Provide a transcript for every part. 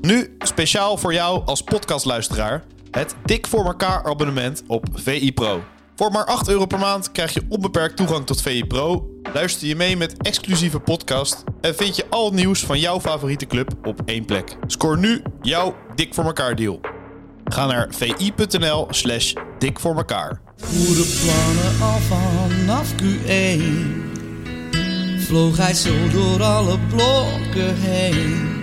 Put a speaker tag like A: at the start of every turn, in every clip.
A: Nu speciaal voor jou als podcastluisteraar het Dik voor elkaar abonnement op VI Pro. Voor maar 8 euro per maand krijg je onbeperkt toegang tot VI Pro, luister je mee met exclusieve podcast en vind je al het nieuws van jouw favoriete club op één plek. Scoor nu jouw Dik voor elkaar deal. Ga naar vi.nl slash dik voor elkaar.
B: Goede plannen al vanaf Q1 Vloog hij zo door alle blokken heen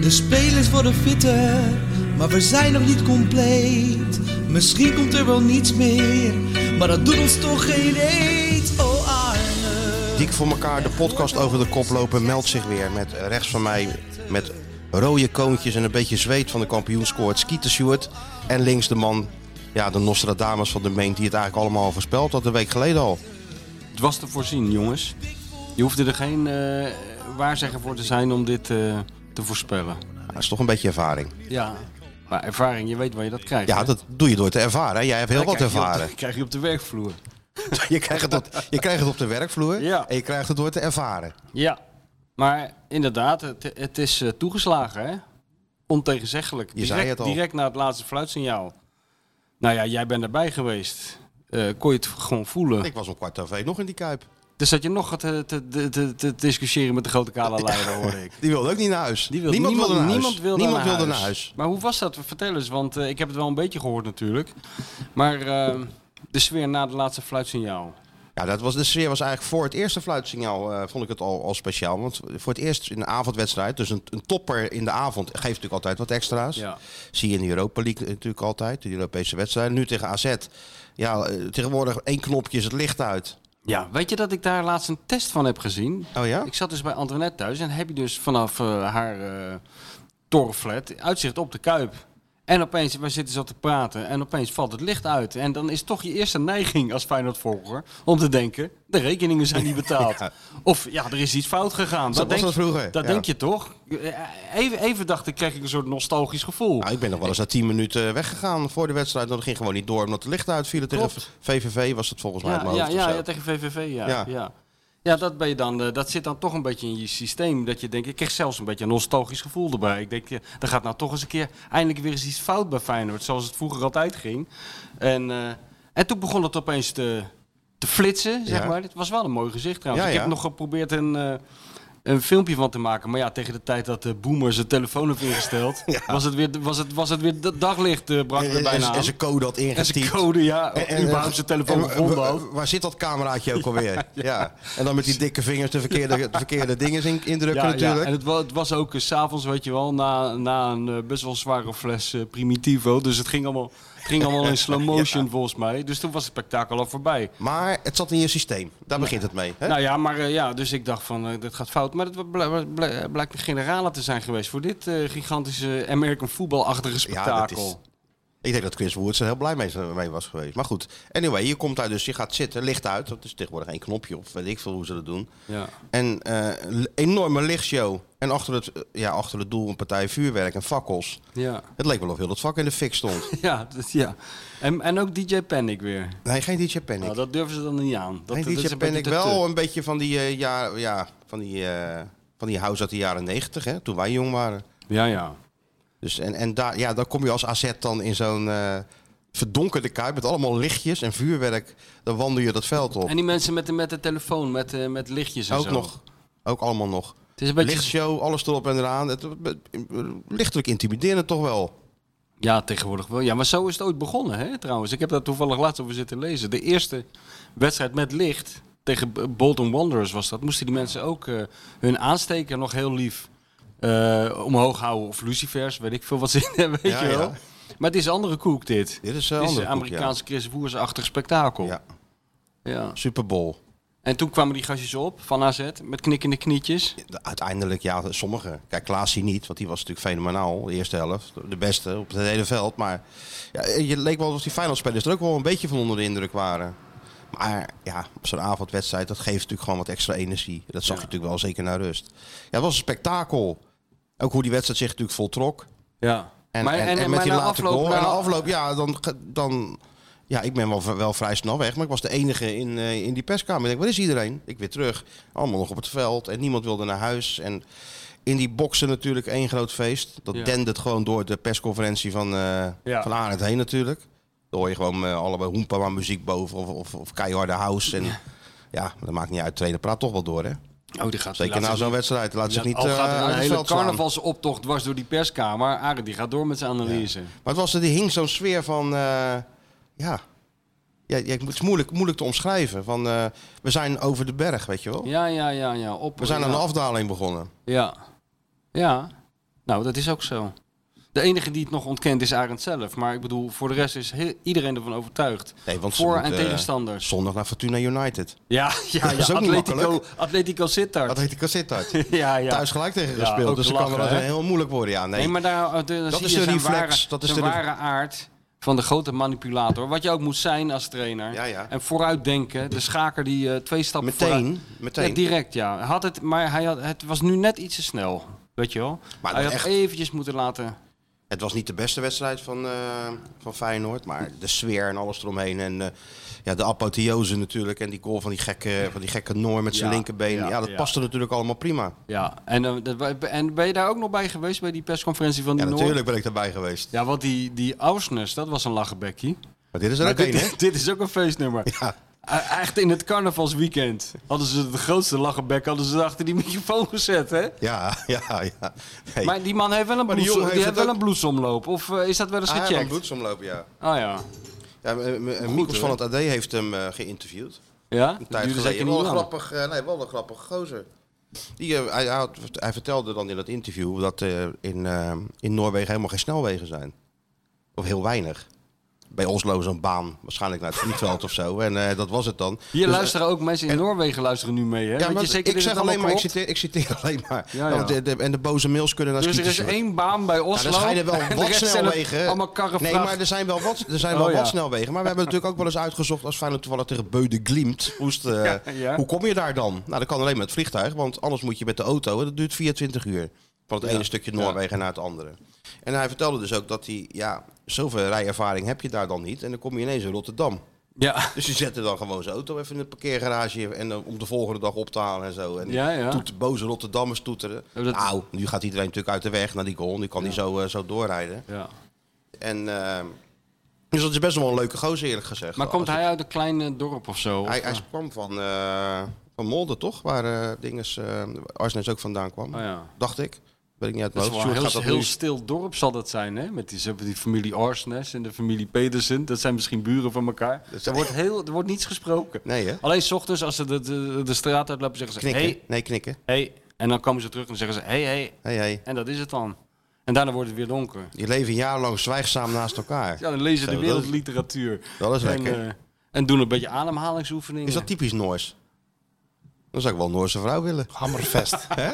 B: De spelers worden fitter Maar we zijn nog niet compleet Misschien komt er wel niets meer Maar dat doet ons toch geen eet Oh Arne
C: Dik voor elkaar, de podcast over de kop lopen, meldt zich weer. Met eh, rechts van mij, met rode koontjes en een beetje zweet van de kampioenscoort, Skeeter Stewart. En links de man, ja, de Nostradamus van de Meent, die het eigenlijk allemaal al voorspeld had een week geleden al.
D: Het was te voorzien, jongens. Je hoefde er geen eh, waarzegger voor te zijn om dit eh, te voorspellen.
C: Nou, dat is toch een beetje ervaring.
D: Ja. Maar ervaring, je weet waar je dat krijgt.
C: Ja,
D: hè?
C: dat doe je door te ervaren. hè. Jij hebt heel
D: Dat
C: wat
D: krijg je op de-
C: ervaren.
D: krijg je op de werkvloer.
C: Je krijgt het op, je krijgt het op de werkvloer
D: Ja.
C: en je krijgt het door te ervaren.
D: Ja. Maar inderdaad, het, het is eh, toegeslagen, hè? Ontegenzeggelijk.
C: Je zei het al.
D: Direct na het laatste fluitsignaal. Nou ja, jij bent erbij geweest. Eh, kon je het gewoon voelen.
C: Ik was om kwart over één nog in die kuip.
D: Dus dat je nog gaat eh, te, te, te, te discussiëren met de grote kale leider, hoor ik.
C: Die wilde ook niet naar huis.
D: Die wil-
C: niemand, wilde naar
D: niemand
C: huis.
D: wilde
C: niemand
D: naar
C: wilde
D: huis.
C: naar huis.
D: Maar hoe was dat? Vertel eens, want eh, ik heb het wel een beetje gehoord natuurlijk. Maar eh, de sfeer na de laatste fluitsignaal.
C: Ja, dat was, de sfeer was eigenlijk voor het eerste fluitsignaal eh, vond ik het al, al speciaal. Want voor het eerst in een avondwedstrijd, dus een, een topper in de avond geeft natuurlijk altijd wat extra's.
D: Ja.
C: Zie je in de Europa League natuurlijk altijd, de Europese wedstrijden. Nu tegen AZ, ja, eh, tegenwoordig één knopje is het licht uit.
D: Ja, weet je dat ik daar laatst een test van heb gezien?
C: Oh ja?
D: Ik zat dus bij Antoinette thuis en heb je dus vanaf eh, haar eh torenflat uitzicht op de Kuip. En opeens, wij zitten zo te praten en opeens valt het licht uit. En dan is toch je eerste neiging als Feyenoord-volger om te denken, de rekeningen zijn niet betaald.
C: Ja.
D: Of ja, er is iets fout gegaan.
C: Zo was
D: denk,
C: dat vroeger,
D: Dat
C: ja.
D: denk je toch? Eh, Even, even dacht ik, kreeg ik een soort nostalgisch gevoel.
C: Nou, ik ben nog wel eens na tien minuten weggegaan voor de wedstrijd. Dat ging gewoon niet door omdat de licht uitvielen tegen
D: Klopt.
C: VVV. Was het volgens mij uit
D: ja,
C: mijn
D: ja,
C: hoofd dus
D: ja,
C: of zo.
D: ja, tegen VVV,
C: Ja.
D: ja. ja. ja. dat, ben je dan, eh, dat zit dan toch een beetje in je systeem. Dat je denkt, ik kreeg zelfs een beetje een nostalgisch gevoel erbij. Ik denk, ja, er gaat nou toch eens een keer eindelijk weer eens iets fout bij Feyenoord. Zoals het vroeger altijd ging. En, eh, en toen begon het opeens te, te flitsen, zeg
C: Ja.
D: maar. Het was wel een mooi gezicht trouwens.
C: Ja,
D: Ik
C: ja.
D: heb nog geprobeerd een, eh, een filmpje van te maken. Maar ja, tegen de tijd dat eh, de boomer zijn telefoon heeft ingesteld... was, het weer, was, het, was het weer d- daglicht, eh, brak er
C: En,
D: bijna
C: en,
D: aan.
C: en zijn code had
D: En zijn
C: ingetypt.
D: code, ja.
C: En- en-
D: überhaupt zijn telefoon
C: en-
D: gevonden had.
C: wa- Waar zit dat cameraatje ook alweer? Ja, En dan met die dikke vingers de verkeerde, de verkeerde dingen in- indrukken natuurlijk.
D: en het was, het was ook eh, s s'avonds, weet je wel, na, na een eh, best wel zware fles eh, Primitivo. Dus het ging allemaal, het ging allemaal in slow motion volgens mij. Dus toen was het spektakel al voorbij.
C: Maar het zat in je systeem. Daar begint het mee. Hè?
D: Nou ja, maar eh, ja, dus ik dacht van, eh, dit gaat fout. Maar het bl- bl- bl- eh, blijkt de generale te zijn geweest voor dit eh, gigantische American voetbalachtige spektakel.
C: is- Ik denk dat Chris Woods er heel blij mee, mee was geweest. Maar goed, anyway, je komt daar dus, je gaat zitten, licht uit. Dat is tegenwoordig één knopje of weet ik veel hoe ze dat doen.
D: Ja.
C: En eh, een enorme lichtshow. En achter het, eh, ja, achter het doel een partij vuurwerk en fakkels.
D: Ja.
C: Het leek wel of heel dat vak in de fik stond.
D: Ja, dat- ja. En, en ook DJ Panic weer.
C: nee, geen DJ Panic.
D: Nou, dat durven ze dan niet aan. Dat,
C: Nee,
D: dat is
C: DJ
D: een beetje
C: Panic
D: te-
C: wel een beetje van die, eh, ja, ja, van die, eh, van die house uit de jaren negentig, hè, toen wij jong waren.
D: Ja, ja.
C: Dus en, en daar, ja, dan kom je als AZ dan in zo'n eh, verdonkerde kuip met allemaal lichtjes en vuurwerk. Dan wandel je dat veld op.
D: En die mensen met de, met de telefoon, met, eh, met lichtjes en
C: ook
D: zo.
C: nog. Ook allemaal nog.
D: Het is een beetje...
C: Lichtshow, alles erop en eraan. Het, het, het- lichtelijk intimiderend toch wel.
D: Ja, tegenwoordig wel. Ja, maar zo is het ooit begonnen, hè, trouwens. Ik heb daar toevallig laatst over zitten lezen. De eerste wedstrijd met licht tegen B- Bolton Wanderers was dat. Moesten die mensen ook eh, hun aansteker nog heel lief eh, omhoog houden. Of lucifers, weet ik veel wat ze in hebben, weet
C: Ja,
D: je wel.
C: ja.
D: Maar het is andere koek, dit.
C: Dit is, eh, andere
D: Dit is een
C: koek, ja.
D: Amerikaanse Chris Woers-achtig spektakel.
C: Ja,
D: Ja.
C: Super Bowl.
D: En toen kwamen die gastjes op van AZ met knikkende knietjes.
C: Ja, Uiteindelijk, ja, sommigen. Kijk, Klaasie niet, want die was natuurlijk fenomenaal. De eerste helft, de beste op het hele veld. Maar ja, je leek wel alsof die finalspelers er ook wel een beetje van onder de indruk waren. Maar ja, op zo'n avondwedstrijd, dat geeft natuurlijk gewoon wat extra energie. Dat zag je natuurlijk wel, zeker naar rust. Ja, het was een spektakel. Ook hoe die wedstrijd zich natuurlijk voltrok.
D: Ja.
C: En,
D: Maar-
C: en, en,
D: en-
C: met
D: maar
C: die
D: na
C: late
D: afloop-
C: goal.
D: na-
C: en na afloop, ja, dan... ge- dan ja, ik ben wel, v- wel vrij snel weg, maar ik was de enige in, eh, in die perskamer. Ik denk, waar is iedereen? Ik weer terug. Allemaal nog op het veld en niemand wilde naar huis. En in die boksen natuurlijk één groot feest. Dat
D: Ja.
C: dende het gewoon door de persconferentie van, eh
D: Ja.
C: van Arend heen natuurlijk. Dan hoor je gewoon eh, allebei hoempa maar muziek boven of, of, of keiharde house. En, ja. dat maakt niet uit. Trainer praat toch wel door, hè?
D: Oh, die gaat
C: Zeker
D: laat
C: na
D: zich
C: zo'n
D: niet-
C: wedstrijd. Laat zich
D: Ja,
C: niet
D: al
C: eh,
D: gaat er
C: uit
D: een
C: het
D: hele
C: veld slaan.
D: carnavalsoptocht dwars door die perskamer. Arend die gaat door met zijn analyse.
C: Maar het was, er die hing zo'n sfeer van... eh, ja, ja, ja, het is moeilijk, moeilijk te omschrijven. Van, eh, we zijn over de berg, weet je wel.
D: Ja, ja, ja, ja. Op,
C: We zijn
D: ja.
C: aan de afdaling begonnen.
D: Ja. Ja. Nou, dat is ook zo. De enige die het nog ontkent is Arend zelf. Maar ik bedoel, voor de rest is heel, iedereen ervan overtuigd.
C: Nee, want ze
D: voor
C: moeten,
D: en
C: eh,
D: tegenstanders.
C: Zondag naar Fortuna United.
D: Ja, ja,
C: Dat
D: ja.
C: is ook niet
D: Atletico,
C: makkelijk.
D: Atletico
C: Dat
D: Sittard.
C: heet de cassette uit.
D: Ja, ja.
C: Thuis gelijk tegen
D: Ja,
C: gespeeld.
D: ook
C: dus
D: te
C: dat kan wel
D: lachen,
C: eens
D: hè?
C: heel moeilijk worden. Ja, nee.
D: Nee, maar daar, eh, dan
C: Dat
D: zie
C: is
D: je
C: de
D: zijn
C: reflex,
D: ware-
C: dat is
D: zijn
C: de ref-
D: ware aard van de grote manipulator. Wat je ook moet zijn als trainer.
C: Ja, ja.
D: En vooruitdenken. De schaker die eh, twee stappen vooruit-
C: meteen. meteen.
D: Ja, direct, ja. Had het, maar hij had, het was nu net iets te snel. Weet je wel?
C: Maar
D: hij
C: dat
D: had
C: echt-
D: eventjes moeten laten...
C: Het was niet de beste wedstrijd van, eh, van Feyenoord. Maar de sfeer en alles eromheen. En eh, ja, de apotheose natuurlijk. En die goal van die gekke, van die gekke Noor met zijn
D: Ja,
C: linkerbeen. Ja,
D: ja,
C: dat
D: ja.
C: paste natuurlijk allemaal prima.
D: Ja, en, eh, dat- en ben je daar ook nog bij geweest bij die persconferentie van die
C: Ja,
D: Noord?
C: natuurlijk ben ik daarbij geweest.
D: Ja, want die, die Ausnes, dat was een lachenbekkie.
C: Maar dit is er
D: Maar
C: ook één, hè?
D: dit, dit is ook een feestnummer.
C: Ja.
D: Eh, Echt in het carnavalsweekend hadden ze de grootste lachenbek hadden ze achter die microfoon gezet, hè?
C: Ja, ja, ja. Nee.
D: Maar die man heeft wel een,
C: Maar die
D: bloeds,
C: jongen
D: die
C: heeft
D: heeft
C: het
D: wel een bloedsomloop. Of eh, is dat wel eens
C: Ah,
D: gecheckt? Oh
C: bloedsomloop, ja.
D: ja.
C: ja m- m- Mikkels
D: hoor.
C: van het AD heeft hem eh, geïnterviewd.
D: Ja?
C: Een tijd
D: Duurde
C: geleden.
D: zeker
C: Wel
D: niet
C: een,
D: lang.
C: grappig, eh, nee, wel een grappig gozer. Die, eh, hij, hij had- hij vertelde dan in dat interview dat eh, in, eh, in Noorwegen helemaal geen snelwegen zijn. Of heel weinig. Bij Oslo zo'n baan, waarschijnlijk naar het vliegveld of zo. En eh, dat was het dan.
D: Hier
C: Dus, eh,
D: luisteren ook mensen in Noorwegen luisteren nu mee, hè?
C: ja,
D: Weet
C: maar
D: je zeker
C: ik
D: dat
C: zeg
D: het
C: alleen
D: allemaal
C: maar, ik
D: klopt?
C: citeer, ik citeer alleen maar.
D: Ja, ja.
C: Want de- de- en de boze mails kunnen naar
D: Dus er is
C: scooters.
D: één baan bij
C: Ja,
D: Oslo.
C: er schijnen wel
D: en de
C: wat
D: rest zijn het
C: snelwegen.
D: Allemaal karren
C: nee,
D: vracht.
C: maar er zijn wel wat, er zijn wel
D: Oh, ja.
C: wat snelwegen. Maar we hebben natuurlijk ook wel eens uitgezocht als Feyenoord toevallig tegen Beude Glimt moest. eh,
D: Ja, ja.
C: Hoe kom je daar dan? Nou, dat kan alleen met het vliegtuig, want anders moet je met de auto. En dat duurt 24 uur. Van het ene stukje Noorwegen naar het andere. En hij vertelde dus ook dat hij, ja, zoveel rijervaring heb je daar dan niet. En dan kom je ineens in Rotterdam.
D: Ja.
C: Dus die zette dan gewoon zijn auto even in het parkeergarage en dan om de volgende dag op te halen en zo. En
D: Ja, ja.
C: toet- boze Rotterdammers toeteren.
D: Ja, dat-
C: Nou, nu gaat iedereen natuurlijk uit de weg naar die goal. Nu kan hij zo, eh, zo doorrijden.
D: ja.
C: En, ehm, dus dat is best wel een leuke gozer eerlijk gezegd.
D: Maar komt
C: Als
D: hij uit een klein eh, dorp of zo?
C: het- hij, hij kwam van, eh, van Molde toch? Waar eh dinges, eh Arsenis ook vandaan kwam.
D: Oh ja.
C: Dacht ik. Weet ik niet uit
D: Dat
C: mijn
D: is wel
C: hoofd.
D: een
C: Sjoerd gaat
D: heel,
C: dat
D: heel
C: nu-
D: stil dorp zal dat zijn, hè? Met die, ze hebben die familie Arsnes en de familie Pedersen. Dat zijn misschien buren van elkaar.
C: Dat
D: er,
C: zijn-
D: wordt heel, er wordt niets gesproken.
C: Nee hè?
D: Alleen 's ochtends als ze de, de, de straat uitlopen zeggen ze...
C: Knikken.
D: Hey,
C: Nee, knikken.
D: hey. En dan komen ze terug en zeggen ze... Hey, hey.
C: Hey, hey.
D: En dat is het dan. En daarna wordt het weer donker.
C: Die leven een jaar lang zwijgzaam naast elkaar.
D: Ja, dan lezen
C: Zo,
D: de
C: dat is-
D: wereldliteratuur.
C: Dat is
D: en,
C: lekker.
D: eh, en doen een beetje ademhalingsoefeningen.
C: Is dat typisch Noors? Dan zou ik wel een Noorse vrouw willen.
A: Hammerfest.
C: Hè?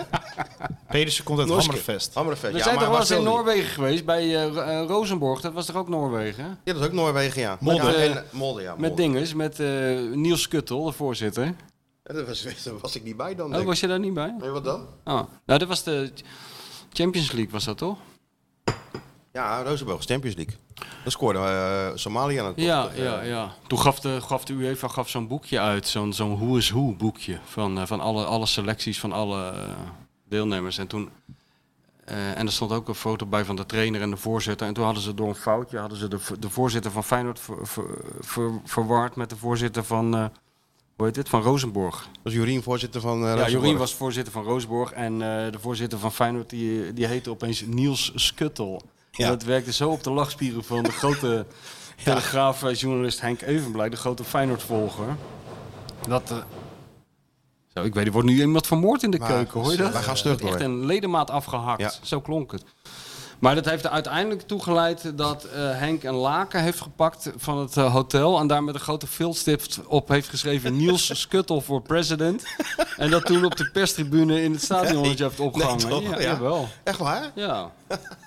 A: Pedersen komt uit
C: Noorske.
A: Hammerfest.
C: Hammerfest.
D: We
C: ja,
D: zijn
C: maar
D: toch wel
C: waar
D: eens in
C: speelde die?
D: Noorwegen geweest, bij eh, Ro- eh, Rozenborg. Dat was toch ook Noorwegen?
C: Ja, dat is ook Noorwegen, ja.
A: Molde.
C: Ja, en, eh, Molde, ja.
D: Met
C: Molde.
D: dinges, met eh, Niels Kuttel, de voorzitter.
C: Ja, Daar was, daar was ik niet bij dan.
D: Oh,
C: denk ik.
D: was je daar niet bij?
C: Nee, wat dan?
D: Oh. Nou, dat was de Champions League, was dat toch?
C: Ja, Rozenburg, Champions League. Dat scoorde eh Somalië aan het
D: Ja,
C: toch, eh,
D: ja, ja. Toen gaf de, gaf de UEFA gaf zo'n boekje uit, zo'n zo'n Who is Who boekje. Van, eh, van alle, alle selecties van alle eh, deelnemers. En toen. eh, en er stond ook een foto bij van de trainer en de voorzitter. En toen hadden ze door een foutje hadden ze de, v- de voorzitter van Feyenoord ver, ver- ver- verward met de voorzitter van. eh, hoe heet dit? Van Rozenborg.
C: Dat was Jorien, voorzitter van eh
D: Ja,
C: Rozenburg.
D: Jorien was voorzitter van Roosborg en eh, de voorzitter van Feyenoord die, die heette opeens Niels Skuttel.
C: Ja.
D: En dat werkte zo op de lachspieren van de grote telegraafjournalist Henk Evenblij, de grote Feyenoord-volger. Dat, eh, zo, ik weet, er wordt nu iemand vermoord in de
C: Maar,
D: keuken, hoor je dat?
C: wij gaan stug
D: Er wordt
C: door.
D: Echt een ledemaat afgehakt,
C: Ja.
D: zo klonk het. Maar dat heeft er uiteindelijk toe geleid dat eh, Henk een laken heeft gepakt van het eh, hotel. En daar met een grote filstift op heeft geschreven Niels Skuttel voor president. En dat toen op de perstribune in het stadion
C: Nee,
D: je hebt
C: nee,
D: opgehangen.
C: toch?
D: ja,
C: Ja.
D: Jawel.
C: Echt waar?
D: Ja,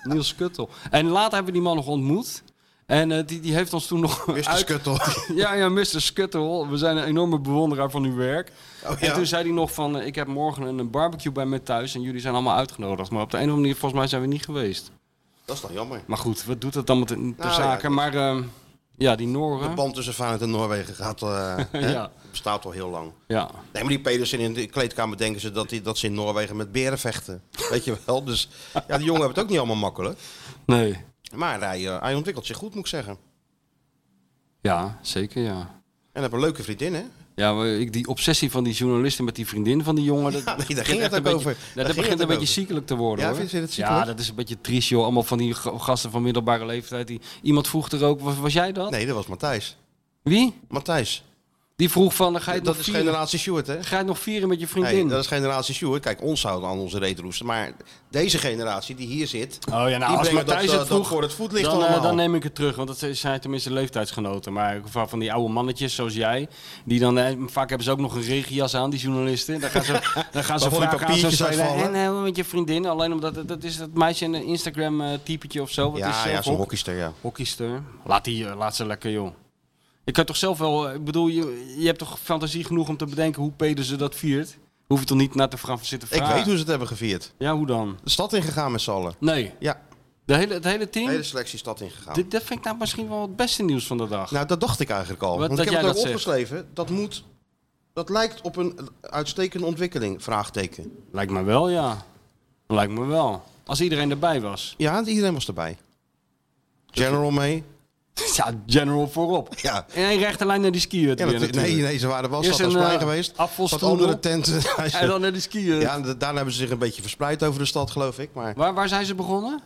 D: Niels Skuttel. En later hebben we die man nog ontmoet. En eh, die, die heeft ons toen nog
C: Mr.
D: uit-
C: Skuttel.
D: ja, ja, Mr. Skuttel. We zijn een enorme bewonderaar van uw werk.
C: Oh,
D: En
C: ja.
D: toen zei hij nog van, eh, ik heb morgen een barbecue bij me thuis en jullie zijn allemaal uitgenodigd. Maar op de een of andere manier, volgens mij zijn we niet geweest.
C: Dat is toch jammer.
D: Maar goed, wat doet dat dan met de, de
C: Nou, ja,
D: zaken?
C: dat-
D: maar ehm, Ja, die Noren.
C: Het band tussen Feyenoord en Noorwegen gaat, eh, hè,
D: Ja.
C: bestaat al heel lang.
D: Ja.
C: Nee, maar die Pedersen in de kleedkamer denken ze dat, die, dat ze in Noorwegen met beren vechten. Weet je wel? Dus ja, die jongen hebben het ook niet allemaal makkelijk.
D: Nee.
C: Maar hij, eh, hij ontwikkelt zich goed, moet ik zeggen.
D: Ja, zeker ja.
C: En heb een leuke vriendin, hè?
D: Ja, maar ik, die obsessie van die journalisten met die vriendin van die jongen. Dat,
C: Ja, nee, daar
D: dat
C: ging
D: echt
C: het
D: een
C: ook
D: beetje-
C: over.
D: dat-
C: Daar
D: Dat
C: ging
D: begint
C: het
D: een
C: ook
D: beetje
C: over.
D: ziekelijk te worden
C: Ja,
D: hoor.
C: vind je dat ziekelijk?
D: ja, dat is een beetje triest joh. Allemaal van die g- gasten van middelbare leeftijd. Die, iemand vroeg er ook, was, was jij dat?
C: Nee, dat was Matthijs.
D: Wie?
C: Matthijs,
D: Die vroeg van, ga je, het
C: dat
D: nog
C: is
D: vieren,
C: generatie Stuart, hè?
D: ga je het nog vieren met je vriendin?
C: Nee, dat is generatie Stuart. Kijk, ons zouden aan onze reet roesten. Maar deze generatie die hier zit,
D: Oh ja, nou,
C: die
D: als
C: brengen
D: Matthijs
C: dat,
D: het
C: eh, dat
D: vroeg,
C: voor het voetlicht
D: dan, eh,
C: allemaal.
D: dan neem ik het terug, want dat zijn- zijn tenminste leeftijdsgenoten. Maar van van die oude mannetjes zoals jij, die dan, eh, vaak hebben ze ook nog een regenjas aan, die journalisten. Dan gaan ze, dan gaan ze
C: Waarvan die
D: vragen aan zo'n
C: papiertjes
D: speler. En
C: uitvallen.
D: eh, hoe met je vriendin, alleen omdat het- dat is dat meisje een Instagram-typetje of zo. Wat is
C: ja,
D: ze?
C: ja, zo'n
D: Hok-
C: hockeyster, ja.
D: hockeyster. Laat, die, eh, laat ze lekker, joh. Je kan toch zelf wel, eh, ik bedoel, je, je hebt toch fantasie genoeg om te bedenken hoe Pedersen dat viert? Hoef je toch niet naar te gaan zitten
C: Ik
D: vragen?
C: weet hoe ze het hebben gevierd.
D: Ja, hoe dan?
C: De stad ingegaan met z'n allen.
D: Nee.
C: Ja,
D: De hele, het hele team?
C: de hele selectie stad ingegaan.
D: Dit, dat vind ik nou misschien wel het beste nieuws van de dag.
C: Nou, dat dacht ik eigenlijk al.
D: Wat-
C: want
D: dat
C: ik heb
D: jij
C: het ook
D: dat zegt.
C: opgeschreven. Dat moet... Dat lijkt op een uitstekende ontwikkeling, vraagteken.
D: Lijkt me wel, ja. Lijkt me wel. Als iedereen erbij was.
C: Ja, iedereen was erbij. General mee.
D: Ja, general voorop.
C: Ja.
D: In één rechte lijn naar die skiën.
C: Ja, dat, nee, nee, ze waren wel
D: Eerst
C: stad aan
D: een,
C: Splein
D: eh,
C: geweest. Wat
D: afvalstroedel.
C: andere tenten.
D: En dan eh, naar die skiën.
C: Ja, en da- daarna hebben ze zich een beetje verspreid over de stad, geloof ik. Maar
D: Waar, waar zijn ze begonnen?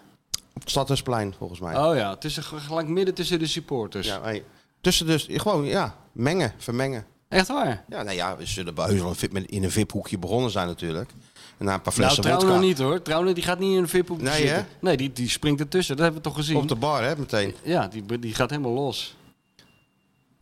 C: op het Stadhuisplein, volgens mij.
D: Oh ja, tussen, gelijk midden tussen de supporters.
C: Ja, hey. Tussen dus, gewoon, ja, mengen, vermengen.
D: Echt waar?
C: Ja, nou ja, we zullen bij heus wel een vip- met- in een VIP-hoekje begonnen zijn natuurlijk. En na een paar
D: Nou,
C: flessen wodka.
D: Trouwner niet hoor. Trouwner die gaat niet in een vip op
C: Nee,
D: zitten.
C: hè?
D: Nee, die, die springt ertussen. Dat hebben we toch gezien?
C: Op de bar, hè, meteen.
D: Ja, die, die gaat helemaal los.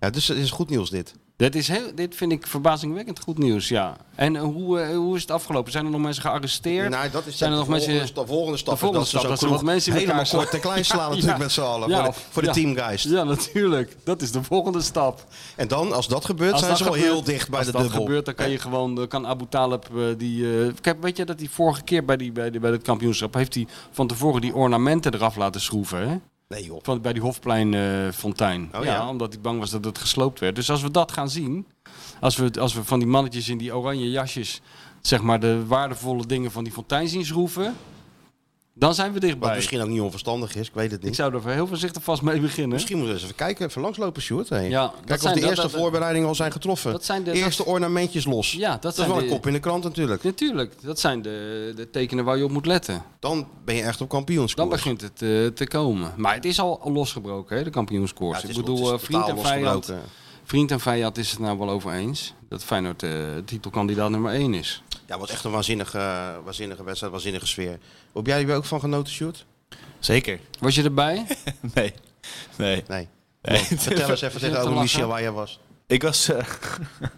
C: Ja, dus het is goed nieuws dit.
D: Dit, is heel, dit vind ik verbazingwekkend goed nieuws, ja. En eh, hoe, eh, hoe is het afgelopen? Zijn er nog mensen geïnsterd?
C: Nou, dat is
D: Zijn er
C: de
D: nog mensen...
C: volgende sta- volgende stap.
D: De volgende
C: is dat
D: stap,
C: ze
D: dat
C: zo'n
D: ze wat
C: kroeg
D: mensen in elkaar
C: helemaal
D: slaan.
C: kort en klein slaan
D: Ja.
C: natuurlijk met z'n allen.
D: Ja,
C: voor de,
D: of-
C: voor de
D: ja.
C: teamgeist.
D: Ja, natuurlijk. Dat is de volgende stap.
C: En dan, als dat gebeurt,
D: Als
C: zijn
D: dat
C: ze wel
D: gebeurt-
C: heel dicht bij
D: als
C: de
D: dat
C: dubbel.
D: gebeurt, dan kan je gewoon, dan kan Abu Talib eh, die. eh, kijk, weet je dat hij vorige keer bij, die, bij, die, bij het kampioenschap heeft hij van tevoren die ornamenten eraf laten schroeven. Hè?
C: Nee joh.
D: Van, bij die Hofplein eh, fontein.
C: Oh,
D: ja,
C: ja.
D: Omdat hij bang was dat het gesloopt werd. Dus als we dat gaan zien, als we, als we van die mannetjes in die oranje jasjes, zeg maar de waardevolle dingen van die fontein zien schroeven, dan zijn we
C: Wat
D: dichtbij.
C: misschien ook niet onverstandig is, ik weet het
D: Ik
C: niet.
D: zou er heel voorzichtig vast mee beginnen.
C: Misschien moeten we eens even kijken, even langslopen, Sjoerd. Hey.
D: Ja, dat
C: Kijk, als
D: zijn-
C: de
D: dat-
C: eerste
D: dat- dat-
C: voorbereidingen al zijn getroffen.
D: dat zijn de-
C: eerste ornamentjes los.
D: Ja, dat,
C: dat is
D: zijn
C: wel een
D: de-
C: kop in de krant natuurlijk.
D: Natuurlijk, dat zijn de, de tekenen waar je op moet letten.
C: Dan ben je echt op
D: Dan
C: kampioenskoers.
D: begint het eh, te komen. Maar het is al losgebroken, hè, de kampioenskoers.
C: Ja, het
D: Ik
C: is- het
D: bedoel,
C: is
D: eh, vriend, en
C: totaal
D: vijand,
C: losgebroken.
D: vriend en vijand is het nou wel over eens. Dat Feyenoord eh, titelkandidaat nummer 1 is.
C: Ja, was echt een waanzinnige, waanzinnige wedstrijd, waanzinnige sfeer. Heb jij er ook van genoten, Sjoerd?
A: Zeker.
D: Was je erbij?
A: Nee. Nee.
C: Nee.
A: Nee.
C: Vertel eens even tegen
D: Zit te
C: Ome
D: lachen?
C: Michel waar jij was.
A: Ik was... eh,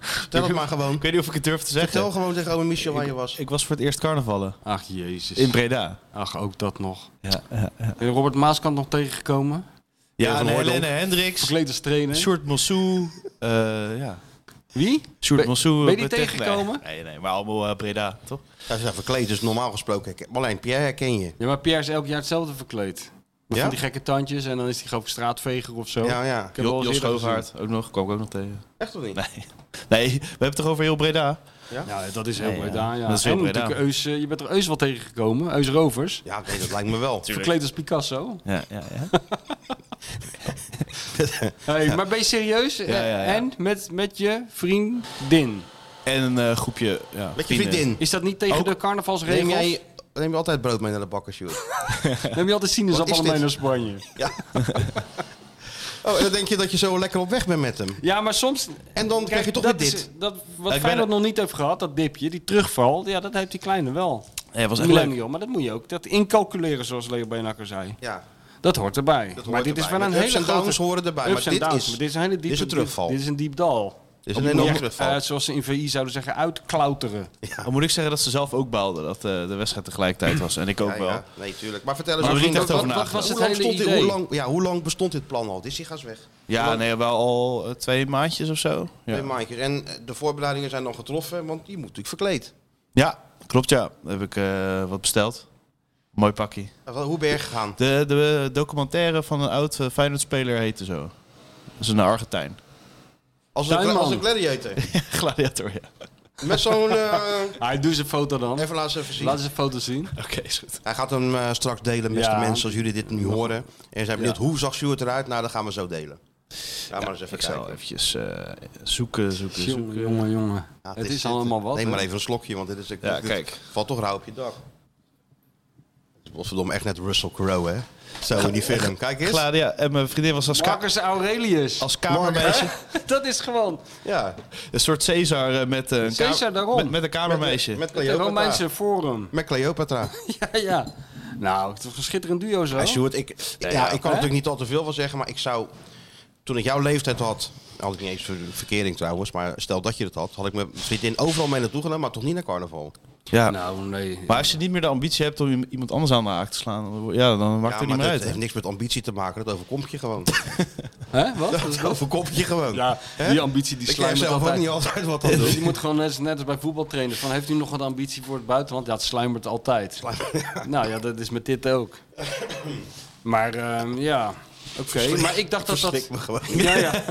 C: Vertel het maar gewoon.
A: ik weet niet of ik het durf te zeggen.
C: Vertel gewoon tegen Ome Michel waar je was.
A: Ik was voor het eerst carnavallen.
D: Ach, jezus.
A: In Breda.
D: Ach, ook dat nog.
A: Ja, ja, ja.
D: En Robert Maaskant nog tegengekomen.
A: ja
C: van
A: en
C: Hooydonk.
A: Helene Hendricks.
D: Verkleed als trainer.
A: Sjoerd Mossou. eh, ja.
D: Wie?
A: Sjoerd
D: Ben-
A: Mansou.
D: ben je die
A: met Tech-
D: tegengekomen?
A: Nee, nee, maar allemaal eh, Breda, toch?
C: Hij is echt verkleed, dus normaal gesproken. herken- Marlijn, Pierre herken je.
D: Ja, maar Pierre is elk jaar hetzelfde verkleed. Met
C: Ja?
D: van die gekke tandjes en dan is hij geloof ik straatveger of zo.
C: Ja, ja.
D: Ik heb wel eens
A: Jos
D: eerder
A: Schoofhaard ook nog. Kwam ik ook nog tegen.
C: Echt of niet?
A: Nee. Nee, we hebben het toch over heel Breda?
D: Ja, dat is heel
A: Nee, ja.
D: Breda. Ja.
A: Dat is heel
D: en
A: Breda.
D: natuurlijk Eus, eh, je bent er Eus wel tegengekomen, Eus Rovers.
C: Ja, nee, dat lijkt me wel.
D: Verkleed als Picasso.
A: Ja, ja, ja.
D: Hey, Maar ben je serieus? eh,
A: ja, ja.
D: En met, met je vriendin.
A: En een eh, groepje ja,
C: Met je
A: vrienden.
C: vriendin.
D: Is dat niet tegen
A: Ook?
D: de
C: Neem
D: carnavalsregels?
C: jij neem je altijd brood mee naar de bakker, Sjoerd?
D: Neem je altijd
C: Wat
D: sinaasappelen
C: is
D: mee
C: dit?
D: naar Spanje?
C: Ja. Oh, en dan denk je dat je zo lekker op weg bent met hem.
D: Ja, maar soms...
C: En dan krijg je toch
D: dat
C: weer
D: is-
C: dit.
D: Dat, wat
A: ben
D: Feyenoord
A: er-
D: nog niet heeft gehad, dat dipje, die terugval, ja, dat heeft die kleine wel.
A: Ja, was echt leuk.
D: Millennial, maar dat moet je ook. Dat incalculeren, zoals Leo Beenakker zei.
C: Ja.
D: Dat hoort erbij.
C: hoort
D: maar dit
C: erbij.
D: is wel een
C: Met ups
D: hele
C: en downs horen erbij,
D: Ups
C: maar
D: en
C: dit
D: downs,
C: is-
D: maar dit is een hele diepe...
C: is een terugval.
D: Dit, is een diep dal.
C: Dit is
D: Dat
C: een
D: moet je
C: enorme
D: echt,
C: terugval.
D: eh, zoals ze in VI zouden zeggen, uitklauteren.
A: Dan moet ik zeggen dat ze zelf ook baalden dat eh, de wedstrijd tegelijkertijd was. En ik ook
C: Ja,
A: wel.
C: ja. Nee, tuurlijk. Maar vertel eens,
A: Maar
C: hoe
A: er is
C: ging
A: niet echt
C: dat-
A: over
C: wat- wat-
A: nagedacht.
C: hoe
D: Het
C: lang
D: hele
C: stond dit-
D: idee.
C: hoe lang- Ja, hoe lang bestond dit plan al? Dit is die gaas weg.
A: Ja, nee, wel al eh, twee maandjes of zo.
C: Twee
A: Ja,
C: maandjes. En eh, de voorbereidingen zijn dan getroffen, want die moet natuurlijk verkleed.
A: ja klopt ja. Dan heb ik eh, wat besteld. Mooi pakje.
C: Hoe ben je gegaan?
A: De, de documentaire van een oud eh, Feyenoord-speler heette zo. Dat is een Argentijn.
C: Als een,
D: Tuinman.
C: als een gladiator.
A: Gladiator, ja.
C: Met zo'n... eh,
D: Hij doet zijn foto dan.
C: even laat ze even zien.
D: Laat eens een foto zien.
A: Oké, is goed.
C: Hij gaat hem eh, straks delen met
D: Ja.
C: de mensen als jullie dit nu horen. En zijn benieuwd, hoe zag Stuart eruit? Nou, dat gaan we zo delen. Ga maar eens even
A: Ik
C: kijken.
A: zal eventjes eh, zoeken, zoeken,
D: Jongen,
A: zoeken.
D: jongen, jongen.
C: Ja,
D: het is,
C: dit.
D: allemaal wat.
C: Neem maar
D: hè?
C: even een slokje, want dit is...
A: Ja,
C: dit
A: kijk.
C: Valt toch rauw op je dak. Het was verdomme echt net Russell Crowe, hè? Zo in die film. Kijk eens.
A: Gladia, en mijn vriendin was als, ka-
D: Marcus Aurelius.
A: als kamermeisje.
D: dat is gewoon
C: Ja.
A: Een soort Caesar eh, met, eh, een ka-
D: Caesar, daarom.
A: met, met een kamermeisje.
C: Met
D: het Romeinse
C: Cleopatra.
D: forum.
C: Met Cleopatra.
D: ja, ja. Nou, het was een schitterend duo zo.
C: Hey, Sjoerd, ik, ja,
D: Oh. ja,
C: ik kan
D: hè?
C: natuurlijk niet al te veel van zeggen, maar ik zou... Toen ik jouw leeftijd had, had ik niet eens ver- verkering trouwens, maar stel dat je dat had, had ik mijn vriendin overal mee naartoe genomen, maar toch niet naar carnaval.
A: Ja.
D: Nou, nee.
A: Maar als je niet meer de ambitie hebt om iemand anders aan de haak te slaan, dan, wo- ja, dan maakt
C: Ja,
A: het niet
C: maar
A: meer
C: dat
A: uit.
C: heeft niks met ambitie te maken, dat overkomt je gewoon.
D: Hè? Wat? Wat is
C: dat
D: dat?
C: overkomt je gewoon.
D: Ja,
C: Hè?
D: die ambitie die
C: ik krijg
D: sluimert
C: zelf
D: altijd.
C: ook niet altijd wat aan
D: Dus je
C: doen.
D: moet gewoon net, als- net als bij voetbaltrainers. Van, heeft u nog wat ambitie voor het buitenland? Ja, het sluimert altijd. Nou ja, dat is met dit ook. Maar ehm, ja, oké. Maar ik dacht dat dat...
C: Verslik me gewoon.
D: Ja, ja.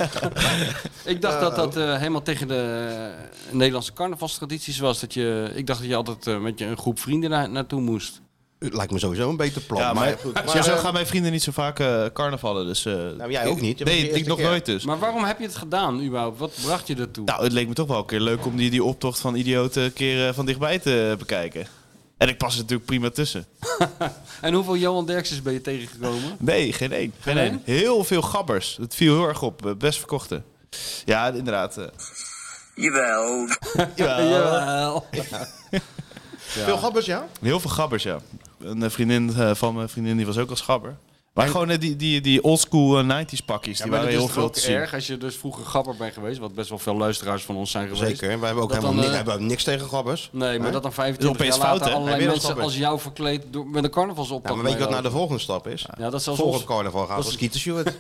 D: ik dacht dat dat eh, helemaal tegen de eh, Nederlandse carnavalstradities was. Dat je, ik dacht dat je altijd eh, met je een groep vrienden na- naartoe moest.
C: Het lijkt me sowieso een beter plan.
A: Ja,
C: maar,
A: maar,
C: goed,
A: zo,
C: maar,
A: zo
C: eh,
A: gaan mijn vrienden niet zo vaak eh, carnavallen. Dus, eh,
C: Nou, jij ook niet. Dat was de
A: Nee, ik
C: eerste
A: nog
C: keer.
A: nooit dus.
D: Maar waarom heb je het gedaan überhaupt? Wat bracht je daartoe?
A: Nou, het leek me toch wel een keer leuk om die, die optocht van idioten een keer eh, van dichtbij te bekijken. En ik pas er natuurlijk prima tussen.
D: En hoeveel Johan Derksen ben je tegengekomen?
A: Nee, geen één. Geen
D: Geen
A: één. Heel veel gabbers. Dat viel heel erg op. Eh, Best verkochte. Ja, inderdaad. eh.
E: Jawel.
A: Ja.
D: Jawel.
C: Veel gabbers, ja?
A: Heel veel gabbers, ja. Een eh, vriendin eh, van mijn vriendin die was ook als gabber. Maar gewoon eh, die, die, die oldschool eh, 90s pakjes, die
D: maar
A: waren
D: dat
A: heel
D: is toch
A: veel
D: ook
A: te zien.
D: erg als je dus vroeger gabber bent geweest, wat best wel veel luisteraars van ons zijn geweest.
C: Zeker. Wij hebben ook
D: Dat
C: helemaal
D: dan,
C: ni-
D: eh,
C: hebben ook niks tegen gabbers.
D: Nee, maar dat
A: Dat
D: dan 25
A: is
D: jaar
A: opeens
D: later
A: fout, hè?
D: allerlei
C: Heb je dat
D: mensen
C: gabber?
D: als jou verkleed door, met een carnavalsoptocht.
C: Ja, maar weet je wat nou
D: meelopen.
C: de volgende stap is?
D: Ja, dat is als
C: Volgend
D: ons.
C: carnaval gaan we skieten, Stuart.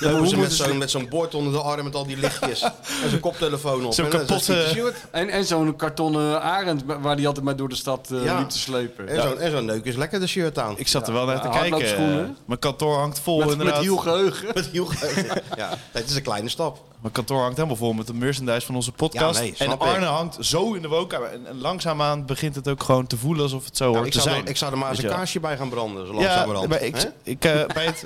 D: Ja, maar
C: Hoe
D: hoe
C: ze met
D: moeten ze-
C: zo'n met zo'n bord onder de arm met al die lichtjes. en zo'n koptelefoon op.
A: Zo'n
C: En dan
A: kapotte-
C: skieten, Stuart.
D: En, en zo'n kartonnen arend wa- waar die altijd maar door de stad eh,
C: Ja.
D: liep te slepen.
C: En zo'n en zo'n neuk is lekker de shirt aan.
A: Ik zat er wel naar te
D: Ja,
A: kijken.
D: hardloopschoenen.
A: Mijn kantoor hangt vol
D: Met, met
A: inderdaad.
D: heel geheugen.
C: ja, het is een kleine stap.
A: Mijn kantoor hangt helemaal vol met de merchandise van onze podcast.
C: Ja, nee,
A: en
C: snap
A: Arne
C: ik.
A: hangt zo in de woonkamer. En, en langzaamaan begint het ook gewoon te voelen alsof het zo
C: Nou,
A: hoort
C: ik,
A: te
C: zou
A: zijn.
C: er, ik zou er maar eens
A: Weet
C: een
A: je wel.
C: kaarsje bij gaan branden. Zo
A: Ja,
C: langzamerhand.
A: maar ik,
C: Hè?
A: ik, eh, bij, het,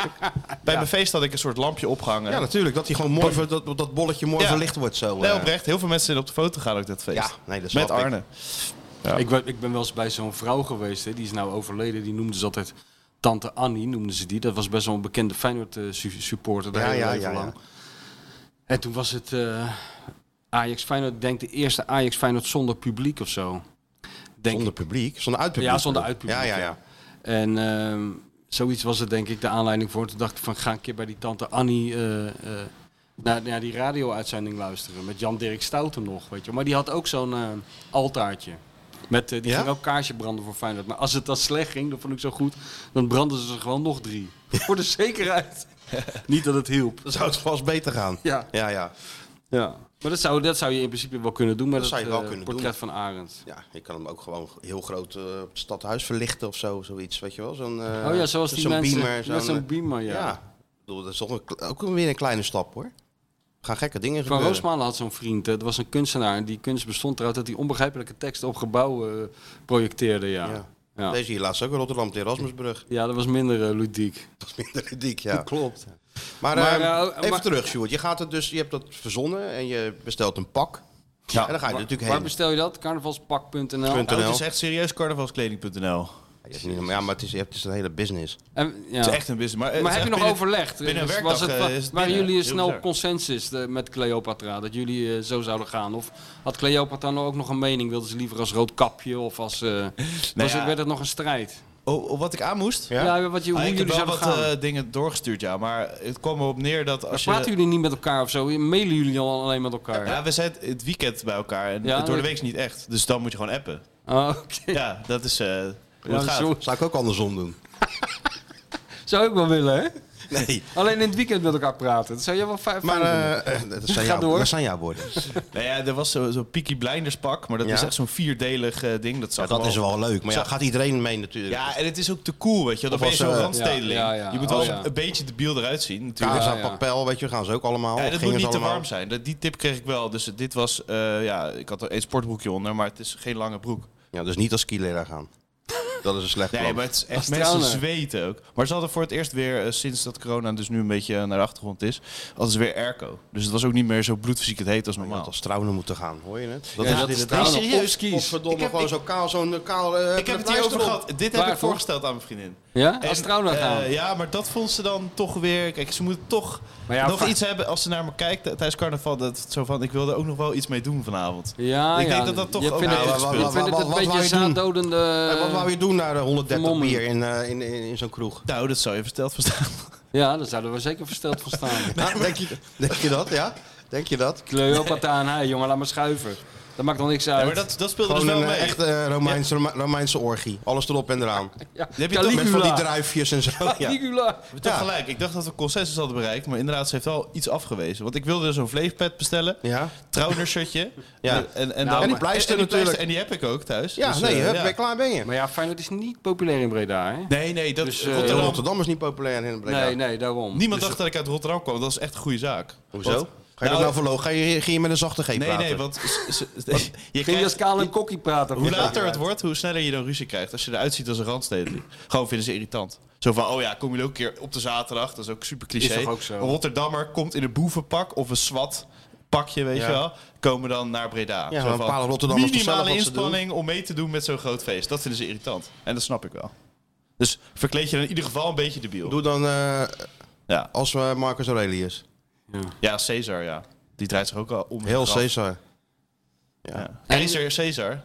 A: bij mijn feest had ik een soort lampje opgehangen.
C: Ja, natuurlijk. Dat hij gewoon mooi ver, dat, dat bolletje mooi
A: Ja.
C: verlicht wordt zo.
A: Nee,
C: eh.
A: oprecht. Heel veel mensen zijn op de foto gaan ook dat feest.
C: Ja, nee, dat snap
A: Met
C: ik.
A: Arne. Ja.
D: Ik, ben, ik ben wel eens bij zo'n vrouw geweest, hè, die is nou overleden. Die noemden ze altijd Tante Annie, noemden ze die. Dat was best wel een bekende Feyenoord eh, su- supporter de
C: Ja,
D: hele
C: ja,
D: leven
C: ja, ja.
D: lang. En toen was het eh, Ajax Feyenoord, ik denk de eerste Ajax Feyenoord zonder publiek of zo. Denk
C: Zonder
D: ik.
C: publiek. Zonder uitpubliek.
D: Ja, zonder uitpubliek,
C: Ja, ja, ja.
D: ja. En ehm, zoiets was het denk ik de aanleiding voor. Toen dacht ik van ga een keer bij die Tante Annie eh, eh, naar, naar die radio-uitzending luisteren. Met Jan-Dirk Stouten nog, weet je. wel. Maar die had ook zo'n eh, altaartje. Met, eh, die
C: Ja?
D: ging ook kaarsje branden voor Feyenoord. Maar als het dan slecht ging, dat vond ik zo goed, dan brandden ze er gewoon nog drie. voor de zekerheid. Niet dat het hielp.
C: Dan zou het vast beter gaan.
D: Ja.
C: Ja, ja.
D: ja. Maar dat zou, dat zou je in principe wel kunnen doen met
C: Dat
D: het
C: zou je wel
D: eh,
C: kunnen
D: portret van Arend.
C: Ja, je kan hem ook gewoon heel groot eh, op het stadhuis verlichten of zo, zoiets, weet je wel? Zo'n, eh,
D: oh ja, zoals die
C: zo'n
D: mensen.
C: Beamer,
D: met zo'n
C: eh,
D: beamer, ja.
C: ja. Ik bedoel, dat is toch een kle- ook weer een kleine stap, hoor. Er gaan gekke dingen
D: Van
C: gebeuren.
D: Roosmalen had zo'n vriend, eh, dat was een kunstenaar. En die kunst bestond eruit dat hij onbegrijpelijke teksten op gebouwen eh, projecteerde. Ja.
C: Ja.
D: Ja. Ja.
C: Deze hier laatst ook in Rotterdam, op de Erasmusbrug.
D: dat was minder eh, ludiek.
C: Dat is minder ludiek, ja.
D: Klopt.
C: Maar,
D: Maar,
C: eh,
D: eh,
C: even
D: maar-
C: terug, Sjoerd. Je, gaat het dus, je hebt dat verzonnen en je bestelt een pak. Ja, en dan ga je er natuurlijk
D: Waar
C: heen.
D: bestel je dat? Carnavalspak.nl.
C: Punt.
A: Oh, het is echt serieus carnavalskleding.nl.
C: Ja, is niet- maar ja, maar het is, het is een hele business.
D: En, ja.
A: Het is echt een business. Maar, eh,
D: maar
A: het
D: heb
A: is
D: je
A: echt
D: nog
A: binnen-
D: overlegd?
A: binnen een
D: Dus
A: werkdag,
D: was
A: eh, is het
D: waren
A: binnen.
D: jullie
A: Heel
D: snel
A: bizar.
D: consensus eh, met Cleopatra? Dat jullie eh, zo zouden gaan? Of had Cleopatra nou ook nog een mening? Wilde ze liever als rood kapje? Of als, eh, was
A: Nou ja.
D: het, werd het nog een strijd?
A: Oh, oh, wat ik aan moest?
C: Ja?
D: Ja, wat, je- hoe
A: Ah, ik heb
D: jullie
A: wel
D: zouden
A: wat
D: gaan?
A: eh, dingen doorgestuurd, ja. Maar het kwam erop neer dat als je...
D: praten jullie niet met elkaar of zo? Mailen jullie al alleen met elkaar?
A: Ja, we zijn het weekend bij elkaar en
D: Ja,
A: het door de
D: dat-
A: week is niet echt. Dus dan moet je gewoon appen.
D: Ah, Oké.
A: Ja, dat is eh, hoe het
D: Ja,
A: gaat.
D: zo,
C: Zou ik ook andersom doen.
D: zou ik wel willen, hè?
C: Nee.
D: Alleen in het weekend met elkaar praten. Dat zou jij wel fijn
C: Maar
D: fijn vinden.
C: eh, eh, dat zijn
D: Ga
C: jouw
D: door.
C: dat zijn jouw woorden.
A: Nou ja, er was zo'n zo Peaky Blinders pak, maar dat
C: Ja.
A: is echt zo'n vierdelig eh, ding. Dat, zag
C: Dat
A: er
C: is wel leuk. Maar ja, gaat iedereen mee natuurlijk.
A: Ja, en het is ook te cool, weet je. wel. Dan ben
C: Of
A: je
C: als,
A: zo'n
C: eh,
A: randstedeling.
D: ja, ja, ja.
A: Je moet
D: Oh,
A: wel
D: ja.
A: een beetje debiel eruat zien, natuurlijk.
C: Kamers
D: Ja,
C: aan
D: ja.
C: papel, weet je, gaan ze ook allemaal.
A: Ja, dat
C: Of
A: moet
C: gingen
A: niet
C: ze
A: te
C: allemaal?
A: warm zijn. Dat- Die tip kreeg ik wel. Dus dit was, eh, ja, ik had er een sportbroekje onder, maar het is geen lange broek.
C: Ja, dus niet als skileraar gaan. Dat is een slecht plan.
A: Nee, maar het is echt
D: Als
A: mensen
D: trouwen.
A: zweten ook. Maar ze hadden voor het eerst weer, eh, sinds dat corona dus nu een beetje eh, naar de achtergrond is, hadden ze weer airco. Dus het was ook niet meer zo bloedfysiek het heet als
C: Je had
A: normaal.
C: als trouwen moeten gaan, hoor je het?
D: Ja, dat is trouwen.
C: Nee, serieus,
D: Of- of
C: kies.
D: verdomme,
C: Ik heb gewoon zo kaal, zo'n kaal... eh,
A: Ik heb het
C: pleister
A: hier over
C: op.
A: gehad. Dit heb
D: Waar,
A: ik
D: toch?
A: voorgesteld aan mijn vriendin.
D: Ja?
A: En,
D: Als trouw naar
A: eh,
D: gaan.
A: ja, maar dat vond ze dan toch weer. Kijk, ze moet toch
D: Maar ja,
A: nog
D: va-
A: iets hebben als ze naar me kijkt eh, tijdens carnaval. Dat het zo van, ik wil er ook nog wel iets mee doen vanavond.
D: Ja,
A: Ik
D: ja.
A: denk dat dat toch
D: je
A: ook-
D: vindt
A: Nou,
D: het,
C: wa- wa-
D: je
C: wa-
D: vindt
C: wa-
D: het
C: wat
D: een
C: wou
D: beetje eh,
C: je doen?
D: zaaddodende...
C: Hey,
A: Eh,
C: wat wou je doen naar de 130
D: vermomming.
C: bier in, eh, in, in, in zo'n kroeg?
A: Nou, dat zou je versteld verstaan.
D: Ja, daar zouden we zeker versteld van staan.
C: Ah, denk, je, denk je dat, ja? Denk je dat?
D: Cleopatra aan haar, jongen, laat maar schuiven. Dat maakt nog niks uit.
A: Ja, maar dat, dat speelde
C: Gewoon
A: dus wel
C: een
A: mee.
C: eh, echte eh, Romeinse, Roma- Romeinse orgie. Alles erop en eraan.
D: Ja,
A: heb je toch
C: Met van die
D: Caligula.
C: druifjes en zo. Ja.
D: Caligula.
A: We hebben
C: Ja.
A: toch gelijk. Ik dacht dat we consensus hadden bereikt, maar inderdaad, ze heeft wel iets afgewezen. Want ik wilde dus een vleefpet bestellen,
C: Ja.
A: trouwnershirtje.
C: Ja.
A: En, en, en,
D: Nou,
A: dan,
D: en die
C: pleister
A: en die
C: natuurlijk.
A: En die heb ik ook thuis.
C: Ja,
A: Dus,
C: nee,
A: eh,
C: hup,
A: ja.
C: ben je klaar ben je.
D: Maar ja, Feyenoord is niet populair in Breda, hè?
A: Nee, nee, dat
D: Dus, eh,
A: Rotterdam.
C: Rotterdam. Rotterdam is niet populair in Breda.
D: Nee, nee, daarom. Dus
A: Niemand dacht dat ik uit Rotterdam kwam. Dat is echt een goede zaak.
C: Hoezo?
A: Want-
C: Ga je dat nou verlogen? Ga je, ga je met een zachte G
A: Nee,
C: praten?
A: nee, want ze- ze- je
D: Ging je als
A: krijgt,
D: kaal en kokkie praten?
A: hoe later het wordt, hoe sneller je dan ruzie krijgt. Als je eruit ziet als een randstedeling. Gewoon vinden ze irritant. Zo van, oh ja, kom je ook een keer op de zaterdag. Dat is ook super cliché.
D: Is toch ook zo?
A: Een Rotterdammer komt in een boevenpak of een swat pakje, weet
C: Ja.
A: je wel. Komen dan naar Breda.
C: Ja,
A: Zo
C: maar
A: van,
C: bepalen Rotterdammers toch zelf
A: Minimale
C: wat ze doen?
A: inspanning om mee te doen met zo'n groot feest. Dat vinden ze irritant. En dat snap ik wel. Dus verkleed je dan in ieder geval een beetje debiel.
C: Doe dan eh,
A: Ja.
C: als we Marcus Aurelius.
A: ja, Caesar, ja. Die draait zich ook al om.
C: Heel
A: Graf.
C: Caesar.
A: Ja. Keizer Caesar.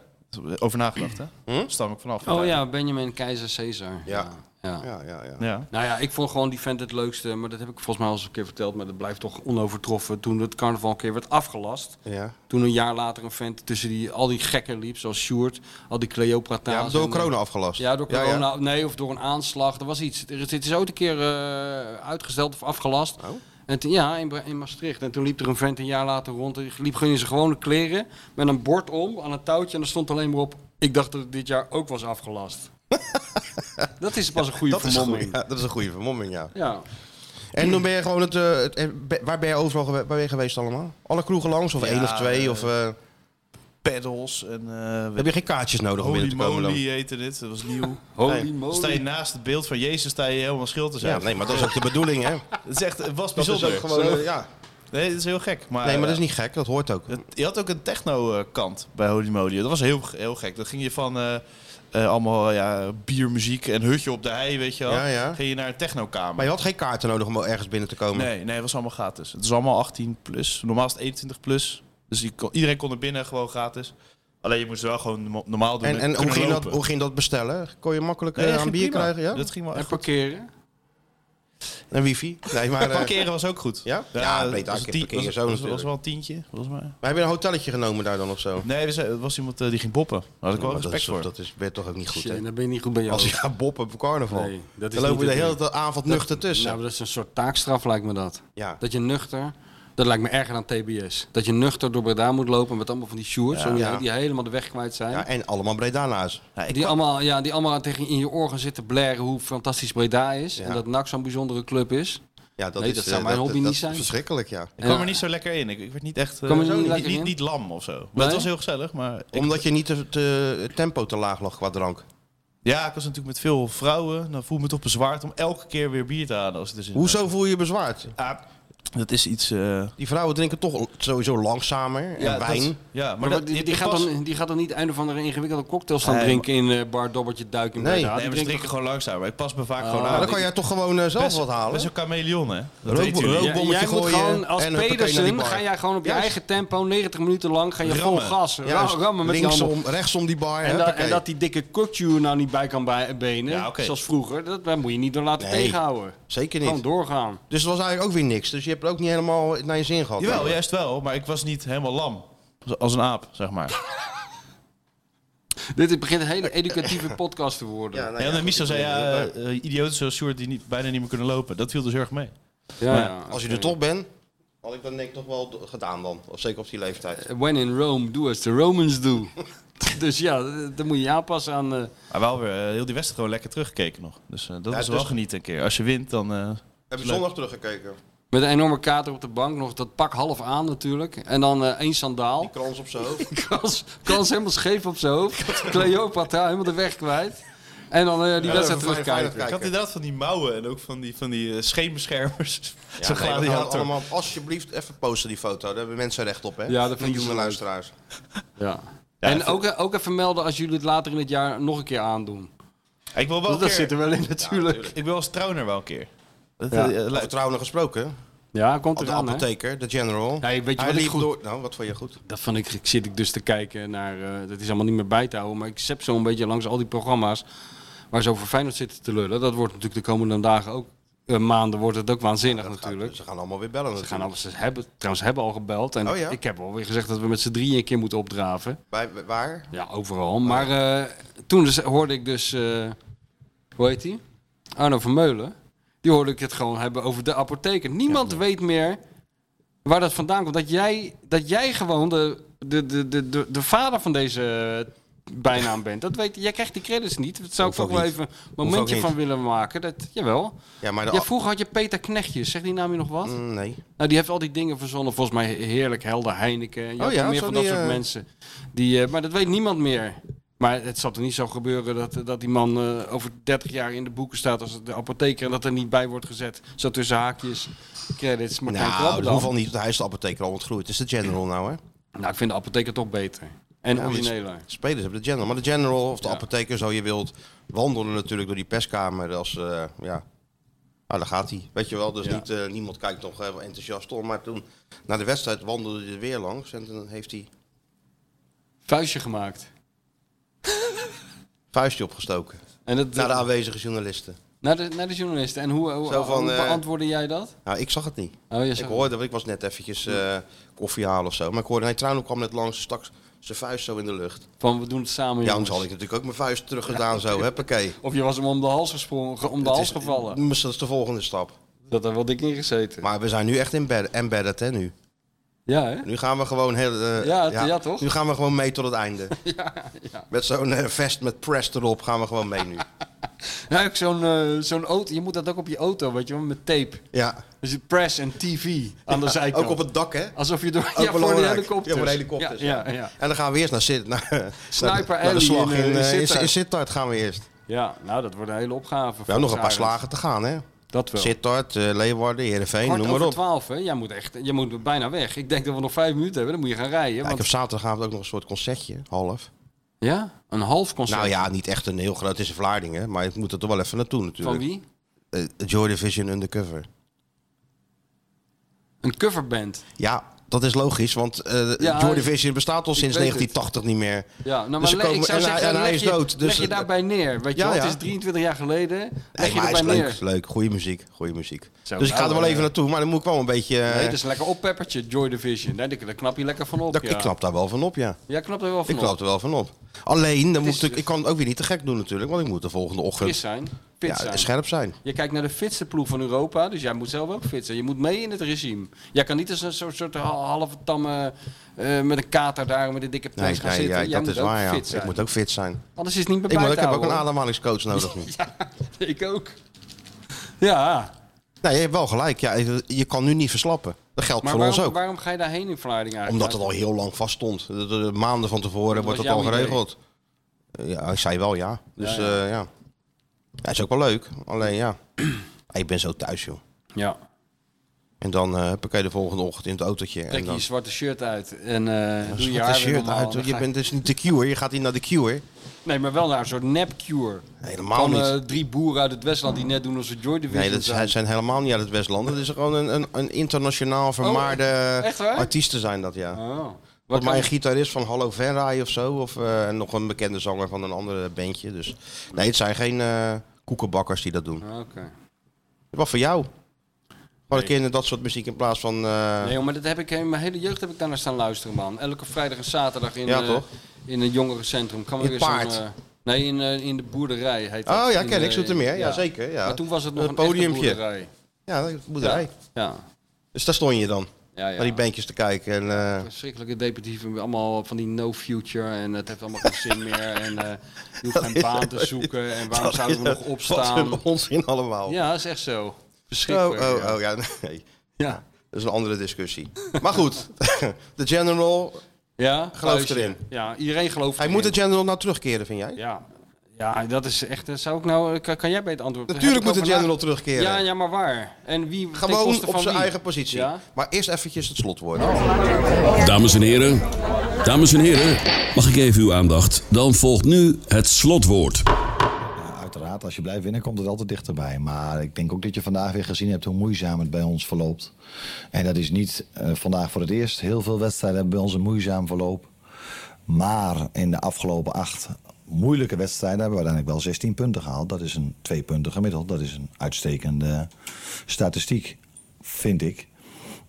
A: Over nagedacht, hè?
C: Hm?
A: Stam ik vanaf.
D: Oh ja, Benjamin Keizer Caesar.
C: Ja.
D: ja.
C: Ja, ja, ja.
A: Ja.
D: Nou ja, ik vond gewoon die vent het leukste. Maar dat heb ik volgens mij al eens een keer verteld. Maar dat blijft toch onovertroffen. Toen het carnaval een keer werd afgelast.
C: ja.
D: Toen een jaar later een vent tussen die, al die gekken liep. Zoals Sjoerd, al die
C: Ja,
D: Cleopatra's.
C: door
D: en- eh,
C: corona afgelast.
D: Ja, door corona. Nee, of door een aanslag. Er was iets. Er is- Het is ooit een keer eh, uitgesteld of afgelast.
C: Oh.
D: En toen- ja, in, Bra- in Maastricht. En toen liep er een vent een jaar later rond. Die liep gewoon in zijn gewone kleren. Met een bord om, aan een touwtje. En er stond alleen maar op... Ik dacht dat het dit jaar ook was afgelast. dat is pas een goede
C: dat is, een
D: vermomming.
C: goeie, ja, dat is een goede vermomming, ja.
D: Ja.
C: En dan ben je gewoon het... eh, het- en be- waar ben je overal gewe- waar ben je geweest allemaal? Alle kroegen langs? Of
A: Ja,
C: één of twee?
A: eh,
C: Of, eh,
A: Pedals en... eh,
C: heb je geen kaartjes nodig om binnen
A: Holy
C: te komen dan?
A: moly heette dit. Dat was nieuw.
D: Holy
C: Nee.
A: Dan
D: moly.
A: sta je naast het beeld van Jezus, sta je helemaal schil te zijn.
C: Ja, nee, maar dat is ook de bedoeling, hè?
A: het, is echt, het was
C: Dat is
A: bijzonder.
C: ook gewoon... eh, ja.
A: Nee, dat is heel gek. Maar,
C: Nee, maar dat is niet gek. Dat hoort ook.
A: eh, Je had ook een techno-kant bij Holy Moly. Dat was heel, heel gek. Dan ging je van eh, eh, allemaal ja, biermuziek en hutje op de hei, weet je wel.
C: Ja, ja.
A: Ging je naar een technokamer.
C: Maar je had geen kaarten nodig om ergens binnen te komen.
A: Nee, nee, het was allemaal gratis. Het is allemaal 18 plus. Normaal is het 21 plus. Dus je kon- iedereen kon er binnen gewoon gratis. Alleen je moest wel gewoon norma- normaal doen.
C: En, en hoe,
A: kunnen
C: ging dat,
A: lopen.
C: hoe ging dat bestellen? Kon je makkelijk
A: Nee,
C: eh,
A: dat
C: aan
A: ging
C: bier
A: prima.
C: krijgen? Ja?
A: Dat ging wel
D: En
A: echt
D: parkeren.
C: En wifi? Nee, maar... eh,
A: Parkeren was ook goed.
C: Ja? Ja,
A: dat
C: breed
A: was,
C: dak,
A: een tien-
C: parkeren
A: was-
C: zo
A: was, was
C: natuurlijk.
A: wel een tientje, volgens mij.
C: maar heb je een hotelletje genomen daar dan of zo?
A: Nee, er was- er was iemand eh, die ging boppen. Daar had ik wel
C: Maar dat
A: respect
C: is,
A: voor.
C: dat is, werd toch ook niet goed,
D: Shit,
C: hè?
D: dan ben je niet goed bij jou.
C: Als je gaat boppen op carnaval,
D: Nee, dat is
C: dan lopen
D: niet
C: we de
D: het
C: hele de avond nuchter tussen.
D: Nou, maar dat is een soort taakstraf lijkt me dat.
C: ja.
D: Dat je nuchter... Dat lijkt me erger dan TBS. Dat je nuchter door Breda moet lopen met allemaal van die shorts om je
C: Ja.
D: heen, die helemaal de weg kwijt zijn.
C: ja, en allemaal Bredana's.
A: Ja, ik
D: Die
A: kan-
D: allemaal, ja, die allemaal tegen in je oor gaan zitten blaren hoe fantastisch Breda is. En dat NAC zo'n bijzondere club is.
C: Ja, dat
D: Nee,
C: is,
D: dat
C: eh,
D: zou mijn hobby
C: dat
D: niet
C: is
D: zijn.
C: Verschrikkelijk, ja.
A: ik kwam
D: Ja.
A: er niet zo lekker in. Ik, ik werd niet echt eh,
D: Kwam je er niet
A: niet,
D: lekker
A: niet,
D: in?
A: niet lam of zo. Maar
D: Nee?
A: het was heel gezellig. Maar ik-
C: Omdat je niet te, te- het tempo te laag lag qua drank.
A: ja, ik was natuurlijk met veel vrouwen. Dan voel ik me toch bezwaard om elke keer weer bier te halen. Als het dus in-
C: Hoezo voel je je bezwaard?
A: Ah, dat is iets... eh,
C: Die vrouwen drinken toch sowieso langzamer. En
A: dat-
C: wijn.
D: Ah,
A: ja, maar,
D: Maar,
A: dat,
D: die, die
A: ik
D: gaat
A: was-
D: dan, die gaat dan niet einde van een ingewikkelde cocktail staan
A: Nee,
D: drinken in eh, Bar Dobbertje Duik in
C: Nee.
D: Breda.
A: Nee,
D: Die
A: maar ze
D: drinken Oh.
A: drinken gewoon langzaam. Maar ik pas me vaak gewoon
C: Maar
A: aan.
C: dan kan jij toch gewoon eh, zelf
A: Best-
C: wat halen?
A: Best een chameleon, hè? Dat
C: Rook-
A: weet u.
C: rook-
A: niet.
D: Ja,
C: bommetje
D: jij moet
C: gooien
D: gewoon als
C: en een partij naar die
D: Pedersen
C: bar.
D: ga jij gewoon op je
C: Juist.
D: eigen tempo 90 minuten lang ga je vol
A: Rammen.
D: gas ra-
C: Juist,
D: rammen met die handel.
C: linksom, rechtsom die bar.
D: En, da-
C: huppakee.
D: en dat die dikke cocktail nou niet bij kan bij benen,
A: Ja, oké.
D: zoals vroeger, dat, daar moet je niet door laten
C: Nee,
D: tegenhouden.
C: Zeker
D: Gewoon
C: niet.
D: doorgaan.
C: Dus het was eigenlijk ook weer niks. Dus je hebt het ook niet helemaal naar je zin gehad.
A: Jawel, juist wel, maar ik was niet helemaal lam. Als een aap, zeg maar.
D: Dit begint een hele educatieve podcast te worden. Ja,
C: nou
A: Ja, en Michel
C: goed,
A: zei,
C: ik weet
A: ja,
C: het, maar
A: eh, idioten zoals Sjoerd die niet, bijna niet meer kunnen lopen. Dat viel dus heel erg mee.
D: ja,
C: nou, Als je er toch bent, had ik dat denk ik nog wel d- gedaan dan. Of zeker op die leeftijd.
D: Eh, When in Rome, do as the Romans do. dus ja, d- dan moet je je aanpassen aan... eh,
A: Maar wel weer eh, heel die wedstrijd gewoon lekker teruggekeken nog. Dus eh, dat
C: Ja,
A: is
C: dus-
A: wel genieten een keer. Als je wint, dan... eh,
C: Heb je zondag teruggekeken?
D: met een enorme kater op de bank, nog dat pak half aan natuurlijk. En dan eh, één sandaal.
C: Die krans op zijn hoofd.
D: Kans, kans helemaal scheef op zijn hoofd. Cleopatra helemaal de weg kwijt. En dan eh, die
C: Ja,
D: wedstrijd
C: even
D: terugkijken.
C: Feyenoord
A: ik had inderdaad van die mouwen en ook van die, van die eh, scheenbeschermers.
C: Ja,
A: Zo'n
C: nee, we gaan
A: gladiator.
C: allemaal, alsjeblieft, even posten die foto. Daar hebben mensen recht op, hè?
D: Ja, dat vind ik zo
C: Miljoenen
D: leuk.
C: luisteraars.
D: Ja.
A: Ja,
D: en
A: het-
D: ook, eh, ook even melden als jullie het later in het jaar nog een keer aandoen.
A: Ik wil wel
D: Want
A: een
D: dat
A: keer-
D: zit er wel in natuurlijk.
A: Ik wil als trouwner wel een keer. Dat,
D: Ja.
A: eh,
C: Over
A: lijkt-
C: trouwen gesproken.
D: Ja, komt
C: De
D: eraan hè.
C: apotheker, de general.
D: Nee, weet je
C: Hij
D: wat ik
C: liep
D: goed-
C: door... Nou, wat vond je goed?
D: Dat vond ik, ik zit ik dus te kijken naar, eh, dat is allemaal niet meer bij te houden, maar ik zep zo een beetje langs al die programma's waar ze over Feyenoord zitten te lullen. Dat wordt natuurlijk de komende dagen ook, eh, maanden wordt het ook waanzinnig natuurlijk.
C: Ze gaan allemaal weer bellen.
D: Ze gaan al, ze hebben, trouwens hebben al gebeld en
C: dus- Oh ja?
D: ik heb alweer gezegd dat we met z'n drieën een keer moeten opdraven.
C: Bij, bij- waar?
D: Ja, overal. Maar eh, toen dus, hoorde ik dus, eh, hoe heet die? Arno Vermeulen. Die hoorde ik het gewoon hebben over de apotheker. Niemand weet meer waar dat vandaan komt. Dat jij, dat jij gewoon de, de, de, de, de, de vader van deze bijnaam bent. Dat weet, jij krijgt die credits niet. Dat zou ik
C: Hoeft ook
D: toch wel
C: niet.
D: even een
C: ook
D: momentje
C: niet.
D: van willen maken. Dat, jawel.
C: Ja, maar de...
D: Ja, vroeger had je Peter Knechtjes. Zegt die naam je nog wat?
C: Mm, nee.
D: Nou, die heeft al die dingen verzonnen. Volgens mij heerlijk helder Heineken. Je had
C: Oh ja,
D: nog meer
C: zo
D: van dat
C: die,
D: soort
C: eh,
D: mensen. Die, eh, maar dat weet niemand meer. Maar het zal er niet zo gebeuren dat, dat die man eh, over 30 jaar in de boeken staat als de apotheker en dat er niet bij wordt gezet. Zo tussen haakjes, credits, maar geen
C: Nou,
D: klap
C: dat hoeft al
D: dan.
C: niet. want Hij is de apotheker al ontgroeid. Het is de general nou, hè?
D: Nou, ik vind de apotheker toch beter. En
C: Ja,
D: origineler.
C: de spelers hebben de general. Maar de general of de
D: Ja.
C: apotheker, zo je wilt, wandelen natuurlijk door die perskamer als, eh, ja... Nou, daar gaat hij. Weet je wel, dus
D: Ja.
C: niet, eh, niemand kijkt nog heel enthousiast om. Maar toen, na de wedstrijd, wandelde hij er weer langs. En dan heeft hij
D: Vuistje gemaakt.
C: vuistje opgestoken.
D: En dat,
C: Naar de aanwezige journalisten.
D: naar, de, naar de journalisten. En hoe, hoe,
C: Nou, Zo van,
D: hoe
C: eh,
D: beantwoordde jij dat?
C: Nou, ik zag het niet.
D: Oh, je
C: Ik
D: zag-
C: hoorde, want ik was net eventjes eh, koffie halen of zo. Maar ik hoorde, hij trouwens kwam net langs, stak zijn vuist zo in de lucht.
D: Van, we doen het samen,
C: Ja,
D: jongens.
C: anders had ik natuurlijk ook mijn vuist teruggedaan zo, huppakee.
D: Of je was hem om de hals gesprongen, ge- om de
C: Het
D: hals
C: is-
D: gevallen.
C: mm, Dat is de volgende stap.
D: Dat had er wel dik in gezeten.
C: Maar we zijn nu echt embed- embedded, hè, nu.
D: Ja, hè?
C: Nu gaan we gewoon heel... eh,
D: Ja, ja, toch?
C: Nu gaan we gewoon mee tot het einde. Met zo'n eh, vest met press erop gaan we gewoon mee nu.
D: Ja, ook zo'n eh, zo'n auto. Je moet dat ook op je auto, weet je wel, met tape.
C: Ja.
D: Dus je press en tv aan de zijkant.
C: Ook op het dak, hè?
D: Alsof je door...
C: Ook
D: ja, voor de
C: belangrijk.
D: helikopters.
C: Ja, voor de helikopters,
D: Ja, ja, ja.
C: En dan gaan we eerst naar, Sitt- naar,
D: Sniper
C: naar, de- naar de
D: Alley
C: slag
D: in, eh,
C: in, eh, in,
D: Sittard.
C: in Sittard gaan we eerst.
D: Ja, nou, dat wordt een hele opgave.
C: We hebben nog een paar slagen te gaan, hè?
D: Dat wel.
C: Sittard, eh, Leeuwarden, Heerenveen,
D: Kwart
C: noem maar
D: over
C: op.
D: twaalf, hè. Jij moet, echt, jij moet bijna weg. Ik denk dat we nog vijf minuten hebben. Dan moet je gaan rijden.
C: Ja, ik
D: want-
C: heb zaterdagavond ook nog een soort concertje, half.
D: ja? Een half concert.
C: Nou ja, niet echt een heel groot, het is in Vlaardingen, maar ik moet er toch wel even naartoe natuurlijk.
D: Van wie?
C: Eh, Joy Division Undercover.
D: Een coverband.
C: Ja, dat is logisch, want eh
D: Ja,
C: Joy Division bestaat al
D: ik
C: sinds
D: weet
C: 1980 niet meer.
D: Ja, nou, maar
C: Dus ze
D: le-
C: komen-
D: ik zou
C: en hij-
D: zeggen,
C: en hij
D: leg
C: is
D: je,
C: dood, dus-
D: leg je daarbij neer. Weet je
C: Ja,
D: wel,
C: ja.
D: het is 23 jaar geleden. Leg
C: Nee,
D: je
C: maar hij
D: daarbij
C: is
D: neer.
C: leuk, leuk. Goeie muziek, goede muziek.
D: Zo,
C: dus ik ga
D: nou,
C: er wel
D: eh,
C: even naartoe, maar dan moet ik wel een beetje... eh,
D: Nee, het is een lekker oppeppertje, Joy Division. Nee, daar daar knap je lekker van op.
C: dat,
D: ja.
C: Ik knap daar wel van op, ja.
D: Jij knapt er wel van
C: Ik
D: op.
C: knap er wel van op. Alleen, dan moet
D: is- dus-
C: ik, ik kan het ook weer niet te gek doen natuurlijk, want ik moet de volgende ochtend
D: Fris zijn. Fit
C: ja,
D: zijn.
C: scherp zijn.
D: Je kijkt naar de fitste ploeg van Europa, dus jij moet zelf ook fit zijn. Je moet mee in het regime. Jij kan niet als een soort, soort hal- halve tamme eh, met een kater daar met een dikke prijs
C: Nee,
D: gaan
C: nee
D: zitten.
C: ja,
D: Jij
C: dat
D: moet
C: is
D: ook
C: waar, ja.
D: fit zijn.
C: Ik moet ook fit zijn.
D: Anders is het niet meer
C: Ik,
D: bij
C: moet, ik
D: te
C: heb ook een
D: houden,
C: ademhalingscoach nodig nu.
D: hoor. Ik ook. Ja,
C: Nee, je hebt wel gelijk. Ja, je- je kan nu niet verslappen. Dat geldt
D: maar
C: voor ons
D: waarom,
C: ook.
D: waarom ga je daarheen in Vlaardingen eigenlijk?
C: Omdat het al heel lang vast stond. De, de- de maanden van tevoren
D: Dat
C: wordt
D: was
C: het al
D: jouw idee.
C: geregeld. Eh, Ja, ik zei wel ja. Dus
D: Ja,
C: ja,
D: ja.
C: ja. Ja, is ook wel leuk. Alleen ja, ik ben zo thuis joh.
D: Ja,
C: En dan eh heb ik de volgende ochtend in het autootje. en
D: trek je
C: dan,
D: je zwarte shirt uit en eh, doe je
C: Schat, dat
D: haar weer
C: shirt
D: normaal.
C: uit.
D: Dan
C: Je
D: ga
C: bent dus niet de cure. Je gaat hier naar de cure.
D: Nee, maar wel naar een soort nep-cure.
C: Helemaal
D: Van
C: niet.
D: eh, drie boeren uit het Westland die net doen alsof ze Joy Division
C: Nee, dat
D: zijn.
C: zijn, zijn helemaal niet uit het Westland. Dat is gewoon een, een, een internationaal vermaarde
D: Oh, echt waar?
C: artiesten zijn dat, ja.
D: Oh. Wat
C: Wat mij
D: kan,
C: een gitarist van Hallo Verraai of zo. Of eh, en nog een bekende zanger van een andere bandje. Dus
D: Ah,
C: nee, het zijn geen eh, koekenbakkers die dat doen.
D: Oké.
C: Wat voor jou? Gewoon een keer naar dat soort muziek in plaats van... eh,
D: Nee, joh, maar dat heb ik, in mijn hele jeugd heb ik daarnaar staan luisteren, man. Elke vrijdag en zaterdag in,
C: Ja,
D: eh,
C: toch?
D: in een jongerencentrum. Kan
C: In
D: weer
C: het
D: zo'n,
C: paard.
D: eh, nee, in, eh, in de boerderij heet dat.
C: Oh ja,
D: In,
C: ken ik,
D: eh,
C: Zoetermeer. Ja, zeker, ja.
D: Maar toen was het nog
C: Een
D: een, podiumje.
C: podiumpje.
D: boerderij.
C: ja, de boerderij.
D: Ja,
C: Dus daar stond je dan,
D: ja, ja.
C: naar die bandjes te kijken. En, eh,
D: Verschrikkelijke depressieve, allemaal van die no future en het heeft allemaal geen zin meer en eh, je hoeft
C: Dat
D: geen
C: is-
D: baan te zoeken en waarom zouden we nog
C: Wat
D: opstaan?
C: een onzin allemaal.
D: Ja, dat is echt zo.
C: oh,
D: Verschrikkelijk.
C: oh,
D: ja.
C: oh, ja, nee.
D: Ja.
C: Dat is een andere discussie. Maar goed, de General.
D: Ja,
C: Gelooft
D: luister.
C: erin.
D: Ja, iedereen gelooft
C: Hij
D: erin.
C: moet de General nou terugkeren, vind jij?
D: Ja. ja, dat is echt. eh, Zou ik nou. Kan, kan jij bij het antwoord?
C: Natuurlijk
D: Heb
C: moet
D: ik
C: de
D: over na-
C: General terugkeren.
D: Ja, ja, maar waar? En wie? ten
C: Gewoon
D: koste
C: op
D: van
C: zijn
D: wie?
C: eigen positie.
D: Ja?
C: Maar eerst eventjes het slotwoord.
F: Dames en heren, dames en heren, mag ik even uw aandacht? Dan volgt nu het slotwoord.
G: Ja, uiteraard, als je blijft winnen komt het altijd dichterbij. Maar ik denk ook dat je vandaag weer gezien hebt hoe moeizaam het bij ons verloopt. En dat is niet eh, vandaag voor het eerst. Heel veel wedstrijden hebben bij ons een moeizaam verloop. Maar in de afgelopen acht moeilijke wedstrijden hebben we uiteindelijk wel 16 punten gehaald. Dat is een twee punten gemiddeld. Dat is een uitstekende statistiek, vind ik.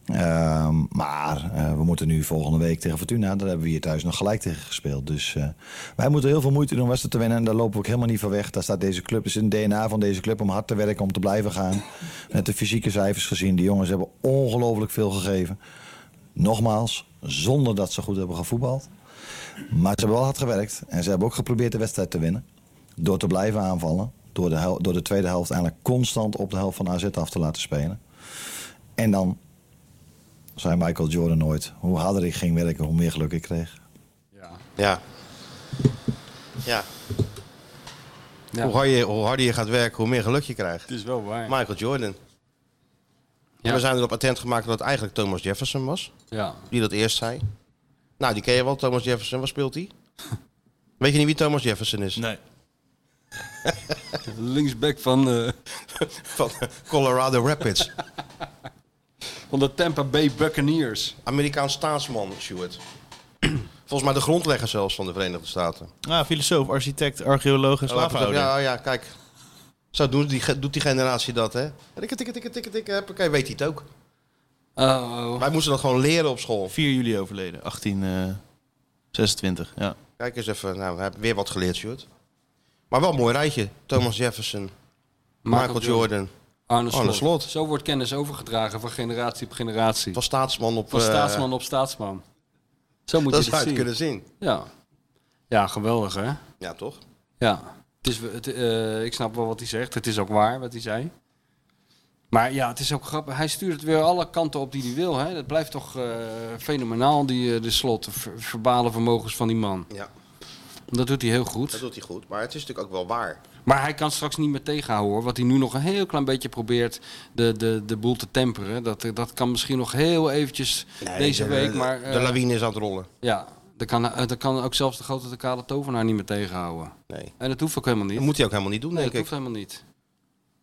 G: Ehm, maar eh, we moeten nu volgende week tegen Fortuna. Daar hebben we hier thuis nog gelijk tegen gespeeld. Dus eh, wij moeten heel veel moeite doen om wedstrijden te winnen. En daar lopen we ook helemaal niet van weg. Daar staat deze club. Het is een DNA van deze club om hard te werken, om te blijven gaan. Met de fysieke cijfers gezien. Die jongens hebben ongelooflijk veel gegeven. Nogmaals, zonder dat ze goed hebben gevoetbald. Maar ze hebben wel hard gewerkt. En ze hebben ook geprobeerd de wedstrijd te winnen. Door te blijven aanvallen. Door de, hel- door de tweede helft eigenlijk constant op de helft van AZ af te laten spelen. En dan zei Michael Jordan nooit. Hoe harder ik ging werken, hoe meer geluk ik kreeg.
D: Ja.
C: Ja. Ja.
D: Ja.
C: Hoe, harder je, hoe harder je gaat werken, hoe meer geluk je krijgt.
D: Het is wel waar.
C: Michael Jordan.
D: Ja.
C: En we zijn erop attent gemaakt dat het eigenlijk Thomas Jefferson was.
D: ja.
C: Die dat eerst zei. Nou, die ken je wel, Thomas Jefferson. Waar speelt hij? Weet je niet wie Thomas Jefferson
D: Oh,
C: is?
A: Nee.
D: Linksback van, eh,
C: Van Colorado Rapids.
D: van de Tampa Bay Buccaneers.
C: Amerikaans staatsman, Stuart. Volgens mij de grondlegger zelfs van de Verenigde Staten.
A: Ah, filosoof, architect, archeoloog
D: Oh,
A: en slaafhouder.
C: Ja, oh ja, kijk. Zo doen die, ge- doet die generatie dat, hè? Tikke, tikke, tikke, tikke, tikke. Hoppakee, weet hij het ook.
D: Oh,
C: Wij moesten dat gewoon leren op school.
A: 4 juli overleden, 1826. ja.
C: Kijk eens even. Nou, we hebben weer wat geleerd, Stuart. Maar wel een mooi rijtje. Thomas Jefferson, Michael, Jordan.
D: Arne Slot.
C: Arne Slot.
D: Zo wordt kennis overgedragen van generatie op generatie.
C: Van staatsman op...
D: Van
C: eh,
D: staatsman op staatsman. Zo moet
C: Dat
D: je
C: zou
D: dat
C: je het
D: zien.
C: kunnen zien.
D: Ja. ja, geweldig hè?
C: Ja, toch?
D: Ja. Het is, het, eh, ik snap wel wat hij zegt. Het is ook waar wat hij zei. Maar ja, het is ook grappig. Hij stuurt het weer alle kanten op die hij wil. Hè? Dat blijft toch eh, fenomenaal, die, eh, de slot. de ver- verbale vermogens van die man.
C: Ja,
D: Dat doet hij heel
C: dat
D: goed.
C: doet hij goed. Maar het is natuurlijk ook wel waar.
D: Maar hij kan straks niet meer tegenhouden hoor. Wat hij nu nog een heel klein beetje probeert de, de, de boel te temperen. Dat, eh, dat kan misschien nog heel eventjes deze
C: de-
D: week.
C: de-
D: Maar,
C: de
D: eh,
C: lawine is aan het rollen.
D: Ja, dat kan, eh, dat kan ook zelfs de grote de kale tovenaar niet meer tegenhouden.
C: Nee.
D: En dat hoeft ook helemaal niet.
C: Dat moet hij ook helemaal niet doen,
D: nee,
C: denk
D: dat
C: ik.
D: hoeft helemaal niet.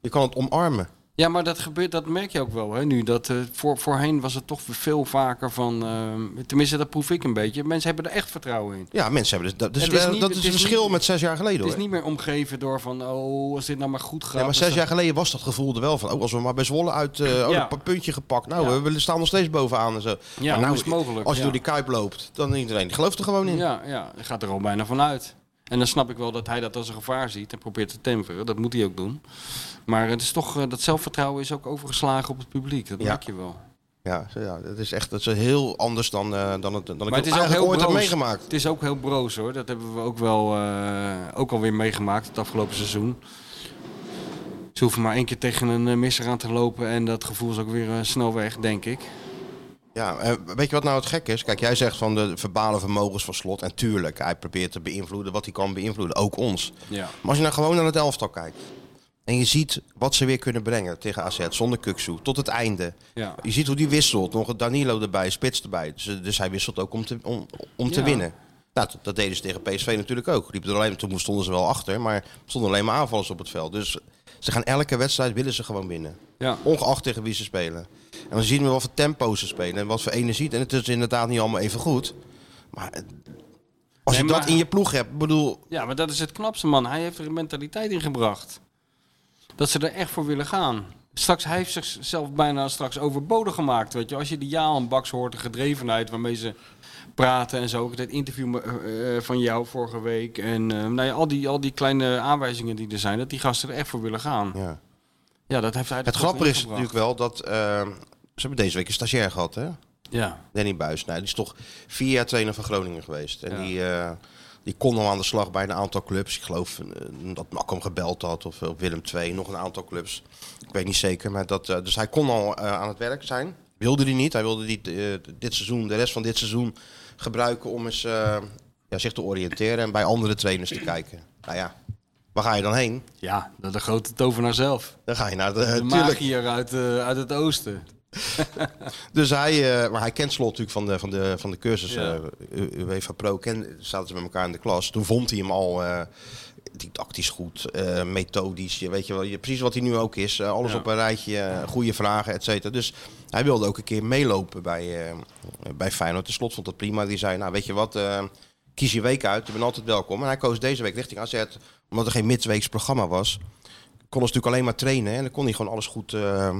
C: Je kan het omarmen.
D: Ja, maar dat gebeurt, dat merk je ook wel hè, nu. Dat, eh, voor, voorheen was het toch veel vaker van... eh, tenminste, dat proef ik een beetje. Mensen hebben er echt vertrouwen in.
C: Ja, mensen hebben dus, dat, dus
D: Het is
C: wel-
D: niet-
C: dat
D: het
C: is
D: is
C: een verschil
D: niet-
C: met zes jaar geleden
D: Het
C: hoor.
D: is niet meer omgeven door van... Oh, als dit nou maar goed gaat...
C: Nee, maar
D: dan
C: zes
D: sta-
C: jaar geleden was dat gevoel er wel van. Oh, als we maar bij Zwolle uit eh, oh,
D: Ja.
C: een paar puntje gepakt. Nou,
D: Ja.
C: we, we staan nog steeds bovenaan en zo.
D: Ja,
C: Maar nou,
D: hoe is het mogelijk?
C: Als je
D: Ja.
C: door die kuip loopt, dan iedereen gelooft er gewoon in.
D: Ja, ja, je gaat er al bijna van uit. En dan snap ik wel dat hij dat als een gevaar ziet en probeert te temperen. Dat moet hij ook doen. Maar het is toch, eh, dat zelfvertrouwen is ook overgeslagen op het publiek. Dat
C: Ja.
D: merk je wel.
C: Ja, zo, ja, dat is echt dat is heel anders dan, eh, dan, het, dan ik
D: Maar het is ook
C: eigenlijk
D: heel
C: ooit heb
D: broos.
C: meegemaakt.
D: Het is ook heel broos hoor. Dat hebben we ook wel eh, ook alweer meegemaakt het afgelopen seizoen. Ze hoeven maar één keer tegen een eh, misser aan te lopen en dat gevoel is ook weer eh, snel weg, denk ik.
C: Ja, eh, weet je wat nou het gek is? Kijk, jij zegt van de verbale vermogens van slot. En tuurlijk, hij probeert te beïnvloeden wat hij kan beïnvloeden. Ook ons.
D: Ja.
C: Maar als je nou gewoon naar het elftal kijkt. En je ziet wat ze weer kunnen brengen tegen AZ zonder Kuksu. Tot het einde.
D: Ja.
C: Je ziet hoe die wisselt. Nog een Danilo erbij, Spits erbij. Dus, eh, dus hij wisselt ook om te, om, om te
D: Ja.
C: winnen. Nou, dat, dat deden ze tegen PSV natuurlijk ook. Liepen er alleen, toen stonden ze wel achter, maar er stonden alleen maar aanvallers op het veld. Dus ze gaan elke wedstrijd willen ze gewoon winnen.
D: Ja.
C: Ongeacht tegen wie ze spelen. En dan zien we wat voor tempo ze spelen en wat voor energie. En het is inderdaad niet allemaal even goed. Maar eh, als
D: Nee,
C: je dat
D: maar-
C: in je ploeg hebt, bedoel,
D: ja, maar dat is het knapste man. Hij heeft er een mentaliteit in gebracht. Dat ze er echt voor willen gaan. Straks, hij heeft zichzelf bijna straks overbodig gemaakt. Weet je. Als je de Jaan Baks hoort, de gedrevenheid waarmee ze praten en zo. Ook het interview me- eh, eh, van jou vorige week. En eh, nou ja, al, die, al die kleine aanwijzingen die er zijn, dat die gasten er echt voor willen gaan. Ja,
C: Ja.
D: dat heeft hij er
C: Het
D: toch
C: grappige is
D: ingebracht.
C: natuurlijk wel dat... eh, ze hebben deze week een stagiair gehad, hè?
D: Ja.
C: Danny Buis. Nou, die is toch vier jaar trainer van Groningen geweest. En
D: Ja.
C: die, eh, die kon al aan de slag bij een aantal clubs. Ik geloof eh, dat Mak hem gebeld had of op Willem II. Nog een aantal clubs. Ik weet niet zeker. Maar dat, eh, dus hij kon al eh, aan het werk zijn. Wilde hij niet. Hij wilde die, eh, dit seizoen, de rest van dit seizoen gebruiken om eens, eh, ja, zich te oriënteren. En bij andere trainers te kijken. Nou ja, waar ga je dan heen?
D: ja, de, de grote tovenaar zelf.
C: Dan ga je naar de...
D: De
C: tuurlijk.
D: magier uit, eh, uit het oosten.
C: Dus hij, eh, maar hij kent Slot natuurlijk van de, van de, van de cursus
D: Ja.
C: eh, U- UEFA Pro. Ken, zaten ze met elkaar in de klas. Toen vond hij hem al eh, didactisch goed, eh, methodisch. Je weet je wel, je, precies wat hij nu ook is. Eh, alles
D: Ja.
C: op een rijtje, eh, goede vragen, et cetera. Dus hij wilde ook een keer meelopen bij, eh, bij Feyenoord. De Slot vond dat prima. Die zei, nou weet je wat, eh, kies je week uit. Je bent altijd welkom. En hij koos deze week richting AZ, omdat er geen midweeks programma was. Konden ze natuurlijk alleen maar trainen. hè. En dan kon hij gewoon alles goed, eh,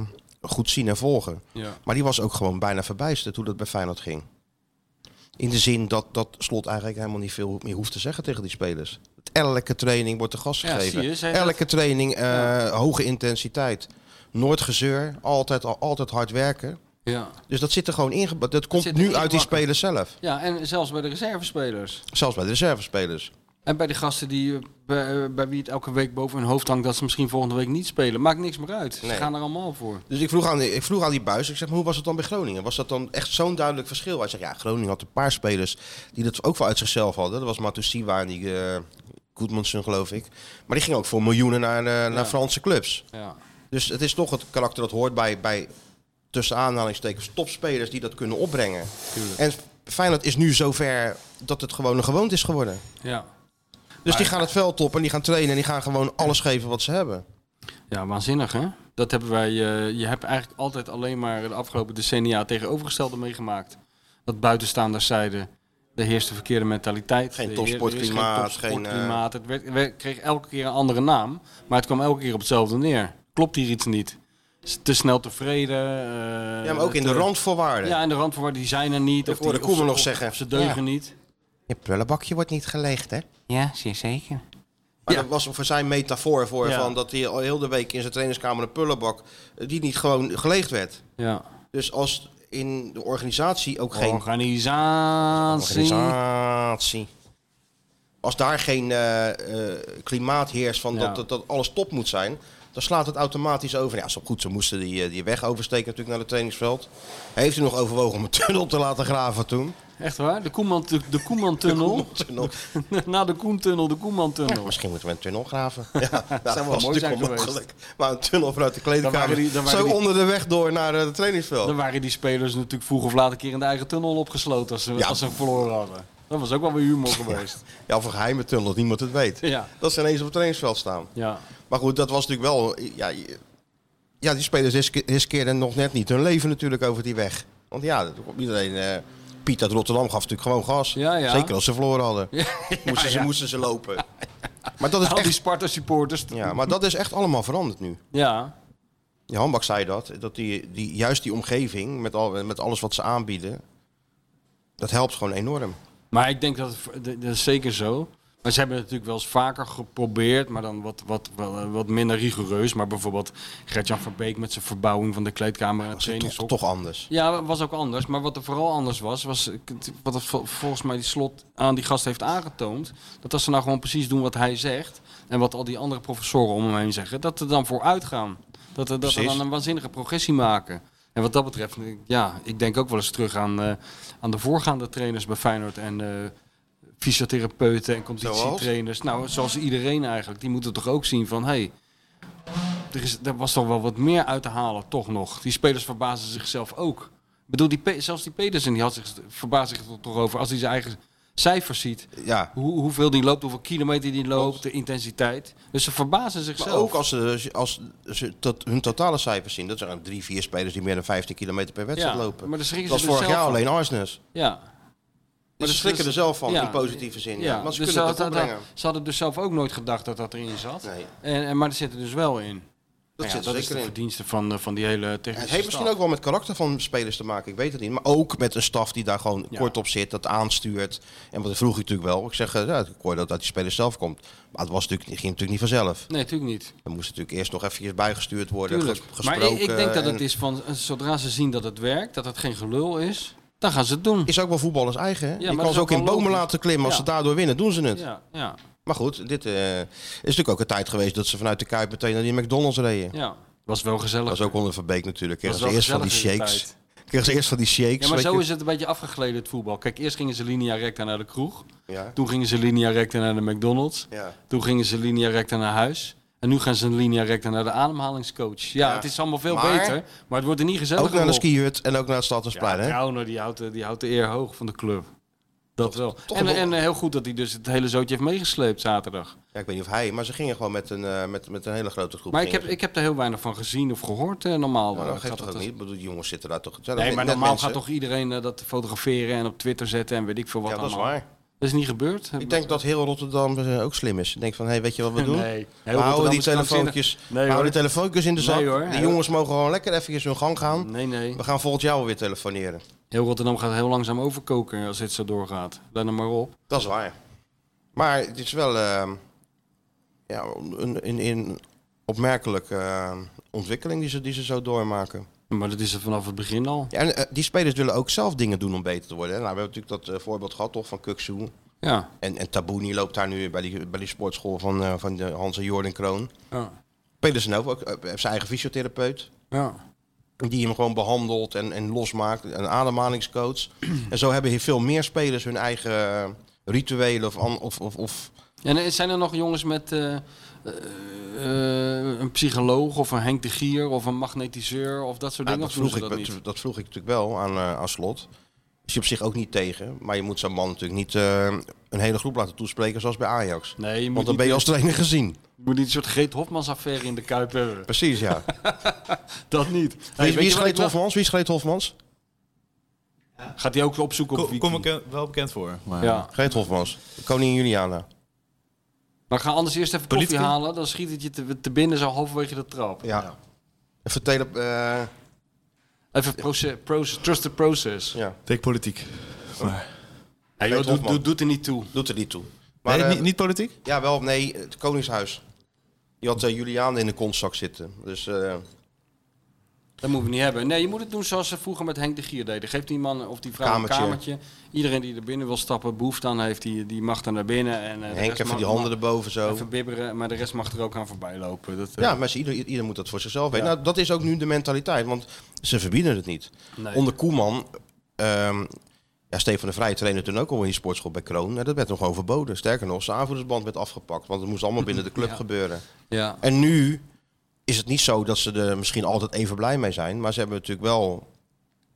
C: goed zien en volgen.
D: Ja.
C: Maar die was ook gewoon bijna verbijsterd hoe dat bij Feyenoord ging. In de zin dat, dat Slot eigenlijk helemaal niet veel meer hoeft te zeggen tegen die spelers. Elke training wordt de gas
D: Ja,
C: gegeven.
D: zie je, zij
C: Elke training, eh, hoge intensiteit. Nooit gezeur, altijd, al- altijd hard werken.
D: Ja.
C: Dus dat zit er gewoon ingebouwd. Dat komt
D: zit er
C: nu uit die
D: ingebakken.
C: spelers zelf.
D: ja, en zelfs bij de reservespelers.
C: Zelfs bij de reservespelers.
D: En bij de gasten die, eh, bij, bij wie het elke week boven hun hoofd hangt dat ze misschien volgende week niet spelen. Maakt niks meer uit. Ze
C: Nee.
D: gaan er allemaal voor.
C: Dus ik vroeg, aan, die- ik vroeg aan die buis, ik zeg, maar hoe was het dan bij Groningen? Was dat dan echt zo'n duidelijk verschil? Hij zegt, ja, Groningen had een paar spelers die dat ook wel uit zichzelf hadden. Dat was Matusiwa en die eh Goodmanson, geloof ik. Maar die gingen ook voor miljoenen naar, eh, naar Franse clubs.
D: Ja.
C: Dus het is toch het karakter dat hoort bij, bij tussen aanhalingstekens, topspelers die dat kunnen opbrengen. En Feyenoord is nu zover dat het gewoon een gewoonte is geworden.
D: Ja.
C: Dus die gaan het veld op en die gaan trainen en die gaan gewoon alles geven wat ze hebben.
D: ja, waanzinnig hè? Dat hebben wij, eh, je hebt eigenlijk altijd alleen maar de afgelopen decennia het tegenovergestelde meegemaakt. Dat buitenstaanders zeiden, de heerste verkeerde mentaliteit.
C: Geen
D: de heer- er is
C: topsportklimaat,
D: Geen
C: geen, eh,
D: topsportklimaat. Het werd, werd- kreeg elke keer een andere naam, maar het kwam elke keer op hetzelfde neer. Klopt hier iets niet? S- Te snel tevreden. eh,
C: Ja, maar ook in de
D: te-
C: randvoorwaarden.
D: Ja, en de randvoorwaarden die zijn er niet. Of
C: hoorde
D: die- of
C: Koeman
D: ze-
C: nog
D: of-
C: zeggen.
D: of Ze deugen
C: Ja.
D: niet.
C: Je prullenbakje wordt niet geleegd, hè?
D: Ja, zeer zeker.
C: Maar
D: Ja.
C: dat was voor zijn metafoor voor
D: Ja.
C: van dat hij al heel de week in zijn trainingskamer een pullenbak eh, die niet gewoon geleegd werd.
D: Ja.
C: Dus als in de organisatie ook geen
D: Organisatie.
C: organisatie, als daar geen eh, eh, klimaat heerst van
D: Ja.
C: dat, dat, dat alles top moet zijn, dan slaat het automatisch over. Ja, zo goed, ze moesten die, eh, die weg oversteken natuurlijk naar het trainingsveld. Heeft u nog overwogen om een tunnel te laten graven toen?
D: Echt waar? De Koeman, de Koeman-tunnel.
C: Tunnel.
D: Na de Koentunnel, de Koeman-tunnel.
C: Nou, Misschien moeten we een tunnel graven. Ja, dat
D: wel
C: was
D: mooi zijn
C: natuurlijk onmogelijk. Maar een tunnel vanuit de
D: Dan
C: kleedkamer.
D: waren die- dan waren
C: zo
D: die-
C: onder de weg door naar eh, het trainingsveld.
D: Dan waren die spelers natuurlijk vroeg of laat een keer in de eigen tunnel opgesloten als ze,
C: Ja.
D: als ze verloren hadden. Dat was ook wel weer humor geweest.
C: Ja, of een geheime tunnel, dat niemand het weet.
D: Ja.
C: Dat ze ineens op het trainingsveld staan.
D: Ja.
C: Maar goed, dat was natuurlijk wel... Ja, je- ja die spelers riske- riskeerden nog net niet hun leven natuurlijk over die weg. Want ja, dat- iedereen... eh, Piet uit Rotterdam gaf natuurlijk gewoon gas.
D: Ja, ja.
C: Zeker als ze verloren hadden. moesten, ze,
D: ja.
C: moesten ze lopen. Maar dat, is
D: Al die
C: echt,
D: Sparta-supporters.
C: ja, maar dat is echt allemaal veranderd nu.
D: Ja.
C: Ja, Hambak zei dat. Dat die, die, juist die omgeving, met, al, met alles wat ze aanbieden, dat helpt gewoon enorm.
D: Maar ik denk dat, het voor- dat dat is zeker zo. Maar ze hebben het natuurlijk wel eens vaker geprobeerd, maar dan wat, wat, wat, wat minder rigoureus. Maar bijvoorbeeld Gertjan van Beek met zijn verbouwing van de kleedkamer en het
C: Dat is toch,
D: trainingshok.
C: toch anders.
D: Ja, was ook anders. Maar wat er vooral anders was, was eh, wat het vol- volgens mij die slot aan die gast heeft aangetoond. Dat als ze nou gewoon precies doen wat hij zegt en wat al die andere professoren om hem heen zeggen, dat er dan vooruit gaan. Dat er, dat er
C: Precies.
D: dan een waanzinnige progressie maken. En wat dat betreft, eh, ja, ik denk ook wel eens terug aan, eh, aan de voorgaande trainers bij Feyenoord en eh, fysiotherapeuten en competitietrainers. Nou, zoals iedereen eigenlijk. Die moeten toch ook zien van, hé, hey, er, is- er was toch wel wat meer uit te halen, toch nog. Die spelers verbazen zichzelf ook. Ik bedoel, die, Pe- zelfs die Pedersen die had zich, verbaast zich er toch over als hij zijn eigen cijfers ziet.
C: Ja.
D: Hoe, hoeveel die loopt, hoeveel kilometer die loopt, de intensiteit. Dus ze verbazen
C: Maar
D: zichzelf.
C: ook als ze, als ze tot hun totale cijfers zien. Dat zijn drie, vier spelers die meer dan 15 kilometer per wedstrijd
D: Ja,
C: lopen.
D: maar daar schrikken
C: dat
D: ze
C: was vorig
D: dus
C: jaar
D: zelf van.
C: alleen Arsnes.
D: Ja.
C: Maar ze
D: dus-
C: schrikken er zelf van,
D: ja.
C: in positieve zin. Ja.
D: Ja,
C: Maar ze
D: dus ze,
C: kunnen het
D: hadden-
C: opbrengen.
D: ze hadden dus zelf ook nooit gedacht dat dat erin zat.
C: Nee.
D: En, en, maar er zit er dus wel in.
C: Dat
D: Nou ja,
C: zit er
D: dat is de
C: zeker in.
D: verdienste van, eh, van die hele
C: En
D: technische
C: Het heeft misschien
D: staf.
C: ook wel met karakter van spelers te maken, ik weet het niet. Maar ook met een staf die daar gewoon
D: Ja.
C: kort op zit, dat aanstuurt. En wat vroeg ik natuurlijk wel. Ik zeg, eh, ja, ik hoor dat uit die spelers zelf komt. Maar het was natuurlijk, het ging natuurlijk niet vanzelf.
D: Nee, natuurlijk niet.
C: Er moest natuurlijk eerst nog eventjes bijgestuurd worden,
D: Tuurlijk.
C: ges- gesproken.
D: Maar ik, ik denk dat
C: en-
D: het is van, eh, zodra ze zien dat het werkt, dat het geen gelul is, dan gaan ze het doen.
C: Is ook wel voetballers eigen. Hè?
D: maar
C: je
D: dat
C: kan
D: is
C: ze
D: ook
C: ook in
D: wel
C: bomen
D: logisch.
C: laten klimmen. Als
D: Ja.
C: ze daardoor winnen, doen ze het.
D: Ja, ja,
C: Maar goed, dit eh, is natuurlijk ook een tijd geweest dat ze vanuit de Kuip meteen naar die McDonald's reden.
D: ja. Was wel gezellig.
C: Dat was ook onder Verbeek natuurlijk.
D: Was
C: Kregen ze
D: wel
C: eerst van die
D: gezellig in die
C: shakes.
D: tijd.
C: Kregen ze eerst van die shakes.
D: Ja, maar
C: weet
D: zo
C: je.
D: is het een beetje afgegleden, het voetbal. Kijk, eerst gingen ze linea recta naar de kroeg.
C: Ja.
D: Toen gingen ze linea recta naar de McDonald's.
C: Ja.
D: Toen gingen ze linea recta naar huis. En nu gaan ze linea recta naar de ademhalingscoach. Ja,
C: Ja.
D: het is allemaal veel
C: Maar-
D: beter. Maar het wordt er niet gezellig
C: Ook naar de skihut en ook naar het Stadhuisplein. hè?
D: Trouwner, die houdt, eh, die houdt de eer hoog van de club. Dat wel.
C: toch
D: en,
C: wel.
D: en eh, heel goed dat hij dus het hele zootje heeft meegesleept zaterdag.
C: Ja, ik weet niet of hij, maar ze gingen gewoon met een, eh, met, met een hele grote groep.
D: Maar ik heb,
C: gingen ze.
D: ik heb er heel weinig van gezien of gehoord eh, normaal.
C: Nou,
D: eh,
C: dat geeft
D: gaat
C: toch ook
D: dat als-
C: niet? Ik bedoel, die jongens zitten daar toch... het zijn
D: Nee,
C: net-
D: maar
C: net
D: normaal
C: mensen.
D: gaat toch iedereen eh, dat fotograferen en op Twitter zetten en weet ik veel wat
C: Ja, dat is
D: allemaal.
C: waar.
D: Dat is niet gebeerd.
C: Ik denk dat heel Rotterdam eh, ook slim is. Ik denk van, hé, weet je wat we doen?
D: Nee.
C: we houden die telefoontjes,
D: telefoontjes.
C: we houden die telefoontjes in de
D: Nee,
C: zak.
D: hoor.
C: de jongens mogen gewoon lekker even hun gang gaan.
D: Nee, nee.
C: We gaan volgend jaar wel weer telefoneren.
D: Heel Rotterdam gaat heel langzaam overkoken als dit zo doorgaat. Let er maar op.
C: Dat is waar. Maar het is wel ehm, ja, een, een, een opmerkelijke eh, ontwikkeling die ze, die ze zo doormaken.
D: Maar dat is er vanaf het begin al.
C: Ja, en eh, die spelers willen ook zelf dingen doen om beter te worden. hè. Nou, we hebben natuurlijk dat eh, voorbeeld gehad toch van Kuksu.
D: Ja.
C: En, en Tabouni loopt daar nu bij die, bij die sportschool van, eh, van de Hans en Jordan Kroon.
D: Ja.
C: Pedersen ook, ook, eh, heeft zijn eigen fysiotherapeut.
D: ja.
C: Die hem gewoon behandelt en, en losmaakt. Een ademhalingscoach. en zo hebben hier veel meer spelers hun eigen eh, rituelen of, an- of, of, of
D: En eh, zijn er nog jongens met eh, eh, eh, een psycholoog of een Henk de Gier of een magnetiseur of dat soort
C: Ja,
D: dingen?
C: ah, dat,
D: Of doen
C: vroeg
D: ze
C: ik,
D: dat
C: dat,
D: niet?
C: dat vroeg ik natuurlijk wel aan, eh, aan Slot. Is je op zich ook niet tegen. Maar je moet zo'n man natuurlijk niet eh, een hele groep laten toespreken zoals bij Ajax.
D: Nee, je moet,
C: Want dan
D: niet,
C: ben je als trainer gezien.
D: je moet niet een soort Greet Hofmans affaire in de Kuip hebben.
C: Precies, ja.
D: Dat niet. Hey,
C: Wie,
D: weet
C: wie is
D: je wat ik
C: Greet
D: wel-
C: Hofmans? Wie is Greet Hofmans?
D: Gaat hij ook opzoeken op
A: Ko-
D: Wiki?
A: Kom ik eh, wel bekend voor. Maar...
D: Ja.
C: Greet Hofmans. Koningin Juliana.
D: Maar ga anders eerst even koffie
A: Politie?
D: halen. Dan schiet het je te, te binnen zo halverwege de trap.
C: Ja. Even tele... eh,
D: Even proces, proces, trust the process.
C: ja.
A: Vind ik politiek. Maar...
D: Hey,
C: Weet
D: joh, doet,
C: Hofman.
D: doet, doet er niet toe.
C: Doet er niet toe. Maar,
A: Nee,
C: eh,
A: niet, niet politiek?
C: Ja, wel. Nee, het Koningshuis. Die had eh, Juliana Juliaan in de kontzak zitten. Dus eh,
D: Dat moeten we niet hebben. Nee, je moet het doen zoals ze vroeger met Henk de Gier deden. Geef die man of die vrouw
C: Kamertje.
D: een kamertje. Iedereen die er binnen wil stappen, behoefte aan heeft, die, die mag daar naar binnen. En, eh,
C: Henk
D: de rest
C: even
D: mag-
C: die handen erboven zo.
D: Even bibberen, maar de rest mag er ook aan voorbij lopen. Dat, eh,
C: Ja, mensen, ieder, ieder moet dat voor zichzelf weten. Nou, dat is ook nu de mentaliteit, want ze verbieden het niet.
D: Nee.
C: Onder Koeman, ehm, ja, Stefan de Vrij trainde toen ook al in die sportschool bij Kroon. En dat werd nog gewoon verboden. Sterker nog, zijn aanvoerdersband werd afgepakt, want het moest allemaal binnen de club gebeuren.
D: ja.
C: En nu is het niet zo dat ze er misschien altijd even blij mee zijn, maar ze hebben natuurlijk wel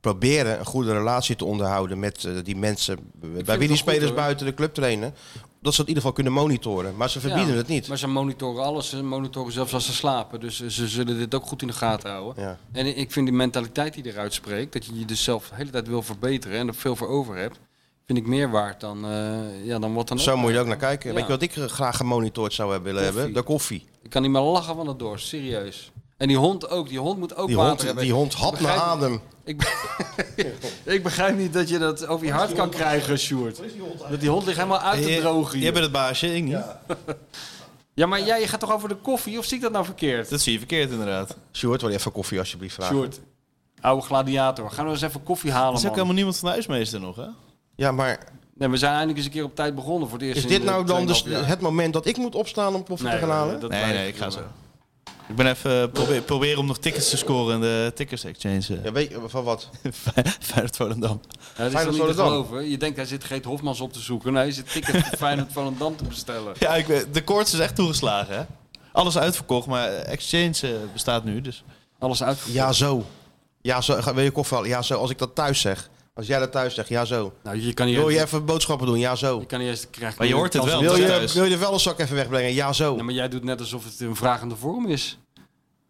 C: proberen een goede relatie te onderhouden met eh, die mensen bij
D: het
C: wie
D: wel
C: die
D: goed,
C: spelers
D: hoor.
C: buiten de club trainen. Dat ze het in ieder geval kunnen monitoren, maar ze verbieden
D: Ja,
C: het niet.
D: Maar ze monitoren alles. Ze monitoren zelfs als ze slapen. Dus eh, ze zullen dit ook goed in de gaten houden.
C: Ja.
D: En ik vind die mentaliteit die eruit spreekt, dat je je dus zelf de hele tijd wil verbeteren en er veel voor over hebt, vind ik meer waard dan, eh, ja, dan wat dan
C: Zo
D: ook.
C: moet je er ook naar kijken.
D: Ja.
C: Weet je wat ik eh, graag gemonitord zou hebben willen
D: Koffie.
C: hebben? De koffie.
D: Ik kan niet meer lachen van het dorst, serieus. En die hond ook, die hond moet ook
C: Die
D: water
C: hond,
D: hebben.
C: die hond had naar
D: Begrijp-
C: adem.
D: Ik, be- ik begrijp niet dat je dat over je hart kan krijgen, Sjoerd. Dat die hond ligt helemaal uit te drogen
A: Jij bent
D: hier.
A: het baasje, ik niet.
D: Ja, maar jij gaat toch over de koffie, of zie ik dat nou verkeerd?
A: Dat zie je verkeerd inderdaad.
C: Sjoerd, wil je even koffie alsjeblieft vragen?
D: Sjoerd, oude gladiator, gaan we eens even koffie
A: Er
D: halen,
A: is ook
D: man.
A: helemaal niemand van de huismeester nog, hè?
C: Ja, maar
D: Nee, we zijn eindelijk eens een keer op tijd begonnen voor het eerst
C: is
D: in,
C: dit
D: eh,
C: nou dan de-
D: 2,5 jaar.
C: het moment dat ik moet opstaan om koffie te gaan halen?
D: eh, dat
A: Nee,
D: lijkt
A: nee,
D: me
A: ik ga
D: wel.
A: zo. Ik ben even eh, probeer, proberen om nog tickets te scoren in de tickets exchange. eh,
C: Ja, weet je, van wat?
A: Feyenoord Volendam.
D: Ja, dat is
C: Feyenoord
D: toch niet te
C: Volendam.
D: geloven. Je denkt, hij zit Geet Hofmans op te zoeken. Nee, hij zit ticket voor Feyenoord van Dam te bestellen.
A: Ja, ik, weet- de koorts is echt toegeslagen, hè? Alles uitverkocht, maar Exchange eh, bestaat nu, dus...
D: Alles uitgevoerd.
C: Ja, zo. Ja, zo. Ga- Wil je koffie halen? Ja, zo. Als ik dat thuis zeg. Als jij dat thuis zegt, ja, zo.
D: Nou, je kan niet
C: Wil je
D: eens-
C: even boodschappen doen? Ja, zo.
D: je kan niet eens krijgen.
A: Maar je hoort het wel.
C: Wil je,
A: thuis.
C: wil je de vuilniszak even wegbrengen? Ja, zo.
D: Nee, maar jij doet net alsof het een vragende vorm is.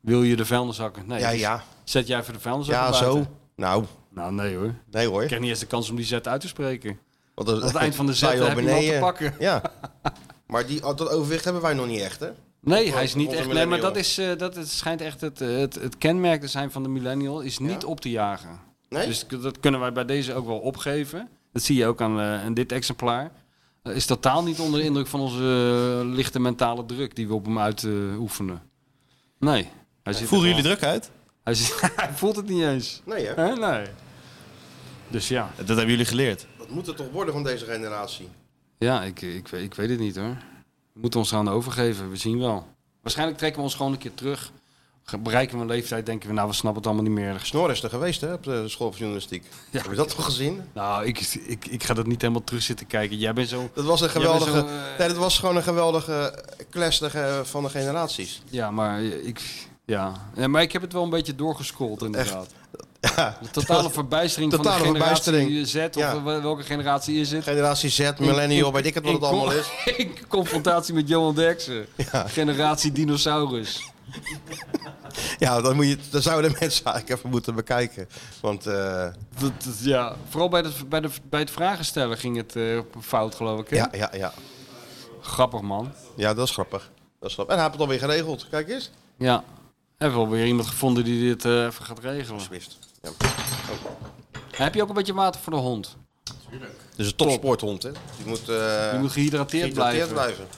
D: Wil je de vuilniszakken? Nee.
C: Ja,
D: dus
C: ja.
D: Zet jij even de vuilniszakken
C: Ja,
D: buiten?
C: zo. Nou,
D: Nou, nee hoor. Ik
C: nee hoor.
D: krijg niet eens de kans om die zet uit te spreken.
C: Want dat-
D: Aan het eind van de
C: sta
D: zet
C: al
D: heb je iemand te pakken.
C: Ja. Maar die, dat overwicht oh, hebben wij nog niet echt, hè?
D: Nee, hij is niet
C: Of een
D: echt. Nee, maar
C: millennial.
D: dat, is, eh, dat het schijnt echt het, eh, het, het kenmerk te zijn van de millennial, is niet op te jagen.
C: Nee?
D: Dus k- dat kunnen wij bij deze ook wel opgeven. Dat zie je ook aan, eh, aan dit exemplaar. Eh, is totaal niet onder de indruk van onze eh, lichte mentale druk die we op hem uitoefenen. nee. Hij, zit er
A: Voeren
D: wel-
A: jullie druk uit?
D: hij, zit- hij voelt het niet eens.
C: Nee, hè?
D: Hè? Nee. Dus ja.
A: Dat hebben jullie geleerd.
C: Dat moet het toch worden van deze generatie?
D: Ja, ik, ik, weet- ik weet het niet hoor. We moeten ons aan overgeven, we zien wel. Waarschijnlijk trekken we ons gewoon een keer terug. Ge- Bereiken we een leeftijd, denken we, nou, we snappen het allemaal niet meer.
C: Snor is er geweest, hè, op de school van journalistiek. Heb je dat toch gezien?
D: Nou, ik, ik, ik ga dat niet helemaal terug zitten kijken. Jij bent zo...
C: Dat was een
D: Jij bent
C: geweldige...
D: zo, eh,
C: Nee, dat was gewoon een geweldige eh, clash de ge- van de generaties.
D: Ja, maar ik... Ja. ja, maar ik heb het wel een beetje doorgescrolld inderdaad.
C: Ja.
D: De totale verbijstering van de
C: Totale
D: generatie
C: verbijstering.
D: Z, of
C: Ja.
D: wel- welke generatie is het?
C: Generatie Z, millennial, weet ik het wat het allemaal is.
D: In confrontatie met Johan Derksen. Generatie dinosaurus.
C: Ja, dan, moet je, dan zouden mensen eigenlijk even moeten bekijken. Want eh,
D: Dat, dat- ja. Vooral bij, de, bij, de, bij het vragen stellen ging het eh, fout, geloof ik. hè?
C: ja, ja, ja.
D: Grappig, man.
C: ja, dat is grappig. Dat is grappig. En hij heeft het alweer geregeld. Kijk eens.
D: Ja. Hebben we alweer iemand gevonden die dit eh, even gaat regelen.
C: Wist. Ja.
D: Heb je ook een beetje water voor de hond?
C: Dus een topsporthond, hè? Die moet, eh
D: Die moet gehydrateerd,
C: geïnteresseerd
D: blijven.
C: blijven.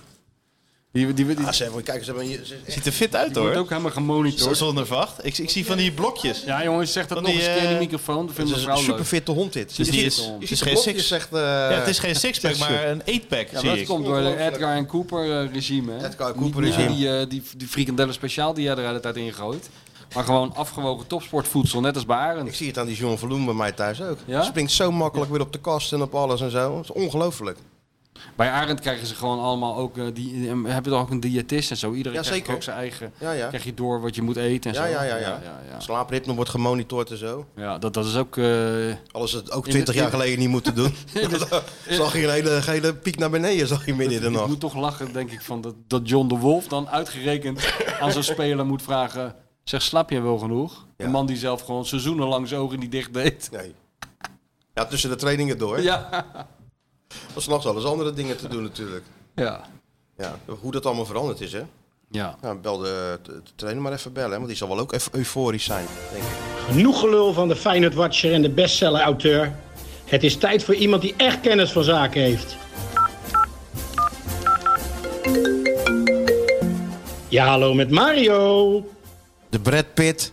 D: Die, die, die, die
C: Ah, ze hebben, kijk, ze hebben hier- ze-
A: Ziet er fit uit
D: wordt
A: hoor.
D: ook helemaal
A: Zo-
D: gemonitord.
A: Zonder vacht. Ik, ik zie van die blokjes.
D: Ja, jongens, zeg dat
A: Van
D: nog
A: die,
D: eens een keer in de
A: eh,
D: microfoon. Dat
C: het
D: vindt
C: is
D: mijn
C: een
D: vrouw leuk.
C: superfitte hond dit.
A: Dus die
D: dit
A: is,
D: om.
A: het
C: Je
A: is
C: ziet de
A: geen
C: blokjes,
A: six,
C: zegt, eh,
A: ja, het is geen sixpack, maar een eightpack
D: Ja,
A: zie
D: maar dat
A: ik.
D: komt door de
C: Ongelooflijk.
D: Edgar en Cooper eh, regime. Hè?
C: Edgar en
D: Niet-
C: Cooper
D: niet
C: regime.
D: Die, eh, die, die frikandellen speciaal die jij er de hele tijd in gooit. Maar gewoon afgewogen topsportvoedsel, net als bij
C: Ik
D: Arend.
C: zie het aan die John Verloen bij mij thuis ook.
D: Ja?
C: Hij springt zo makkelijk weer op de kast en op alles en zo. Dat is ongelooflijk.
D: Bij Arend krijgen ze gewoon allemaal ook, eh, die, eh, hebben toch ook een diëtist en zo. Iedereen
C: Ja,
D: krijgt
C: zeker.
D: ook zijn eigen,
C: Ja, ja.
D: krijg je door wat je moet eten en
C: Ja, ja,
D: zo.
C: ja, ja.
D: ja, ja.
C: Slaapritme wordt gemonitord en zo.
D: Ja, dat, dat is ook... eh,
C: Alles dat ook
D: de-
C: 20
D: in
C: jaar
D: de-
C: geleden niet moeten doen. zag je een hele, hele piek naar beneden, zag je midden in de
D: Ik
C: nacht.
D: moet toch lachen, denk ik, van dat, dat John de Wolf dan uitgerekend aan zo'n speler moet vragen... Zeg, slaap je wel genoeg?
C: Ja.
D: Een man die zelf gewoon seizoenen lang zijn ogen niet dicht deed.
C: Nee. Ja, tussen de trainingen door. Ja.
D: Ja.
C: Was s'nachts alles andere dingen te doen natuurlijk.
D: Ja.
C: Ja, hoe dat allemaal veranderd is, hè?
D: Ja.
C: Nou, bel de, de, de trainer maar even bellen, hè, want die zal wel ook even euforisch zijn, denk ik.
H: Genoeg gelul van de Feyenoord Watcher en de bestseller-auteur. Het is tijd voor iemand die echt kennis van zaken heeft. Ja, hallo met Mario.
C: De Brad Pitt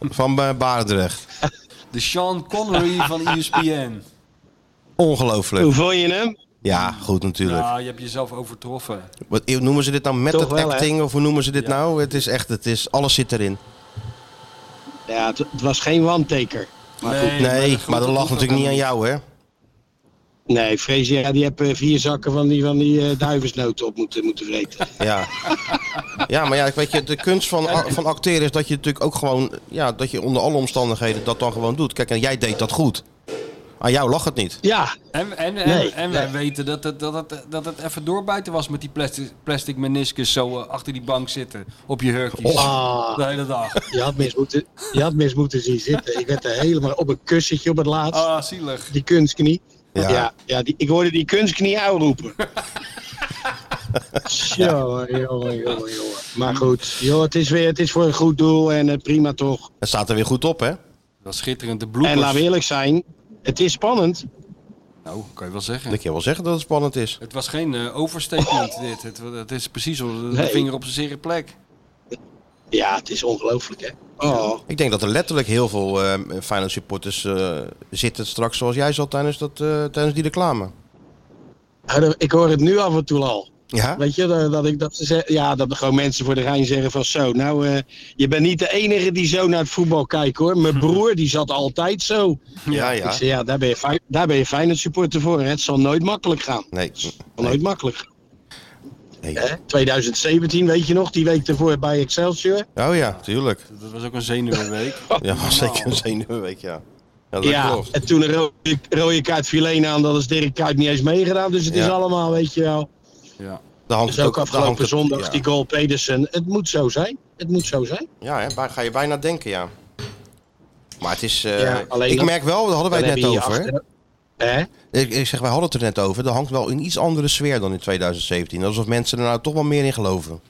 C: van eh, Baardrecht.
D: De Sean Connery van E ESPN.
C: Ongelooflijk.
H: vond je hem?
C: Ja, goed natuurlijk.
D: Ja, je hebt jezelf overtroffen.
C: Wat noemen ze dit nou met
H: Toch
C: het
H: wel, hè?
C: acting of hoe noemen ze dit
D: Ja.
C: nou? Het is echt, het is, alles zit erin.
H: Ja, het, het was geen one-taker.
D: nee,
C: Nee,
D: dat
C: maar dat
D: goed-
C: lag
D: goed-
C: natuurlijk niet aan jou, hè?
H: Nee, Frazier, ja, die heeft eh, vier zakken van die, van die eh, duivensnoten op moeten, moeten vreten.
C: Ja. ja, maar ja, ik weet je, de kunst van, a- van acteren is dat je natuurlijk ook gewoon, ja, dat je onder alle omstandigheden dat dan gewoon doet. Kijk, en jij deed dat goed. Aan jou lag het niet.
H: Ja,
D: En, en, en,
H: Nee,
D: en wij weten dat het, dat, het, dat het even doorbijten was met die plastic, plastic meniscus zo eh, achter die bank zitten. Op je hurkjes.
C: Oh.
H: Ah.
D: De hele dag.
H: je had mis moeten, je had mis moeten zien zitten. Ik werd er helemaal op een kussentje op het laatst.
D: Ah, zielig.
H: Die kunstknie.
C: Ja.
H: Ja, ja, die, ik hoorde die kunstknie ouw roepen. Jongen, jongen, jongen, jongen. Maar goed, joh, het, is weer, het is voor een goed doel en eh, prima toch.
C: Het staat er weer goed op, hè?
D: Dat is schitterend. De
H: En laten we
D: bloepers.
H: eerlijk zijn, het is spannend.
D: Nou, kan je wel zeggen.
C: Ik kan wel zeggen dat Oh. het spannend is.
D: Het was geen eh, overstatement dit. Het, het is precies op de
H: Nee.
D: vinger op zijn zere plek.
H: Ja, het is ongelooflijk, hè. Oh,
C: Ik denk dat er letterlijk heel veel eh Feyenoord supporters eh, zitten straks zoals jij zat tijdens, dat, eh, tijdens die reclame.
H: ik hoor het nu af en toe al.
C: Ja?
H: Weet je, dat, dat ik, dat, ze zeggen- ja, dat er gewoon mensen voor de Rijn zeggen van zo. Nou, eh, je bent niet de enige die zo naar het voetbal kijkt, hoor. Mijn broer, die zat altijd zo.
C: Ja,
H: Ik
C: ja.
H: zei, ja, daar ben je, Fey- daar ben je Feyenoord supporter voor. Hè? Het zal nooit makkelijk gaan.
C: Nee.
H: Zal nooit makkelijk gaan.
C: nee.
H: Hè? 2017, weet je nog, die week ervoor bij Excelsior.
C: Oh ja, tuurlijk.
D: Dat was ook een zenuwenweek.
C: Ja, was zeker een zenuwenweek, ja. Ja, dat
H: Ja,
C: klopt.
H: en toen een rode, rode kaart Filena aan, dat is Dirk Kuyt niet eens meegedaan. Dus het
C: Ja.
H: is allemaal, weet je wel.
D: ja.
C: Daar hangt
H: Dus
C: het daar
H: ook
C: hangt
H: afgelopen
C: het-
H: zondag
C: ja.
H: die goal Pedersen. Het moet zo zijn. Het moet zo zijn.
C: Ja, hè, daar ga je bijna denken, ja. Maar het is... eh,
H: Ja, alleen
C: ik
H: dat-
C: merk wel, daar hadden wij het net over.
H: Achter, hè?
C: Ik, ik zeg, wij hadden het er net over. Er hangt wel een iets andere sfeer dan in 2017. Alsof mensen er nou toch wel meer in geloven.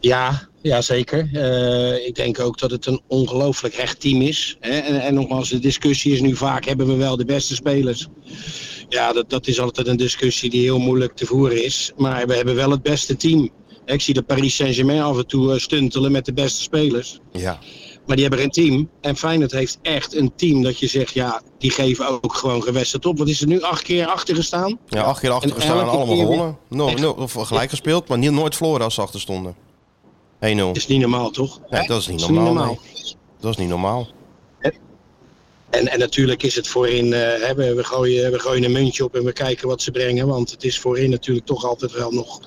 H: Ja, ja zeker. Eh, ik denk ook dat het een ongelooflijk hecht team is. Hè? En, en nogmaals, de discussie is nu vaak, hebben we wel de beste spelers? Ja, dat, dat is altijd een discussie die heel moeilijk te voeren is. Maar we hebben wel het beste team. Ik zie de Paris Saint-Germain af en toe eh, stuntelen met de beste spelers.
C: Ja.
H: Maar die hebben geen team. En Feyenoord heeft echt een team dat je zegt, ja, die geven ook gewoon gewesterd op. Wat is er nu acht keer achter gestaan?
C: ja, acht keer achter
H: En
C: gestaan en
H: elke
C: allemaal
H: keer
C: gewonnen. No,
H: Echt?
C: no, of gelijk gespeeld, maar niet, nooit verloren als ze achter stonden. 1-0.
H: Dat is niet normaal, toch?
C: Nee, dat is niet normaal. nee. Dat is niet normaal.
H: En, en natuurlijk is het voorin, eh, hè, we, we, gooien, we gooien een muntje op en we kijken wat ze brengen. Want het is voorin natuurlijk toch altijd wel nog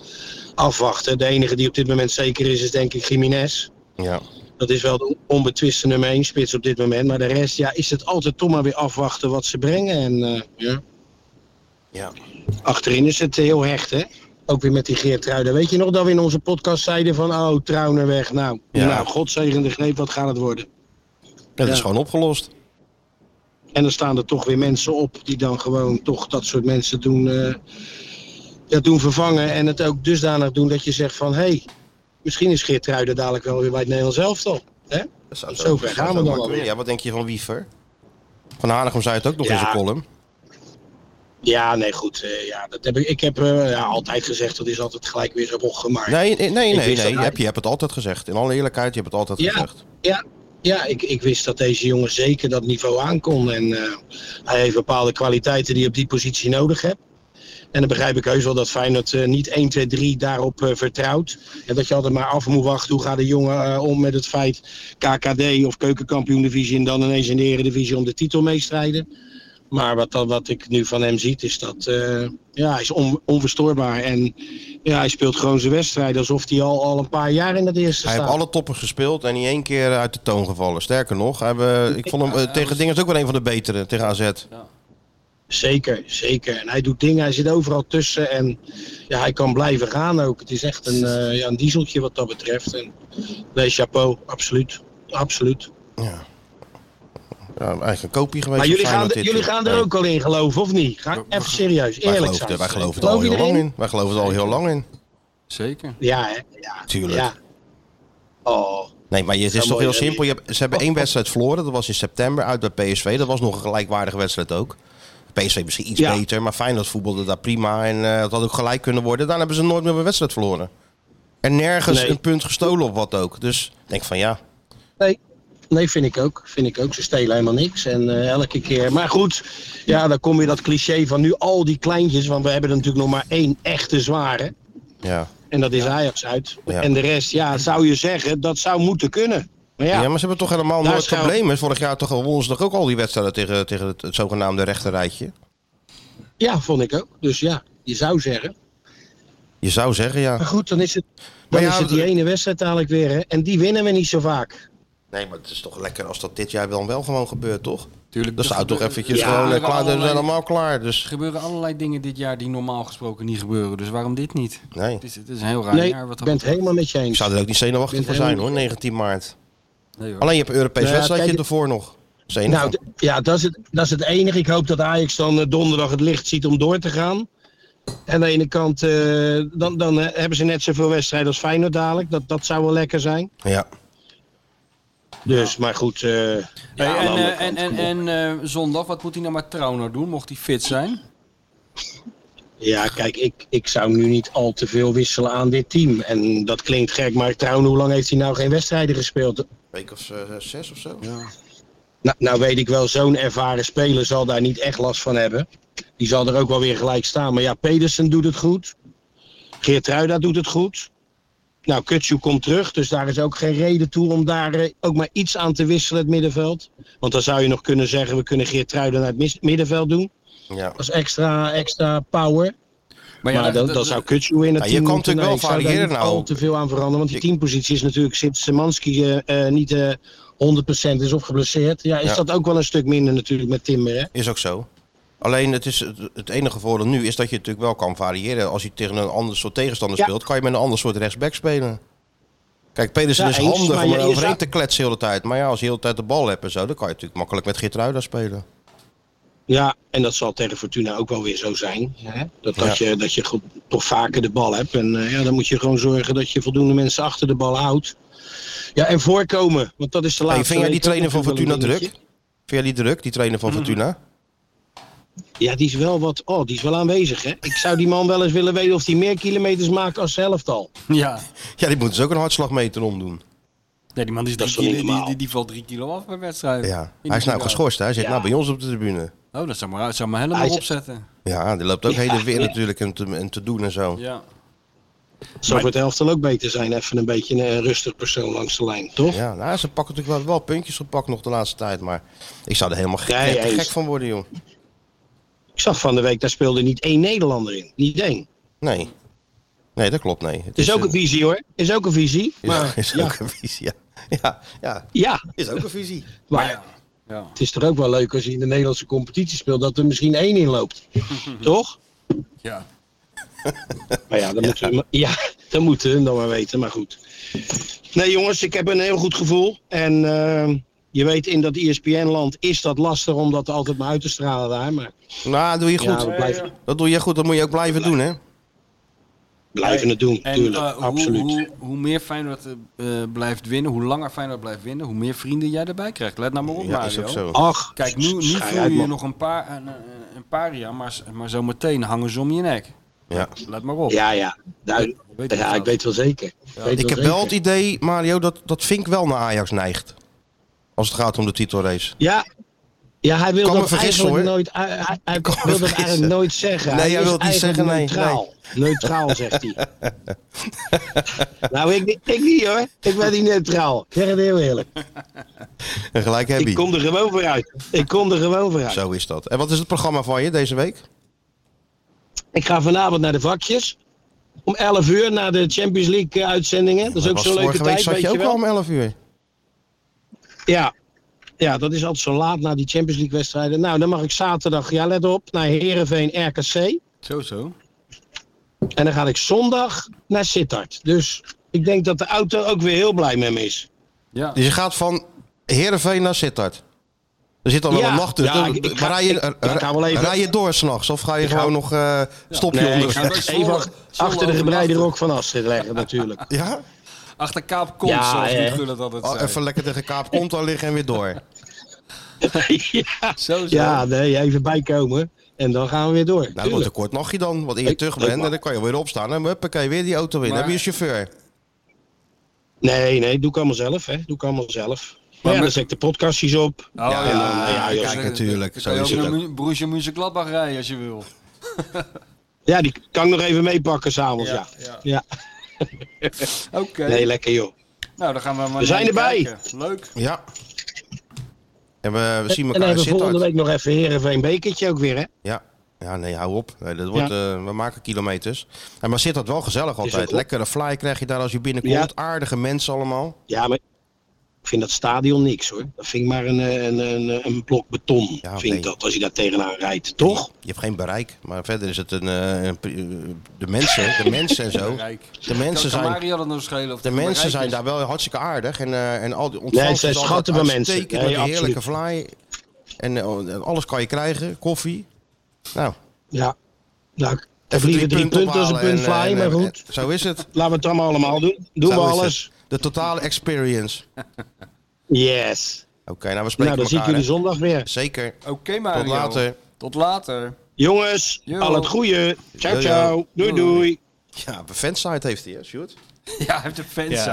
H: afwachten. De enige die op dit moment zeker is, is denk ik Jiménez.
C: Ja.
H: Dat is wel de onbetwiste nummer 1 spits op dit moment. Maar de rest, ja, is het altijd toch maar weer afwachten wat ze brengen. En eh, ja.
C: Ja.
H: achterin is het heel hecht, hè? Ook weer met die Geertruiden. Weet je nog dat we in onze podcast zeiden van, oh, Trauner weg. Nou,
C: Ja.
H: nou godzegende greep, wat gaat het worden?
C: Dat is
H: Ja.
C: gewoon opgelost.
H: En dan staan er toch weer mensen op die dan gewoon toch dat soort mensen doen, eh, ja, doen vervangen. En het ook dusdanig doen dat je zegt van hé, hey, misschien is Geertruiden dadelijk wel weer bij het Nederlands elftal. Hè?
C: Dat zou
H: Tot zover
C: dat
H: gaan we
C: zou maar
H: dan
C: kunnen.
H: alweer.
C: Ja, wat denk je van Wiever? Van Hanegem zei het ook nog in
H: Ja.
C: zijn column.
H: Ja, nee, goed. eh, ja, dat heb ik, ik heb eh, ja, altijd gezegd, dat is altijd gelijk weer zo bocht gemaakt.
C: Nee, nee, nee.
H: Ik
C: nee,
H: wist
C: nee.
H: dat
C: Je,
H: hij-
C: hebt, je hebt het altijd gezegd. In alle eerlijkheid, je hebt het altijd
H: Ja.
C: gezegd.
H: Ja, ja ik, ik wist dat deze jongen zeker dat niveau aan kon. En eh, hij heeft bepaalde kwaliteiten die je op die positie nodig hebt. En dan begrijp ik heus wel dat Feyenoord eh, niet 1, 2, 3 daarop eh, vertrouwt. En dat je altijd maar af moet wachten hoe gaat de jongen eh, om met het feit KKD of keukenkampioen-divisie en dan ineens in de eredivisie om de titel meestrijden. Maar wat, dan- wat ik nu van hem ziet is dat eh, ja, hij is on- onverstoorbaar. En ja, hij speelt gewoon zijn wedstrijd alsof hij al, al een paar jaar in het eerste
C: Hij
H: staat.
C: heeft alle toppers gespeeld en niet één keer uit de toon gevallen. Sterker nog, hij we- ik vond hem eh, tegen Dingers ook wel een van de betere. Tegen AZ.
H: Zeker, zeker. En hij doet dingen, hij zit overal tussen en ja, hij kan blijven gaan ook. Het is echt een, eh, ja, een dieseltje wat dat betreft. En les chapeau, absoluut. Absoluut.
C: Ja, eigenlijk een kopie geweest. van
H: Maar jullie gaan,
C: Feyenoord dit
H: er-
C: eh,
H: jullie
C: jaar.
H: gaan er
C: Nee.
H: ook al in geloven, of niet? Ga even serieus,
C: Wij
H: eerlijk
C: geloven,
H: zijn.
C: het- wij geloven het al heel lang in. Wij geloven het al heel lang in.
D: Zeker.
H: Ja, hè? ja.
C: Tuurlijk.
H: Ja. Oh,
C: Nee, maar het
H: Zou
C: is toch
H: mooi
C: heel
H: zijn.
C: simpel. Je hebt, ze hebben één wedstrijd verloren. Dat was in september uit bij PSV. Dat was nog een gelijkwaardige wedstrijd ook. PSV misschien iets
H: Ja.
C: beter, maar Feyenoord voetbalde daar prima. En eh, het had ook gelijk kunnen worden. Daarna hebben ze nooit meer een wedstrijd verloren. En nergens
H: Nee.
C: een punt gestolen of wat ook. Dus ik denk van ja,
H: Nee. Nee, vind ik ook. Vind ik ook. Ze stelen helemaal niks. En eh, elke keer. Maar goed, ja, dan kom je dat cliché van nu al die kleintjes. Want we hebben er natuurlijk nog maar één echte zware.
C: ja.
H: En dat is Ajax uit.
C: Ja.
H: En de rest, ja, zou je zeggen, dat zou moeten kunnen. Maar ja,
C: Ja, maar ze hebben toch helemaal
H: Daar
C: nooit
H: schuil-
C: problemen. Vorig jaar toch wonnen ze toch ook al die wedstrijden tegen, tegen het, het zogenaamde rechterrijtje.
H: ja, vond ik ook. Dus ja, je zou zeggen.
C: Je zou zeggen, ja.
H: Maar goed, dan is het, dan
C: ja,
H: is het die
C: dat-
H: ene wedstrijd dadelijk weer. Hè? En die winnen we niet zo vaak.
C: Nee, maar het is toch lekker als dat dit jaar dan wel gewoon gebeurt, toch?
D: Tuurlijk,
C: Dat zou toch
D: gebe-
C: eventjes
D: er
C: gewoon eh,
D: gebeuren
C: klaar, dat is
D: allerlei-
C: helemaal klaar.
D: Er
C: Dus
D: gebeuren allerlei dingen dit jaar die normaal gesproken niet gebeuren. Dus waarom dit niet?
C: Oh. nee,
D: Het is, het is een heel raar
H: Nee,
D: jaar. Wat
H: ik
D: dat
H: ben het helemaal met je
C: ik
H: eens.
C: zou er ook niet zenuwachtig
H: Bent
C: voor zijn
H: helemaal-
C: hoor, 19 maart.
D: Nee, hoor.
C: Alleen je hebt een Europees
H: Nou ja,
C: wedstrijdje
H: kijk,
C: ervoor nog. Zenuwachtig.
H: Nou, d- ja, dat is, het, dat is het enige. Ik hoop dat Ajax dan eh, donderdag het licht ziet om door te gaan. Aan de ene kant, eh, dan, dan eh, hebben ze net zoveel wedstrijden als Feyenoord dadelijk. Dat, dat zou wel lekker zijn.
C: ja.
H: Dus, maar goed. eh, ja,
D: Hey,
H: aan de
C: nou,
D: en
H: andere
D: eh, en,
H: kant,
D: en,
H: kom op.
D: en eh, zondag, wat moet hij nou maar trouw nou doen? Mocht hij fit zijn?
H: Ja, kijk, ik, ik zou nu niet al te veel wisselen aan dit team. En dat klinkt gek, maar trouwen, hoe lang heeft hij nou geen wedstrijden gespeeld?
C: Week of eh, zes of zo.
H: Nou, nou weet ik wel, zo'n ervaren speler zal daar niet echt last van hebben. Die zal er ook wel weer gelijk staan. Maar ja, Pedersen doet het goed. Geertruida doet het goed. Nou, Kutsu komt terug, dus daar is ook geen reden toe om daar eh, ook maar iets aan te wisselen, het middenveld. Want dan zou je nog kunnen zeggen, we kunnen Geertruida naar het mis- middenveld doen.
C: Ja.
H: Als extra, extra power.
D: ja,
H: Maar dan dat, zou Kutsu in het
C: Ja, je
H: team
C: kan
H: moeten.
C: natuurlijk wel
H: Nee, ik zou daar
C: variëren
H: niet
C: nou.
H: al te veel aan veranderen. Want die
C: Ik-
H: teampositie is natuurlijk sinds Szymanski eh, eh, niet eh 100% is of geblesseerd. Ja, is
C: Ja.
H: dat ook wel een stuk minder natuurlijk met Timmer. Hè?
C: Is ook zo. Alleen het, is, het- het enige voordeel nu is dat je natuurlijk wel kan variëren. Als je tegen een ander soort tegenstander
H: Ja.
C: speelt, kan je met een ander soort rechtsback spelen. Kijk, Pedersen
H: Ja,
C: is
H: eens,
C: handig
H: maar
C: om
H: je-
C: er
H: je
C: overheen
H: zou-
C: te kletsen de hele tijd. Maar ja, als je de hele tijd de bal hebt en zo, dan kan je natuurlijk makkelijk met Geertruida spelen.
H: Ja, en dat zal tegen Fortuna ook wel weer zo zijn. Hè? Dat, dat, je, dat je goed- toch vaker de bal hebt. En eh, ja, dan moet je gewoon zorgen dat je voldoende mensen achter de bal houdt. Ja, en voorkomen. Want dat is de laatste.
C: Hey, vind jij die
H: week
C: trainer
H: ook
C: van
H: natuurlijk wel
C: Fortuna
H: een
C: druk?
H: dingetje. Mhm.
C: Vind jij die druk, die trainer van Fortuna?
H: Ja, die is wel wat. Oh, die is wel aanwezig. Hè? Ik zou die man wel eens willen weten of hij meer kilometers maakt als de helft al.
D: Ja.
C: Ja, die moeten ze ook een hartslagmeter omdoen.
D: Nee, die man die is
H: Dat is
D: drie
H: toch
D: kilo- die, die,
H: niet normaal?
D: die valt drie kilo af bij wedstrijden.
C: Ja.
D: In
C: Hij is
D: die
C: nou
D: kilo.
C: geschorst, hè? hij zit
H: Ja.
C: nou bij ons op de tribune.
D: Oh, dat zou maar, zou maar helemaal
H: Hij is-
D: opzetten.
C: Ja, die loopt ook
H: Ja.
C: hele heen en weer natuurlijk en te, en te doen en zo.
D: Ja.
H: Zou voor het helft al ook beter zijn. Even een beetje een eh, rustig persoon langs de lijn, toch?
C: Ja, nou, ze pakken natuurlijk wel, wel puntjes gepakt nog de laatste tijd. Maar ik zou er helemaal gek,
H: Nee,
C: te
H: eens.
C: gek van worden, joh.
H: Ik zag van de week, daar speelde niet één Nederlander in. Niet één.
C: Nee. Nee, dat klopt, nee. Het
H: Is ook
C: een-
H: een visie hoor. Is ook een visie.
C: is-
H: Maar,
C: is
H: ja.
C: ook een visie, ja. Ja, ja.
H: Ja,
C: Is ook een visie.
H: maar
D: ja.
H: het is toch ook wel leuk als je in de Nederlandse competitie speelt dat er misschien één in loopt. toch?
D: ja.
H: Maar ja, dat moeten we, maar- ja, dat moeten we hem dan maar weten. Maar goed. Nee jongens, ik heb een heel goed gevoel. En ehm, je weet, in dat E ESPN-land is dat lastig om dat altijd maar uit te stralen daar. Maar
C: Nou, doe je
H: ja,
C: goed.
H: we blijven,
C: Dat doe je goed, dat moet je ook blijven doen, hè?
H: blijven het doen.
D: En
H: tuurlijk,
D: eh, hoe,
H: absoluut.
D: Hoe, hoe meer Feyenoord eh, eh, blijft winnen, hoe langer Feyenoord blijft winnen, hoe meer vrienden jij erbij krijgt. Let nou maar op,
C: Ja,
D: Mario.
C: is ook zo.
H: Ach,
D: Kijk, nu, nu
H: schei
D: voel
H: uit,
D: je je
H: man.
D: nog een paar, een, een- een paar jaar, maar, maar zo meteen hangen ze om je nek.
C: Ja.
D: Let maar op.
H: Ja, ja. Nou,
D: Weet je
H: ja,
D: wat?
H: ik weet wel zeker. Weet
C: Ik heb
H: zeker.
C: wel het idee, Mario, dat, dat Vink wel naar Ajax neigt. Als het gaat om de titelrace.
H: Ja, ja hij wil
C: Kan me
H: dat
C: vergissen,
H: eigenlijk
C: hoor.
H: nooit. Hij, hij- hij
C: Kan me
H: wil dat
C: vergissen.
H: eigenlijk nooit zeggen.
C: Nee, hij
H: is
C: wil het niet
H: eigenlijk
C: zeggen, nee,
H: Neutraal, neutraal zegt hij. nou, ik, niet- ik niet hoor. Ik ben niet neutraal. Ik zeg het heel eerlijk.
C: En gelijk heb
H: Ik
C: je.
H: kom er gewoon vooruit. Ik kom er gewoon vooruit.
C: Zo is dat. En wat is het programma van je deze week?
H: Ik ga vanavond naar de vakjes. Om 11 uur naar de Champions League eh, uitzendingen. Dat is ook
C: Was
H: zo'n leuke
C: vorige week
H: tijd,
C: zat
H: weet
C: je
H: je
C: ook al
H: wel.
C: om 11 uur.
H: Ja. ja, dat is altijd zo laat na die Champions League wedstrijden. Nou, dan mag ik zaterdag, ja let op, naar Herenveen RKC.
D: Zo, zo.
H: En dan ga ik zondag naar Sittard. Dus ik denk dat de auto ook weer heel blij met me is.
D: Ja.
C: Dus je gaat van Heerenveen naar Sittard. Er zit al wel
H: Ja.
C: een nacht tussen.
H: Ja, ik- ik ga-
C: maar rij je,
H: ik- ik
C: ra-
H: ga wel even-
C: rij je door s'nachts? Of ga je
H: ga-
C: gewoon nog eh stopje
H: Nee, ik
C: onder?
H: ga
D: Ja, dat
H: het
D: is
H: even
D: zondag-
H: ach-
D: zondag
H: achter de gebreide
D: overnachten.
H: rok van Astrid leggen natuurlijk.
C: Ja?
D: Achter Kaap komt,
H: Ja,
D: zoals
H: hè.
D: Ruud Gullit altijd
C: Oh,
D: zei.
C: even lekker tegen Kaap Konto liggen en weer door.
H: ja,
D: Zo, zo.
H: ja, nee, even bijkomen. En dan gaan we weer door.
C: Nou, dat wordt
H: Tuurlijk.
C: een kort nachtje dan. Want eer je
H: Ik-
C: terug
H: ik
C: bent,
H: mag-
C: en dan kan je weer opstaan. En huppakee, weer die auto in.
D: Maar-
C: Dan heb je een chauffeur.
H: Nee, nee, doe ik allemaal zelf. Hè. Doe ik allemaal zelf. Maar
D: Maar
H: ja,
D: met-
H: dan zet ik de podcastjes op.
D: Oh, ja,
H: ja, ja,
C: kijk, natuurlijk.
D: Dan
C: Zo
D: kan je
C: is het
D: ook naar Mu- Borussia Mönchengladbach rijden als je wil.
H: Ja, die kan ik nog even meepakken s'avonds. Ja, ja.
D: Oké.
H: Nee, lekker joh.
D: Nou, dan gaan we maar
H: We zijn
D: naar
H: erbij.
D: kijken. Leuk.
C: Ja. En we, we zien
H: En
C: elkaar
H: dan
C: in
H: hebben we volgende
C: Sittard.
H: week nog even Herenveen Bekertje ook weer. Hè.
C: Ja. Ja, nee, hou op. Nee, dat wordt, eh, we maken kilometers. En maar Sittard wel gezellig altijd.
H: ook op.
C: Lekkere fly krijg je daar als je binnenkomt.
H: Ja.
C: Aardige mensen allemaal.
H: Ja, maar ik vind dat stadion niks hoor. Dat vind ik maar een, eh, een, een, een blok beton.
C: Ja,
H: vind
C: nee.
H: ik dat als je daar tegenaan rijdt, toch?
C: Je hebt geen bereik, maar verder is het een, eh, een pri- eh, de mensen, de mensen en zo.
D: Rijk.
C: De mensen
D: kan, kan
C: zijn,
D: Mario dat nou schelen? Of
C: de
D: dat Rijk
C: mensen
D: is?
C: zijn daar wel hartstikke aardig en, eh, en al die
H: Nee,
C: ontvangst
H: ze
C: is altijd
H: schatten wel mensen.
C: uitstekend
H: Nee,
C: met die heerlijke fly en eh, en alles kan je krijgen, koffie. Nou,
H: Ja. Nou, er vliegen drie punten als een
C: ophalen
H: punt
C: en, eh,
H: fly,
C: en,
H: maar
C: eh,
H: goed.
C: en zo is het.
H: Laten we het allemaal allemaal doen. Doen
C: Zo
H: we
C: is het.
H: alles.
C: De totale experience. Oké,
H: Yes.
C: nou we spreken
H: nou, dan zie ik
C: elkaar.
H: jullie
C: hè.
H: zondag weer.
C: Zeker.
D: Oké, Mario.
C: Tot later.
D: Tot later.
H: Jongens,
D: Yo.
H: al het goede. Ciao,
C: Yo, yo.
H: ciao. Doei,
D: Doei.
H: doei.
C: Ja, een fansite heeft hij, hè, Sjoerd?
D: Ja, hij heeft een fans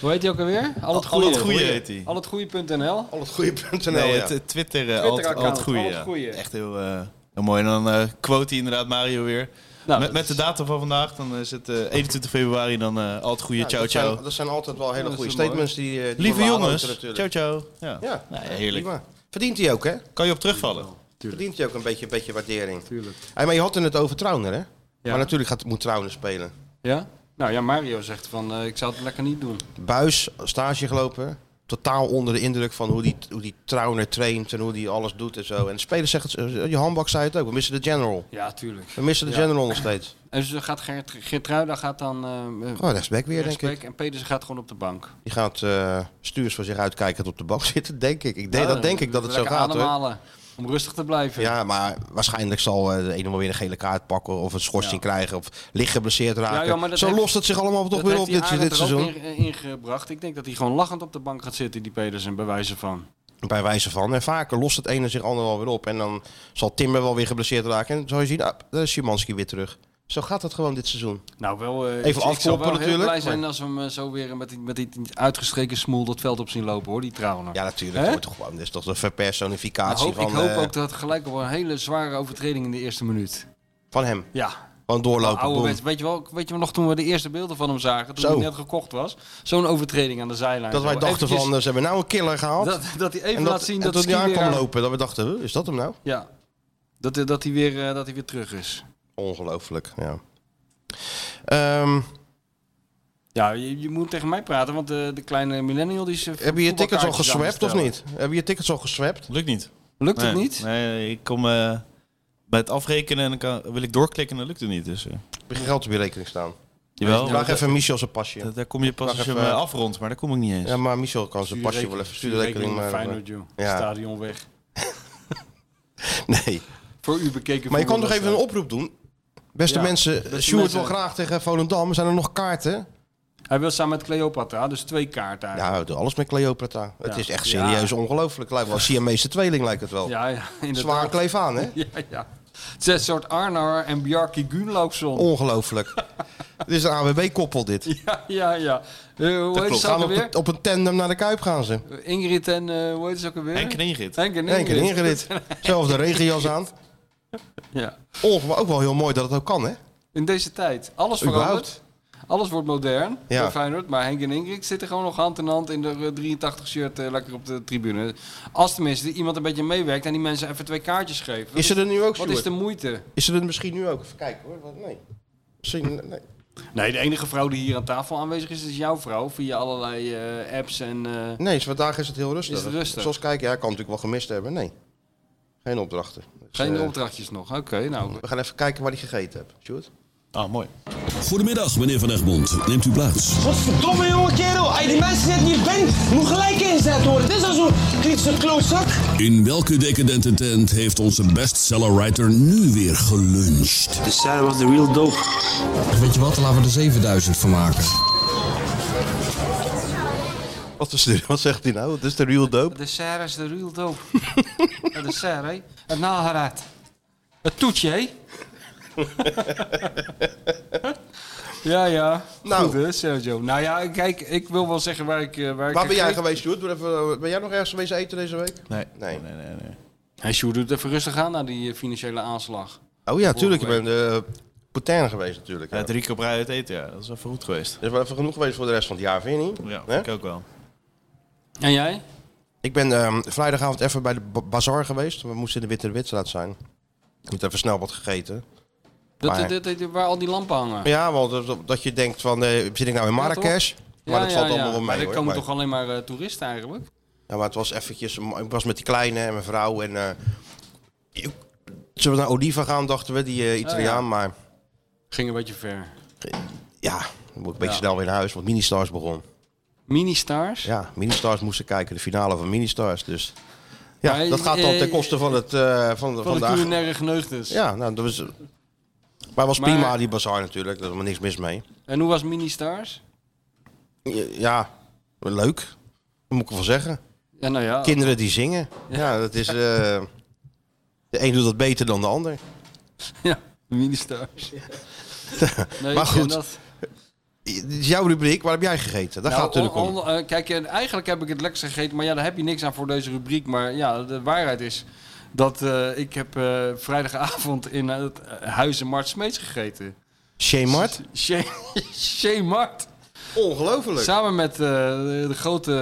D: Hoe heet hij ook alweer? Al het
A: Al
D: goede.
A: het goede heet hij.
D: Al het goede.nl.
C: Al het goede punten.
A: Nee,
C: ja.
A: het eh, Twitter, eh, al, het- al het
D: Twitter-account,
A: goede.
D: al het
A: ja.
D: goeie.
A: Echt heel, eh, heel mooi. En dan eh, quote hij inderdaad Mario weer.
D: Nou,
A: met, met de datum van vandaag, dan is het eh, 21 februari, dan eh, al het goede.
C: Ja,
A: ciao,
C: dat, zijn,
A: ciao.
C: dat zijn altijd wel hele
D: dat
C: goede
D: is mooi.
C: statements die, eh, die
A: Lieve
C: worden aanhouden
A: jongens,
C: natuurlijk.
A: ciao, ciao. Ja.
C: Ja,
A: Nou, heerlijk.
C: prima. Verdient hij ook, hè?
A: Kan je op terugvallen?
C: Verdient hij ook een beetje, een beetje waardering.
D: Tuurlijk.
C: Hey, maar je had het net over Trauner, hè? Maar
D: Ja.
C: natuurlijk gaat, moet Trauner spelen.
D: Ja? Nou ja, Mario zegt van eh, ik zou het lekker niet doen.
C: Buis, stage gelopen. Totaal onder de indruk van hoe die, hoe die Trauner traint en hoe die alles doet en zo. En de spelers zeggen, het- eh, je handbak zei het ook, we missen de general.
D: Ja, tuurlijk.
C: We missen de
D: Ja.
C: general nog steeds.
D: En ze gaat Geert, Geertruida gaat dan eh, eh
C: Oh, rechtsback weer, denk ik.
D: rechtsback en Pedersen gaat gewoon op de bank.
C: Die gaat eh, stuurs voor zich uitkijken tot op de bank zitten, denk ik. ik denk,
D: Ja,
C: dat denk ik dat het zo
D: Oh, lekker
C: gaat, hoor.
D: ademhalen. Om rustig te blijven.
C: Ja, maar waarschijnlijk zal eh, de ene wel weer een gele kaart pakken of een schorsing krijgen of licht geblesseerd raken.
D: Ja, ja, maar dat
C: Zo
D: heeft-
C: lost het zich allemaal toch
D: Dat
C: weer op
D: heeft
C: dit,
D: die
C: dit
D: Arend er
C: seizoen.
D: ook in- ingebracht. Ik denk dat hij gewoon lachend op de bank gaat zitten, die Pedersen, bij wijze van.
C: Bij wijze van. En vaker lost het ene zich ander wel weer op. En dan zal Timber wel weer geblesseerd raken. En zal je zien, ah, daar is Szymanski weer terug. Zo gaat het gewoon dit seizoen.
D: Nou, wel, eh, ik- Ik zou
C: afkloppen
D: wel heel
C: natuurlijk,
D: blij zijn
C: maar-
D: als we hem eh, zo weer met die, met die uitgestreken smoel dat veld op zien lopen, hoor, die trouwen.
C: Ja, natuurlijk.
D: Hè?
C: Dat wordt toch gewoon. Dit is toch de
D: ik
C: verpersonificatie
D: hoop, ik
C: van,
D: hoop
C: eh,
D: ook dat gelijk op een hele zware overtreding in de eerste minuut.
C: van hem.
D: Ja,
C: Gewoon doorlopen.
D: oude
C: boem.
D: weet, weet, je wel, weet je wel nog toen we de eerste beelden van hem zagen, toen
C: Zo.
D: hij net gekocht was? Zo'n overtreding aan de zijlijn.
C: Dat wij
D: Zo
C: dachten
D: eventjes-
C: van, eh, ze hebben nou een killer gehaald.
D: dat, dat hij even
C: en
D: laat
C: dat,
D: zien
C: en
D: dat
C: toen
D: Ski
C: hij aan
D: weer eh,
C: kwam
D: aan-
C: lopen, dat we dachten, huh, is dat hem nou?
D: Ja, dat, dat, hij weer, eh, dat hij weer terug is.
C: Ongelooflijk, ja. Ehm,
D: Ja, je, je moet tegen mij praten, want eh, de, de kleine millennial die is... eh,
C: heb je je tickets al
D: voetbalkaartjes aan het
C: geswapt of
D: bestellen.
C: niet? Heb je je tickets al geswapt?
A: Lukt niet.
D: Lukt het
A: Nee,
D: niet?
A: Nee, ik kom eh, bij het afrekenen en dan kan, wil ik doorklikken en dan lukt het niet. Dus, eh.
C: Heb je geen geld op je rekening staan?
A: jawel,
C: Vraag
A: maar
C: even Michel zijn pasje.
A: da- daar kom je pas
C: Vraag
A: als je hem
C: even-
A: eh, afrondt, maar daar kom ik niet eens.
C: Ja, maar Michel kan zijn pasje wel even
D: Stuur
C: sturen. rekening
D: naar
C: maar- eh,
D: Feyenoord, joh.
C: Ja.
D: Stadion weg.
C: eh, Nee.
D: Voor u bekeken.
C: Maar je kan toch even een oproep doen?
D: voetbalwedstrijd.
C: Beste
D: eh, Ja,
C: mensen,
D: beste
C: Sjoerd
D: mensen.
C: wil graag tegen Volendam. Zijn er nog kaarten?
D: Hij wil samen met Cleopatra, dus twee kaarten eigenlijk.
C: Ja, we doen alles met Cleopatra. Het
D: Ja.
C: is echt
D: Ja.
C: serieus ongelooflijk. Lijkt wel een Siamese tweeling, lijkt het wel.
D: Ja, ja, inderdaad.
C: Zwaar kleef aan, hè?
D: Ja, ja. Het is een soort Arnar en Bjarki
C: Oh.
D: Gunlaugson.
C: Ongelooflijk. Dit is een AWB-koppel, dit.
D: Ja, ja, ja. Eh, hoe heet
A: klopt.
D: ze
C: Gaan
D: ook
C: op,
D: alweer?
C: een- op een tandem naar de Kuip gaan ze.
D: Ingrid en, eh, hoe heet ze ook alweer?
A: Henk en Ingrid.
D: Henk en
C: Henk en
D: Ingrid.
C: Ingrid. Zelfde regenjas aan.
D: Ja.
C: Ongelooflijk. Ook wel heel mooi dat het ook kan, hè?
D: In deze tijd. Alles
C: Überhaupt.
D: verandert. Alles wordt modern
C: Ja.
D: bij Feyenoord. Maar Henk en Ingrid zitten gewoon nog hand in hand in de eh, 83-shirt eh, lekker op de tribune. Als tenminste iemand een beetje meewerkt en die mensen even twee kaartjes geeft. Wat
C: Is er er nu ook,
D: Wat is
C: Sjoerd?
D: de moeite?
C: Is er er misschien nu ook? Even kijken, hoor. Wat- Nee. Misschien, nee.
D: Nee, de enige vrouw die hier aan tafel aanwezig is, is jouw vrouw. Via allerlei eh, apps en... eh,
C: Nee, vandaag is het heel rustig.
D: Is het rustig?
C: Zoals kijken, ja, kan natuurlijk wel gemist hebben. Nee. Geen opdrachten. Dus,
D: geen
C: eh,
D: opdrachtjes nog. Oké, nou.
C: We gaan even kijken waar hij gegeten hebt, Sjoerd.
A: Ah, mooi.
F: Goedemiddag, meneer Van Egmond. Neemt u plaats.
I: Godverdomme jonge kerel, als je die mensen net niet bent, moet gelijk ingezet worden. Dit is al zo'n kritische klootzak.
F: In welke decadente tent heeft onze bestsellerwriter nu weer geluncht?
I: De cel was de real dope.
J: Weet je wat, laten we er 7000 van maken.
C: Wat, is, wat zegt hij nou? Het is de real dope.
D: De Sarah is de real dope. Ja, de Sarah, hè? Het naalharaat. Het toetje, hè? ja, ja.
C: Nou.
D: Goed, hè, Sergio. Nou ja, kijk, ik wil wel zeggen waar ik... eh, Waar,
C: Waar ben jij geweest, Sjoerd? Doe even, eh, Ben jij nog ergens geweest eten deze week?
A: Nee. Oh,
C: Nee.
A: nee, nee, nee.
D: Hij Sjoerd doet even rustig aan na die eh, financiële aanslag.
C: Oh ja, tuurlijk. Je
D: Vorige
C: bent de Potain geweest natuurlijk.
A: Ja,
C: Ja.
A: drie keer op rij uit eten, ja. Dat is even goed geweest.
C: Er is wel even genoeg geweest voor de rest van het jaar, vind je niet?
A: Ja,
C: Hè?
A: ik ook wel.
D: En jij?
C: Ik ben ehm, vrijdagavond even bij de ba- bazaar geweest. We moesten in de Witte Witstraat zijn. Ik moet even snel wat gegeten.
D: Dat,
C: Maar-
D: dat, dat- dat- waar al die lampen hangen.
C: Ja, want dat, dat je denkt van, eh, zit ik nou in Marrakesh? maar dat valt allemaal wel mee
D: Maar er
C: hoor.
D: komen
C: Maar-
D: toch alleen maar eh, toeristen eigenlijk?
C: Ja, maar het was eventjes... Ik was met die kleine en mijn vrouw en... eh, ik- zullen we naar Oliva gaan, dachten we, die eh, Italiaan.
D: Oh, ja.
C: Maar
D: Ging een beetje ver.
C: ja, dan moet ik een beetje
D: Ja.
C: snel weer naar huis, want Ministars begon.
D: Mini-stars?
C: Ja, Ministars moesten kijken, de finale van Ministars. Dus ja,
D: Maar,
C: dat gaat dan
D: eh,
C: ten koste van het... eh, van,
D: Van de
C: de ag-
D: culinaire geneugdes.
C: Ja, nou, dat was... Maar was
D: Maar-
C: prima, die bazaar natuurlijk. Daar was niks mis mee.
D: En hoe was Mini-stars?
C: Ja, leuk. Dat moet ik wel zeggen.
D: Ja, nou ja.
C: Kinderen die zingen. Ja, dat is... eh, de een doet dat beter dan de ander.
D: Ja, mini-stars. Nee,
C: Maar
D: ik ken
C: goed,
D: dat.
C: Dit is jouw rubriek. Waar heb jij gegeten? Daar
D: Nou,
C: gaat het natuurlijk om.
D: on- on- eh, kijk, en eigenlijk heb ik het lekker gegeten, maar ja, daar heb je niks aan voor deze rubriek. Maar ja, de waarheid is dat eh, ik heb eh, vrijdagavond in het eh, huis in Mart Smeets gegeten.
C: Shemart?
D: Shea Mart.
C: Ongelooflijk.
D: Samen met eh, de grote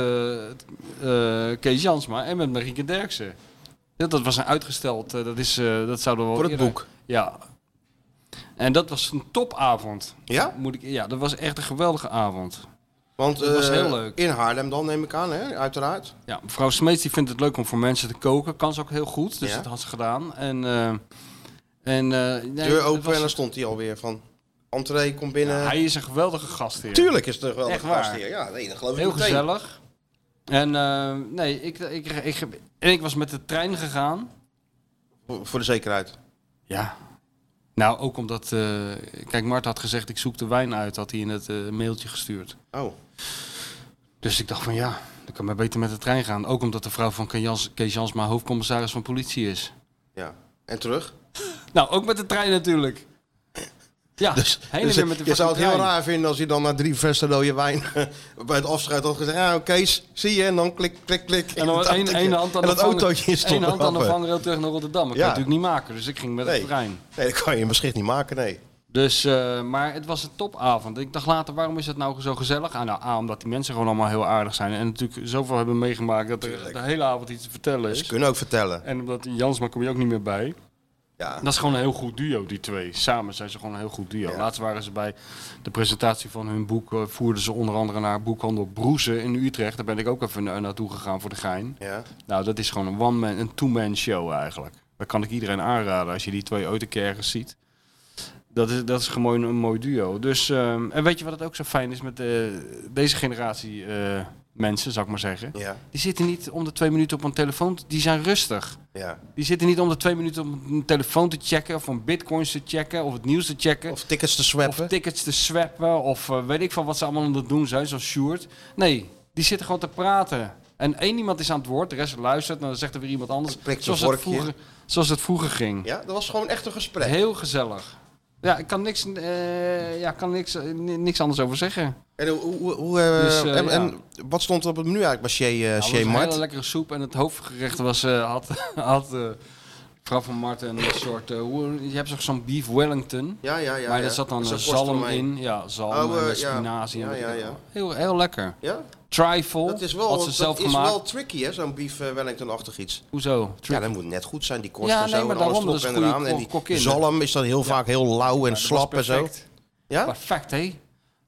D: eh Kees Jansma en met Marieke Derksen. Ja, dat was een uitgesteld, eh, dat, is, eh, dat zouden we wel
C: Voor het
D: eerder-
C: boek.
D: Ja. En dat was een topavond.
C: Ja?
D: Moet ik, ja, dat was echt een geweldige avond.
C: Want
D: Dat was
C: eh,
D: heel leuk.
C: in Haarlem dan, neem ik aan, hè? uiteraard.
D: Ja, mevrouw Smeets die vindt het leuk om voor mensen te koken. Kan ze ook heel goed, dus
C: Ja.
D: dat had ze gedaan. En, eh, en, eh, nee,
C: Deur
D: het
C: open
D: was-
C: en dan stond hij alweer van... Entree, kom binnen.
D: Hij is een geweldige gast hier.
C: Tuurlijk is het er wel
D: Echt
C: een
D: waar.
C: gast hier. Ja, nee, dat geloof ik
D: Heel
C: meteen.
D: gezellig. En eh, nee, ik, ik, ik, ik, en ik was met de trein gegaan.
C: Voor voor de zekerheid.
D: Ja. Nou, ook omdat... eh, kijk, Mart had gezegd, ik zoek de wijn uit. Had hij in het eh, mailtje gestuurd.
C: Oh.
D: Dus ik dacht van ja, dan kan maar beter met de trein gaan. Ook omdat de vrouw van Kees Jans- Kees Jansma hoofdcommissaris van politie is.
C: Ja. En terug?
D: Nou, ook met de trein natuurlijk. Ja, dus, heen en
C: Dus
D: weer met de
C: je zou het
D: fucking
C: heel
D: trein.
C: raar vinden als je dan na drie flessen rode wijn bij het afscheid had gezegd... Ja, Kees, zie je? En dan klik, klik, klik.
D: En dan
C: Dat
D: één
C: ik-
D: één hand aan
C: en
D: de
C: dat
D: vangrail-
C: autootje is
D: één
C: toch
D: hand aan de
C: grappig.
D: vangrail terug naar Rotterdam. Dat
C: Ja.
D: kan je natuurlijk niet maken, dus ik ging met de
C: Nee.
D: trein.
C: Nee, dat kan je in Maastricht niet maken, nee.
D: Dus, eh, maar het was een topavond. Ik dacht later, waarom is het nou zo gezellig? Ah, nou, A, omdat die mensen gewoon allemaal heel aardig zijn. En natuurlijk zoveel hebben meegemaakt dat er de hele avond iets te vertellen is.
C: Ze kunnen ook vertellen.
D: En omdat die Jansma kom je ook niet meer bij.
C: Ja.
D: Dat is gewoon een heel goed duo, die twee. Samen zijn ze gewoon een heel goed duo. Laatst waren ze bij de presentatie van hun boek. eh, voerden ze onder andere naar boekhandel Broezen in Utrecht. Daar ben ik ook even na- naartoe gegaan voor de gein.
C: Ja.
D: Nou, dat is gewoon een one-man, een two-man show eigenlijk. Dat kan ik iedereen aanraden als je die twee ooit een keer ergens ziet. Dat is, dat is gewoon een mooi duo. Dus, ehm, en weet je wat het ook zo fijn is met eh, deze generatie eh, mensen, zou ik maar zeggen?
C: Ja.
D: Die zitten niet om de twee minuten op een telefoon. Die zijn rustig.
C: Ja.
D: Die zitten niet om de twee minuten om een telefoon te checken, of om bitcoins te checken, of het nieuws te checken.
C: Of tickets te swappen.
D: Of tickets te swappen, of eh, weet ik van wat ze allemaal aan het doen zijn, zoals Sjoerd. Nee, die zitten gewoon te praten. En één iemand is aan het woord, de rest luistert, en dan zegt er weer iemand anders.
C: prikt een
D: Zoals het,
C: vorkje.
D: vroeger, zoals het vroeger ging.
C: Ja, dat was gewoon echt een gesprek.
D: Heel gezellig. Ja, ik kan niks, eh, ja, ik kan niks, eh, ni- niks anders over zeggen.
C: En, hoe, hoe, hoe, eh,
D: Dus, eh,
C: en,
D: ja.
C: en wat stond er op het menu eigenlijk bij Shea, eh
D: Ja,
C: Shea
D: het was een
C: Mart?
D: hele lekkere soep en het hoofdgerecht was, eh, had, had eh, vrouw van Marten een soort, eh, hoe- je hebt toch zo'n beef wellington?
C: Ja, ja, ja.
D: maar
C: ja.
D: er zat dan
C: Zo'n
D: een
C: korst
D: zalm
C: ermee.
D: in. Ja, zalm
C: Oh, eh,
D: en met
C: ja.
D: spinazie. en
C: Ja,
D: weet ik
C: ja,
D: het
C: ja.
D: allemaal. Heel, heel lekker.
C: Ja?
D: Trifle
C: Dat is wel,
D: had ze
C: dat
D: zelf
C: is
D: gemaakt.
C: wel tricky, hè, zo'n beef eh, Wellington-achtig iets.
D: Hoezo?
C: Ja, dat moet net goed zijn, die korst
D: Ja,
C: en zo.
D: nee, maar
C: en alles
D: daarom, dat
C: erop
D: is
C: en
D: goede
C: eraan. En die
D: kok- kokkin.
C: zalm is dan heel vaak heel lauw en
D: Ja, dat was
C: slap en zo.
D: perfect.
C: Ja?
D: Perfect, hè?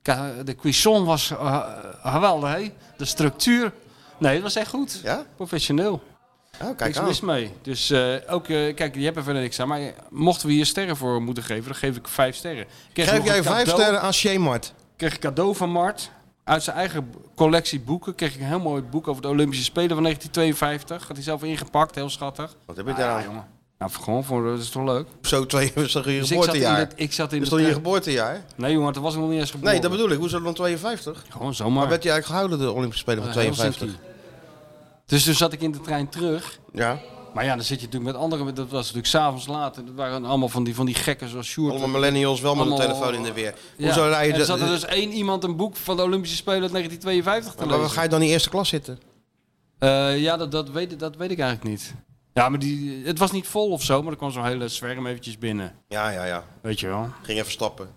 D: Ka- De cuisson was eh, geweldig, hè? De structuur. Nee, het was echt goed.
C: Ja?
D: Professioneel.
C: Oh, kijk
D: Niks
C: aan.
D: mis mee. Dus eh, ook, eh, kijk, die hebben verder niks aan. Maar eh, mochten we hier sterren voor moeten geven, dan geef ik vijf sterren. Kreeg
C: Geef
D: nog een
C: jij vijf
D: cadeau.
C: sterren aan Shea Mart?
D: kreeg ik cadeau van Mart. Uit zijn eigen b- collectie boeken kreeg ik een heel mooi boek over de Olympische Spelen van 1952. Had hij zelf ingepakt, heel schattig.
C: Wat heb je
D: Ah,
C: daar?
D: ja, jongen. Nou, voor- gewoon voor, dat is toch leuk?
C: Zo twee, dat is toch je
D: Dus ik zat in eh,
C: geboortejaar?
D: dit- ik zat in
C: Dat is
D: de
C: toch je
D: trein.
C: geboortejaar?
D: Nee, jongen, dat was ik nog niet eens geboren.
C: Nee, dat bedoel ik. Hoezo dan 52?
D: Gewoon zomaar.
C: Maar werd je eigenlijk gehouden de Olympische Spelen van
D: Eh,
C: 52?
D: Helsinki. Dus toen zat ik in de trein terug.
C: Ja.
D: Maar ja, dan zit je natuurlijk met anderen. Dat was natuurlijk s'avonds laat. En dat waren allemaal van die, van die gekken zoals Sjoerd.
C: Allemaal millennials wel met een
D: Allemaal-
C: telefoon in de weer.
D: Ja.
C: Hoezo rij je
D: En
C: de-
D: er zat er dus één iemand een boek van de Olympische Spelen uit 1952 te
C: Maar
D: lezen.
C: waar ga je dan in eerste klas zitten?
D: Eh, ja, dat, dat, weet, ik- dat weet ik eigenlijk niet. Ja, maar die, het was niet vol of zo, maar er kwam zo'n hele zwerm eventjes binnen.
C: Ja, ja, ja.
D: Weet je wel?
C: Ging even stappen.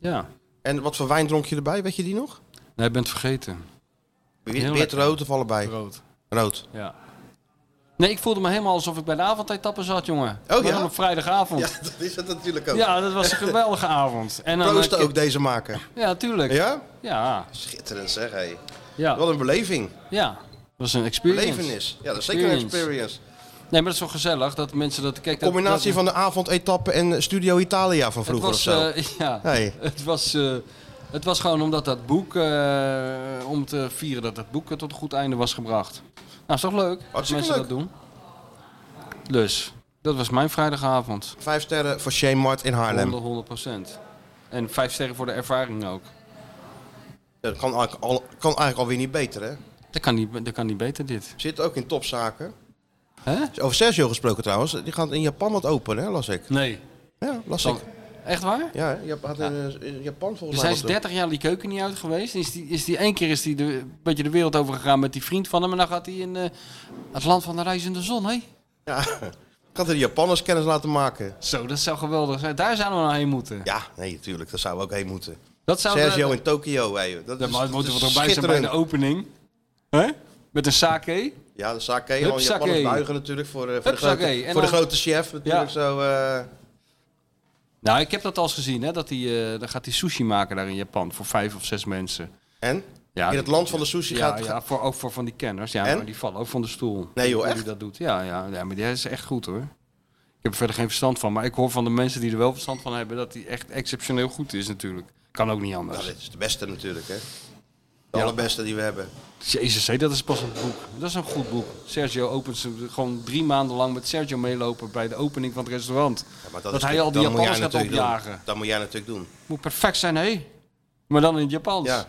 D: Ja.
C: En wat voor wijn dronk je erbij? Weet je die nog?
D: Nee, je bent het vergeten.
C: Wit,
D: Heel
C: wit
D: lekker.
C: rood of allebei?
D: Rood.
C: Rood.
D: Ja. Nee, ik voelde me helemaal alsof ik bij de avondetappen zat, jongen.
C: Oh, ja?
D: Gewoon Op vrijdagavond.
C: Ja,
D: Ja.
C: dat is het natuurlijk ook.
D: dat was een geweldige avond. En dan,
C: Proosten
D: eh,
C: ook deze maken.
D: Ja, tuurlijk.
C: Ja?
D: Ja.
C: Schitterend zeg, hé.
D: Ja.
C: Wat een beleving.
D: ja. Dat was een experience.
C: Belevenis. Ja, dat is zeker een experience.
D: Nee, maar dat is wel gezellig dat mensen dat... Kijk, dat-
C: Combinatie
D: dat-
C: van de avondetappe en Studio Italia van vroeger
D: het
C: of
D: was,
C: zo.
D: eh, ja,
C: Hey.
D: het, was, eh, het was gewoon omdat dat boek, eh, om te vieren dat dat boek eh, tot een goed einde was gebracht. Nou, is toch leuk als
C: Hartstikke
D: mensen dat doen. Dus, dat was mijn vrijdagavond.
C: Vijf sterren voor Shane Mart in Haarlem.
D: 100, 100 En vijf sterren voor de ervaring ook.
C: Ja, Dat kan eigenlijk, al, kan eigenlijk alweer niet beter, hè?
D: Dat kan niet, dat kan niet beter dit.
C: Zit ook in topzaken.
D: Hè?
C: Over Sergio gesproken trouwens. Die gaat in Japan wat openen, hè, las ik.
D: Nee.
C: Ja, las
D: Dan-
C: ik.
D: echt waar?
C: Ja, hè, Jap- had in, eh, in Japan
D: Dus
C: volgens
D: hij
C: mij.
D: is
C: wat doen.
D: 30 jaar die keuken niet uit geweest. Is die, is die één keer is die de, een beetje de wereld over gegaan met die vriend van hem. En dan gaat hij in eh, het land van de reizende zon, hé?
C: Ja. Ik had de Japanners kennis laten maken.
D: Zo, dat zou geweldig zijn. Daar zouden we nou heen moeten.
C: Ja, nee, natuurlijk. Daar zouden we ook heen moeten.
D: Dat zou
C: Sergio in Tokio, hé. joh. Dat
D: Ja,
C: is-
D: maar het
C: dat
D: moeten we
C: is
D: toch bij zijn bij de
C: schitterend.
D: opening? Hè? Met een sake?
C: Ja, de sake.
D: Hup,
C: Al Japanners
D: sake.
C: buigen natuurlijk voor, eh, voor, de,
D: Hup, sake.
C: grote,
D: En
C: voor de
D: dan-
C: grote chef. Natuurlijk
D: Ja.
C: zo... eh,
D: Nou, ik heb dat al eens gezien, hè? Dat die, eh dan gaat hij sushi maken daar in Japan voor vijf of zes mensen.
C: en?
D: Ja,
C: in het land van de sushi
D: ja,
C: gaat...
D: ja voor, ook voor van die kenners. Ja,
C: En?
D: maar die vallen ook van de stoel.
C: Nee, joh,
D: Hoe die
C: echt?
D: dat doet. Ja, ja, ja, maar die is echt goed hoor. Ik heb er verder geen verstand van, maar ik hoor van de mensen die er wel verstand van hebben dat hij echt exceptioneel goed is natuurlijk. Kan ook niet anders.
C: Nou, dit is de beste natuurlijk, hè. De allerbeste die we hebben.
D: Jezus, hé, dat is pas een boek. Dat is een goed boek. Sergio opent ze gewoon drie maanden lang met Sergio meelopen bij de opening van het restaurant.
C: Maar
D: dat
C: is
D: hij
C: natuurlijk-
D: al die
C: dat moet jij
D: Japanners gaat
C: natuurlijk doen.
D: opjagen.
C: Dat moet jij natuurlijk doen.
D: Moet perfect zijn, hé. Maar dan in het Japans.
C: Ja.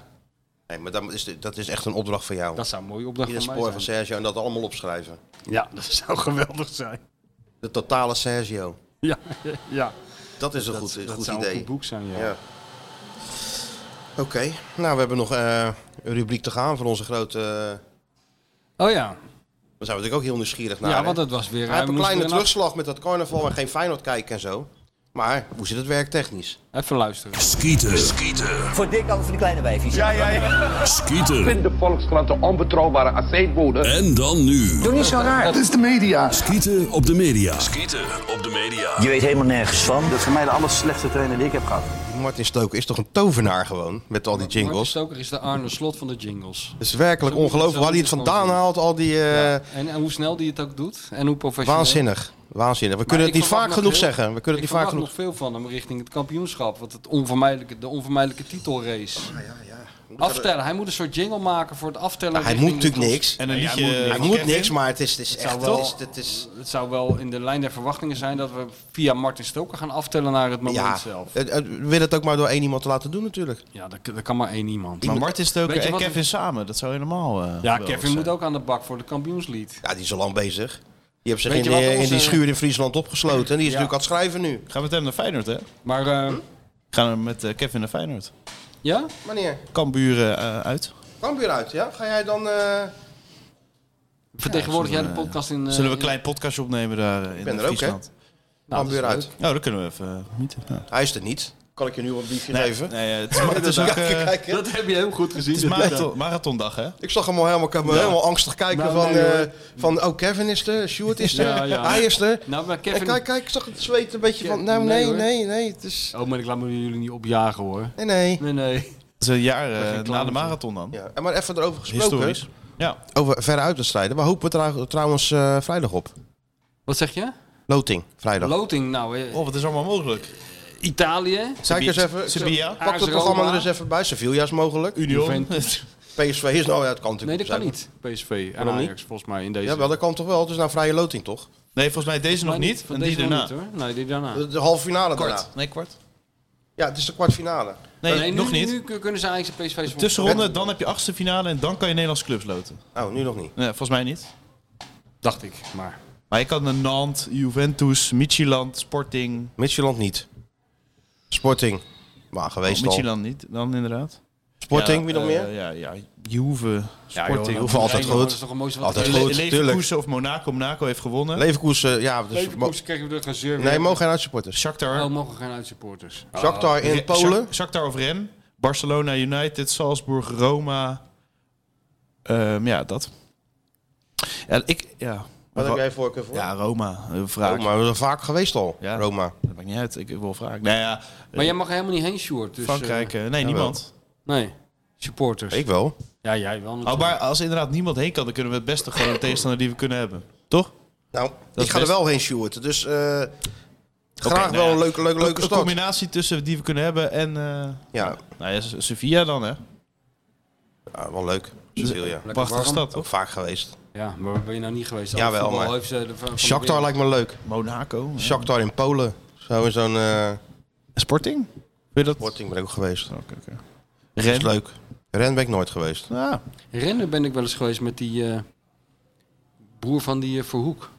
C: Nee, maar dat is, dat is echt een opdracht van jou.
D: Dat zou een mooie opdracht
C: Ieder
D: voor mij
C: spoor van
D: zijn.
C: Sergio en dat allemaal opschrijven.
D: Ja, dat zou geweldig zijn.
C: De totale Sergio.
D: Ja, ja.
C: Dat is een
D: Dat-
C: goed, een
D: dat
C: goed
D: zou een
C: idee.
D: goed boek zijn, ja.
C: Oké, nou we hebben nog eh, een rubriek te gaan van onze grote... eh,
D: Oh ja.
C: Daar zijn we natuurlijk ook heel nieuwsgierig naar.
D: ja,
C: hè?
D: want het was weer... eh,
C: Hij heeft een
D: moest
C: kleine
D: weer naar-
C: terugslag met dat carnaval en geen Feyenoord kijken en zo. Maar hoe zit het werk technisch?
D: Even luisteren.
F: Skieten. Skieten.
K: Voor dik altijd van die kleine wijfjes. Ja, ja, ja.
F: Skieten. Vindt
K: de Volkskrant de onbetrouwbare aceetbode.
F: En dan nu.
K: Doe niet zo raar. Dat is de media.
F: Skieten op de media. Skieten op de media.
K: Je weet helemaal nergens van.
C: Dat is voor mij de aller slechtste trainer die ik heb gehad. Martin Stoker is toch een tovenaar gewoon, met al die
D: Martin
C: jingles.
D: Stoker is de Arne Slot van de jingles.
C: Het is werkelijk
D: Zo moet-
C: ongelooflijk
D: zo
C: waar hij het
D: moet het
C: vandaan
D: gewoon
C: haalt, al die... eh,
D: En, en hoe snel die het ook doet. En hoe professioneel.
C: Waanzinnig, waanzinnig. We
D: Maar
C: kunnen
D: ik
C: het niet
D: verwacht
C: vaak
D: nog
C: genoeg
D: heel-
C: zeggen. We kunnen
D: ik
C: het niet vaak
D: verwacht
C: genoeg...
D: nog veel van hem richting het kampioenschap. Want het onvermijdelijke, de onvermijdelijke titelrace. Aftellen. Hij moet een soort jingle maken voor het aftellen.
C: Maar Nou, hij moet
D: richting de
C: natuurlijk
D: cross.
C: niks. En een
D: Nee,
C: liedje
D: niks.
C: Hij moet Kevin. niks, maar het is- het is
D: zou
C: echt-
D: wel-
C: het is- het is-
D: het zou wel in de lijn der verwachtingen zijn dat we via Martin Stoker gaan aftellen naar het moment
C: Ja,
D: zelf.
C: het- het- we willen het ook maar door één iemand te laten doen natuurlijk.
D: Ja, dat, dat kan maar één iemand.
A: Maar Martin Stoker
D: Weet je
A: en
D: wat-
A: eh, Kevin samen, dat zou helemaal. eh,
D: Ja,
A: geweldig
D: Kevin
A: zijn.
D: moet ook aan de bak voor de kampioenslied.
C: Ja, die is al lang bezig. Die heeft zich
D: Weet
C: in,
D: je wat
C: die- in
D: onze-
C: die schuur in Friesland opgesloten. En die is
D: Ja.
C: natuurlijk aan het schrijven nu.
A: Gaan we met hem naar Feyenoord, hè?
D: Maar eh,
A: Hm? Gaan we met eh, Kevin naar Feyenoord?
D: ja?
C: Wanneer?
A: Kambuur eh, uit.
C: Cambuur uit, ja? Ga jij dan... eh,
D: Nou, Vertegenwoordig
A: zullen
D: jij de
A: we-
D: podcast in... eh,
A: Zullen we een
D: in-
A: klein podcastje opnemen daar eh, in
C: ben er ook, hè?
A: Friesland?
D: Nou, dat is
C: Cambuur
D: leuk.
C: uit.
A: Nou, dan kunnen we even eh, mieten. Ja.
C: Hij is er niet. Kan ik je nu wat briefje
A: Nee,
C: geven?
A: nee, eh, het is, het is ook, eh,
C: Kijk, kijk, hè.
D: Dat heb je heel goed gezien.
A: het is marathon, marathondag, hè?
C: Ik zag hem al helemaal, ik heb me
A: Ja.
C: helemaal angstig kijken
D: Nou,
C: van,
D: nee,
C: eh,
D: hoor.
C: van... Oh, Kevin is er. Stuart is er.
D: Ja, ja.
C: Hij is er.
D: Nou, maar Kevin...
C: En kijk, kijk, ik zag het zweet een beetje van...
D: Ke-
C: Nou, nee,
D: nee,
C: nee,
D: hoor.
C: nee. het is...
D: Oh, maar ik laat me jullie niet opjagen hoor.
C: Nee, nee.
D: Nee, nee.
A: Het is een jaar eh,
D: geen
A: na
D: clown
A: de
D: voor.
A: marathon dan.
C: Ja. En maar even erover gesproken.
A: Historisch. Ja.
C: Over verre uitwedstrijden. Waar hopen we trouw- trouwens eh, vrijdag op?
D: Wat zeg je?
C: Loting, vrijdag.
D: Loting, nou, eh,
A: Oh, wat is allemaal mogelijk?
D: Italië.
C: Zeg ik eens even,
A: Sevilla.
C: pak
D: AS
C: het programma
D: Roma.
C: er eens even bij. Sevilla is mogelijk.
A: Union.
D: Juventus.
C: PSV is nou, ja, dat kan natuurlijk
D: Nee, dat kan
C: zijn.
D: niet. PSV en
C: Waarom niet?
D: Ajax, volgens mij in deze.
C: Ja, wel, dat kan toch wel. Het is nou vrije loting, toch?
A: Nee, volgens mij deze nog
D: Maar
A: niet.
D: van
A: En die
D: deze nog
A: daarna.
D: niet, hoor. Nee, die daarna.
C: De, de halve finale daarna.
A: Kwart. Nee, kwart.
C: Ja, het is de kwartfinale.
A: Nee,
D: Nee, nu-
A: nog niet.
D: Nu kunnen ze Ajax en PSV voor-
A: Tussenronde, dan heb je achtste finale en dan kan je Nederlandse clubs loten.
C: Oh, nu nog niet.
A: Nee, volgens mij niet.
D: Dacht ik, maar.
A: Maar je kan een Nantes, Juventus, Michieland, Sporting.
C: Midtjylland niet. Sporting. Maar geweest
A: Oh,
C: al.
A: Michieland niet, dan inderdaad.
C: Sporting,
A: Ja,
C: wie nog
A: eh,
C: meer?
A: Ja, ja, Juve, Sporting.
C: Sporting. Hoeveel altijd
D: Feyenoord
C: goed.
D: is toch een mooiste
C: Altijd
D: wat
A: Le-
C: goed, tuurlijk.
A: Leverkusen of Monaco. Monaco heeft gewonnen.
C: Leverkusen, ja. Dus
D: Leverkusen kregen we er geen zeur
C: mo-
D: weer.
C: nee, mogen geen uitsupporters.
A: Shakhtar.
D: Oh, mogen geen uitsupporters.
C: Shakhtar in
A: Re-
C: Polen.
A: Shak- Shakhtar of Ren. Barcelona United, Salzburg, Roma. Ehm, ja, dat. Ja, ik, ja.
C: Wat heb jij voorkeur voor?
A: Ja, Roma. eh, Vraag.
C: Roma, we zijn vaak geweest al.
A: Ja.
C: Roma.
A: Dat maakt niet uit. Ik wil vragen. Nou ja,
D: Maar jij mag er helemaal niet heen, Sjoerd. Dus,
A: Frankrijk.
D: eh,
A: eh, nee, niemand.
D: nee, supporters.
C: Ik wel.
D: Ja, jij wel
A: Oh,
D: natuurlijk.
A: maar als inderdaad niemand heen kan, dan kunnen we het beste gewoon een tegenstander die we kunnen hebben. Toch?
C: Nou,
A: is
C: ik ga
A: best.
C: er wel heen, Sjoerd. Dus eh,
A: nou
C: graag wel
A: ja.
C: een leuke, leuke, leuke
A: Een
C: start.
A: combinatie tussen die we kunnen hebben en... eh,
C: Ja.
A: nou ja, Sevilla dan, hè?
C: Ja, wel leuk. Sevilla.
A: Prachtige
D: warm.
A: stad,
C: Ook
A: toch?
C: vaak geweest.
D: Ja, maar waar ben je nou niet geweest?
C: Jawel,
D: Alle voetbal
C: maar-
D: heeft ze de- van- van de
C: Shakhtar
D: wereld.
C: lijkt me leuk.
A: Monaco. hè?
C: Shakhtar in Polen. Zo in zo'n eh
A: Sporting? Wil je dat? Oh,
C: Sporting ben ik ook geweest.
A: Oké, oké. Ah.
C: Dat is
A: Ren.
C: leuk. Ren ben ik nooit geweest.
A: Ja.
D: Rennen ben ik wel eens geweest met die eh, broer van die eh, Verhoek.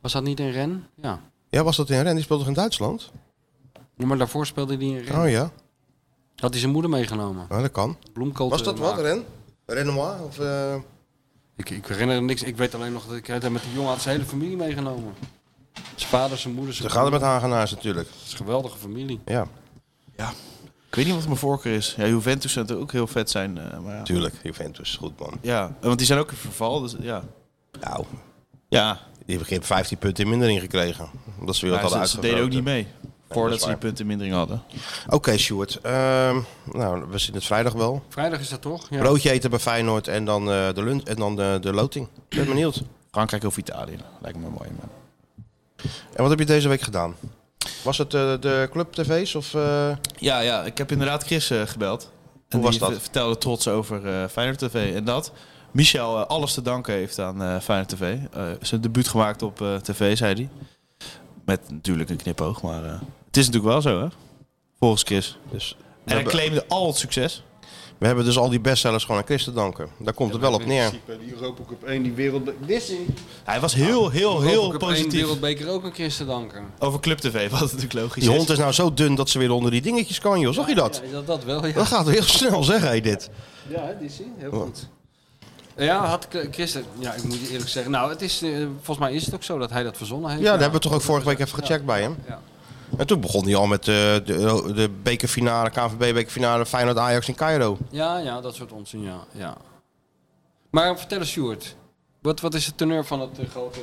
D: Was dat niet een ren? Ja.
C: Ja, was dat in Ren? Die speelde toch in Duitsland?
D: Ja, Maar daarvoor speelde hij een ren.
C: Oh ja,
D: Had hij zijn moeder meegenomen.
C: Ja, dat kan.
D: Bloemkool
C: Was
D: te
C: dat wat,
D: maken.
C: Ren? Renoir? Of, eh,
D: Ik, ik herinner me niks. Ik weet alleen nog dat ik het met die jongen had zijn hele familie meegenomen. Zijn vader, zijn moeder,
C: Ze
D: zijn
C: gaan er
D: broer.
C: met Hagenaars natuurlijk.
D: Het is een geweldige familie.
C: Ja,
A: Ik weet niet wat mijn voorkeur is. Ja, Juventus zou natuurlijk ook heel vet zijn. eh, maar ja.
C: natuurlijk. Juventus, goed man.
A: ja, want die zijn ook in verval. Dus ja.
C: Nou,
A: Ja,
C: die hebben geen 15 punten in mindering gekregen. Omdat ze weer wat
A: maar
C: hadden
A: ze, ze deden ook niet
C: uitgevroten.
A: mee.
C: dat
A: Voordat
C: is
A: ze die
C: waar.
A: punten mindering hadden.
C: Oké, Sjoerd. ehm, nou, we zien het vrijdag wel.
D: Vrijdag is dat toch? Ja.
C: Broodje eten bij Feyenoord en dan eh, de lunch en dan de, de loting. Ik ben benieuwd.
A: Frankrijk of Italië. Lijkt me mooi. Man.
C: En wat heb je deze week gedaan? Was het eh, de club tv's of... eh,
A: Ja, ja, ik heb inderdaad Chris eh, gebeld. En
C: was
A: die
C: dat?
A: v- vertelde trots over eh Feyenoord TV. En dat Michel eh, alles te danken heeft aan eh Feyenoord TV. Eh, zijn debuut gemaakt op eh, tv, zei hij. Met natuurlijk een knipoog, maar eh, het is natuurlijk wel zo, hè? Volgens Chris.
C: Dus
A: En hij claimde al het succes.
C: We hebben dus al die bestsellers gewoon aan Chris te danken. Daar komt het wel op neer.
L: Die Europa Cup 1, die wereld... Wissing.
A: Hij was heel, heel, heel
D: Cup één,
A: positief.
D: Wereldbeker ook een keer te danken.
A: Over Club TV, wat natuurlijk logisch
C: Die
A: is.
C: hond is nou zo dun dat ze weer onder die dingetjes kan, joh. Zag je dat?
D: Ja, dat, dat wel, ja.
C: Dat gaat heel snel, zeg hij dit.
D: Ja, die zie heel goed. Ja, had K- Chris, ja, ik moet je eerlijk zeggen. Nou, het is, eh, volgens mij is het ook zo dat hij dat verzonnen
C: Ja,
D: heeft.
C: dat hebben we toch ook vorige week even
D: Ja.
C: gecheckt bij hem.
D: Ja.
C: En toen begon hij al met eh, de, de bekerfinale, KNVB-bekerfinale, Feyenoord-Ajax in Cairo.
D: Ja, ja, dat soort onzin, ja. ja. Maar vertel eens, Sjoerd. Wat, wat is de teneur van het eh, grote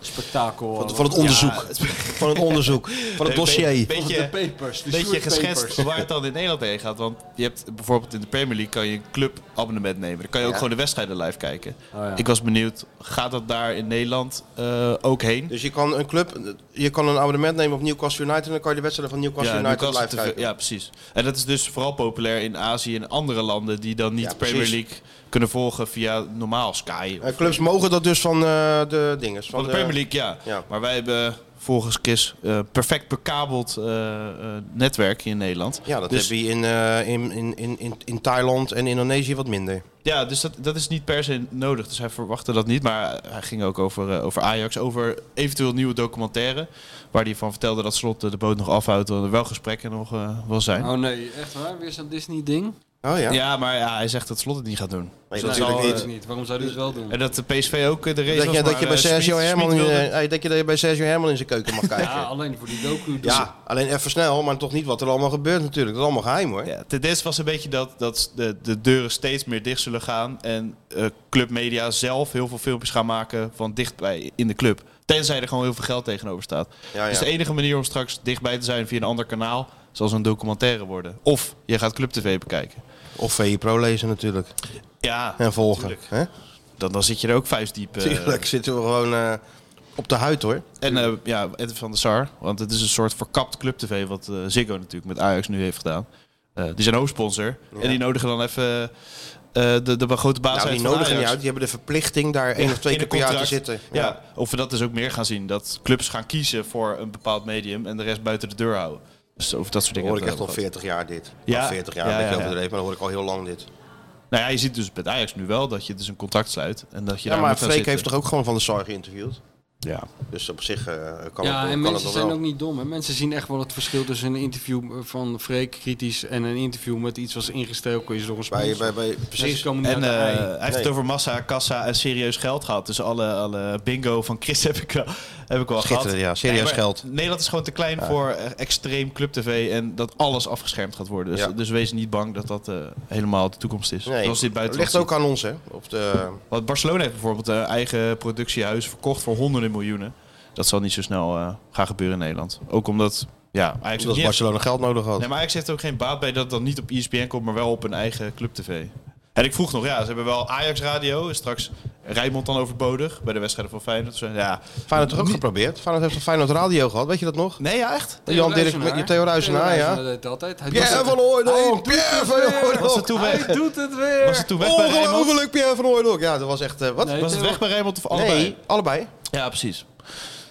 D: spektakel?
C: Van- van het onderzoek. Van het onderzoek. Van het
A: Een
C: dossier.
A: be- beetje,
D: Van de papers, de
A: beetje
D: Sjoerd
A: geschetst
D: papers.
A: waar het dan in Nederland heen gaat. Want je hebt bijvoorbeeld in de Premier League kan je een clubabonnement nemen. Dan kan je ook
C: Ja. Oh,
A: gewoon de wedstrijden live kijken.
C: ja.
A: Ik was benieuwd, gaat dat daar in Nederland eh, ook heen?
C: Dus je kan een club, je kan een abonnement nemen op Newcastle United en dan kan je de wedstrijden van Newcastle United
A: Newcastle
C: live
A: TV
C: kijken.
A: ja, precies. En dat is dus vooral populair in Azië en andere landen die dan niet
C: Ja,
A: de Premier
C: precies.
A: League kunnen volgen via normaal Sky.
C: En clubs mogen dat dus van eh, de dinges.
A: Van de Premier League, ja. Maar wij hebben volgens Chris eh, perfect bekabeld eh, eh, netwerk hier in Nederland.
C: Ja, dat
A: Dus-
C: heb je in, eh, in, in, in, in, in Thailand en Indonesië wat minder.
A: Ja, dus dat, dat is niet per se nodig. Dus hij verwachtte dat niet. Maar hij ging ook over, eh, over Ajax, over eventueel nieuwe documentaire. Waar hij van vertelde dat Slot eh, de boot nog afhoudt. Dat er wel gesprekken nog eh, wel zijn.
D: Oh nee, echt waar? Weer zo'n Disney-ding?
C: Oh
A: ja. maar ja, hij zegt dat Slot het niet gaat doen. Dus dat
D: natuurlijk
A: zal, eh,
D: niet. Waarom zou hij het wel doen?
A: En dat de PSV ook eh, de race
C: Dat
A: was,
C: je, dat,
A: maar,
C: je bij
A: eh,
C: Sergio
A: Smit-
C: Herman,
A: Smit
C: in,
A: wilde-
C: eh, hey, dat je daar bij Sergio Herman in zijn keuken mag kijken.
D: Ja, alleen voor die docu. dus-
C: Ja, alleen even snel, maar toch niet wat er allemaal gebeurt natuurlijk. Dat is allemaal geheim hoor.
A: Ja, Tendens was een beetje dat, dat de, de deuren steeds meer dicht zullen gaan. En eh, clubmedia zelf heel veel filmpjes gaan maken van dichtbij in de club. Tenzij er gewoon heel veel geld tegenover staat.
C: Ja,
A: Dus
C: ja.
A: de enige manier om straks dichtbij te zijn via een ander kanaal zal zo'n documentaire worden. Of je gaat Club TV bekijken.
C: Of VI Pro lezen natuurlijk.
A: Ja,
C: En volgen.
A: tuurlijk.
C: Hè?
A: Dan, dan zit je er ook vuistdiep. eh,
C: Tuurlijk zitten we gewoon eh, op de huid hoor. Nou,
A: En eh, ja, Ed van der Sar. Want het is een soort verkapt Club TV wat eh, Ziggo natuurlijk met Ajax nu heeft gedaan. Eh, die zijn hoofdsponsor.
C: Ja.
A: En die nodigen dan even eh, de, de grote baas
C: Nou,
A: uit
C: die
A: van
C: nodigen
A: Ajax.
C: niet uit. Die hebben de verplichting daar één of twee
A: in een
C: keer per jaar te
A: contract.
C: zitten.
A: Ja. of we dat dus ook meer gaan zien. Dat clubs gaan kiezen voor een bepaald medium en de rest buiten de deur houden. Dus over dat soort
C: Dan
A: dingen.
C: hoor ik echt
A: hebben
C: al
A: we het
C: 40 jaar dit.
A: Ja.
C: Ja. 40 jaar,
A: Ja,
C: een beetje
A: ja, ja.
C: overdreven, maar dan hoor ik al heel lang dit.
A: gehad. Nou ja, je ziet dus met Ajax nu wel dat je dus een contract sluit. En dat je
C: Ja,
A: daar moet
C: maar
A: gaan
C: Freek
A: zitten.
C: heeft toch ook gewoon van de SAR geïnterviewd?
A: Ja.
C: Dus op zich eh, kan
D: ja,
C: het,
D: en
C: kan
D: mensen
C: het nog
D: zijn
C: wel.
D: ook niet dom. Hè? Mensen zien echt wel het verschil tussen een interview eh, van Freek kritisch en een interview met iets wat ingestoken is door een sponsor.
C: Bij- bij- bij-
D: Mensen
C: precies.
D: komen niet
A: En
D: uit de
A: eh,
D: ei.
A: hij heeft het over massa, kassa en serieus geld gehad. Dus alle, alle bingo van Chris heb ik wel, heb ik wel gehad.
C: Schitterend, ja, serieus
A: maar
C: geld.
A: Nederland is gewoon te klein
C: Ja.
A: voor eh, extreem club tv en dat alles afgeschermd gaat worden. Dus,
C: Ja.
A: dus wees niet bang dat dat eh, helemaal de toekomst is.
C: Nee,
A: Zoals dit
C: het
A: buiten
C: ligt ook aan ons hè. Op de,
A: Want Barcelona heeft bijvoorbeeld een eigen productiehuis verkocht voor honderden miljoenen. Dat zal niet zo snel eh, gaan gebeuren in Nederland. Ook omdat ja, Ajax heeft
C: omdat
A: niet-
C: Barcelona geld nodig had.
A: Nee, maar Ajax heeft ook geen baat bij dat het dan niet op E ESPN komt, maar wel op een eigen club TV. En ik vroeg nog, ja, ze hebben wel Ajax Radio. Is straks Rijnmond dan overbodig bij de wedstrijden van Feyenoord? Ze- Ja,
C: Feyenoord heeft ook geprobeerd. Feyenoord heeft een Feyenoord radio gehad, weet je dat nog?
A: Nee, ja, echt?
D: Theo
C: Jan Dirk
D: Ruizenaar.
C: met Theo Ruizenaar, ja.
D: deed het altijd. Hij doet
C: Pierre
D: het-
C: van Hooijdonk!
D: Hij
C: Pierre
D: doet
C: van
D: het weer!
C: Hooijdonk!
A: Was het toen weg?
D: Hij doet het weer!
A: Was het toen weg bij Rijnmond?
C: Ongelooflijk, Pierre van Hooijdonk! Ja, dat was echt... eh, wat?
D: Nee,
A: Was het
D: Theo-
A: weg bij Rijnmond of allebei?
C: Nee, allebei.
A: Ja, precies.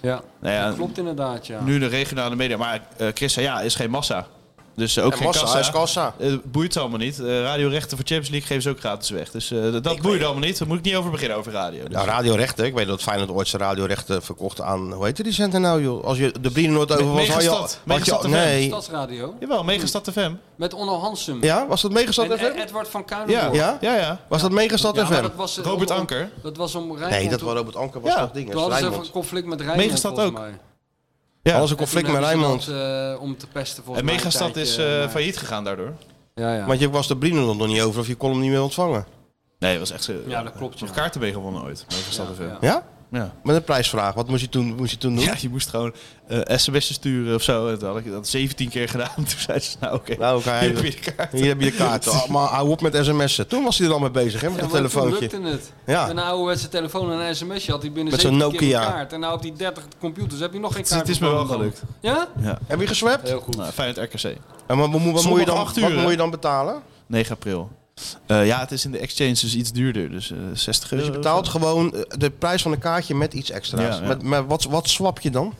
D: Ja,
A: Nou ja,
D: dat klopt inderdaad, ja.
A: Nu de regionale media. Maar eh Chris zei, ja, is geen massa. Dus eh, ook
C: En
A: geen
C: massa,
A: kassa.
C: is kassa.
A: Eh, boeit allemaal niet. Eh, radiorechten voor Champions League geven ze ook gratis weg. Dus eh, dat boeit allemaal niet. Daar moet ik niet over beginnen over radio. Dus-
C: Ja, radiorechten. Ik weet dat Feyenoord ooit zijn radiorechten verkocht aan... Hoe heette die center nou, joh? Als je de Brine Noord over was, had je al...
A: Megastad.
C: had je al-
A: Megastad
C: nee.
D: Stadsradio.
A: Jawel, Megastad FM.
D: Met Onno Hansen.
C: Ja, was dat Megastad
D: en
C: FM?
D: Ed- Edward van
A: Ja,
D: Kuilenborg.
A: ja,
C: Ja?
A: ja. ja.
C: Was dat Megastad
D: Ja, maar
C: FM?
D: dat was, eh,
A: Robert
D: om- om-
A: Anker?
D: Dat was om Rijnmond.
C: Nee, dat was Robert Anker. was
A: Ja.
C: dat ding.
D: Toen hadden ze even
C: Rijnmond.
D: een conflict met Rijnmond,
A: Megastad
D: volgens
A: ook.
D: mij.
A: Ja.
C: was een conflict met Rijnmond.
D: Dat, eh, om te pesten volgens
A: En
D: mij. een
A: Megastad is
D: tijdje,
A: eh,
D: maar-
A: failliet gegaan daardoor.
D: Ja, ja.
C: Want je was de Brine Noord nog niet over of je kon hem niet meer ontvangen.
A: Nee, dat was echt... eh,
D: ja, dat klopt.
A: nog
D: Ja.
A: kaarten mee gewonnen ooit. Megastad FM.
D: ja.
C: Ja?
A: Ja.
C: Met een prijsvraag. Wat moest je toen, moest je toen doen?
A: Ja, je moest gewoon eh sms'en sturen of zo. En toen had ik dat 17 keer gedaan. Toen zei ze, nou oké,
C: Nou, oké.
A: hier heb je de kaart.
C: Hier heb je de kaart. Oh, maar hou op met sms'en. Toen was hij er al mee bezig, hè, met
D: Ja,
C: dat
D: want toen
C: telefoontje.
D: lukte het.
C: Ja.
D: Met een ouderwetse telefoon en een sms'je had hij binnen
C: Met zo'n
D: 17 keer
C: Nokia.
D: een kaart. En nou op die 30 computers heb je nog geen
A: Het-
D: kaart.
A: het is me wel
D: gevonden dan. Ja?
C: Heb je geswept?
D: Heel goed.
A: Nou, Feyenoord RKC.
C: En wat, moet- wat, moet
A: Zondag
C: je dan,
A: acht uur,
C: wat
A: hè?
C: moet je dan betalen? Dus
A: 9 april. Eh, ja, het is in de exchange dus iets duurder. Dus eh, 60 euro.
C: Dus je betaalt gewoon eh, de prijs van een kaartje met iets extra's.
A: Ja, ja.
C: Met, maar wat, wat swap je dan?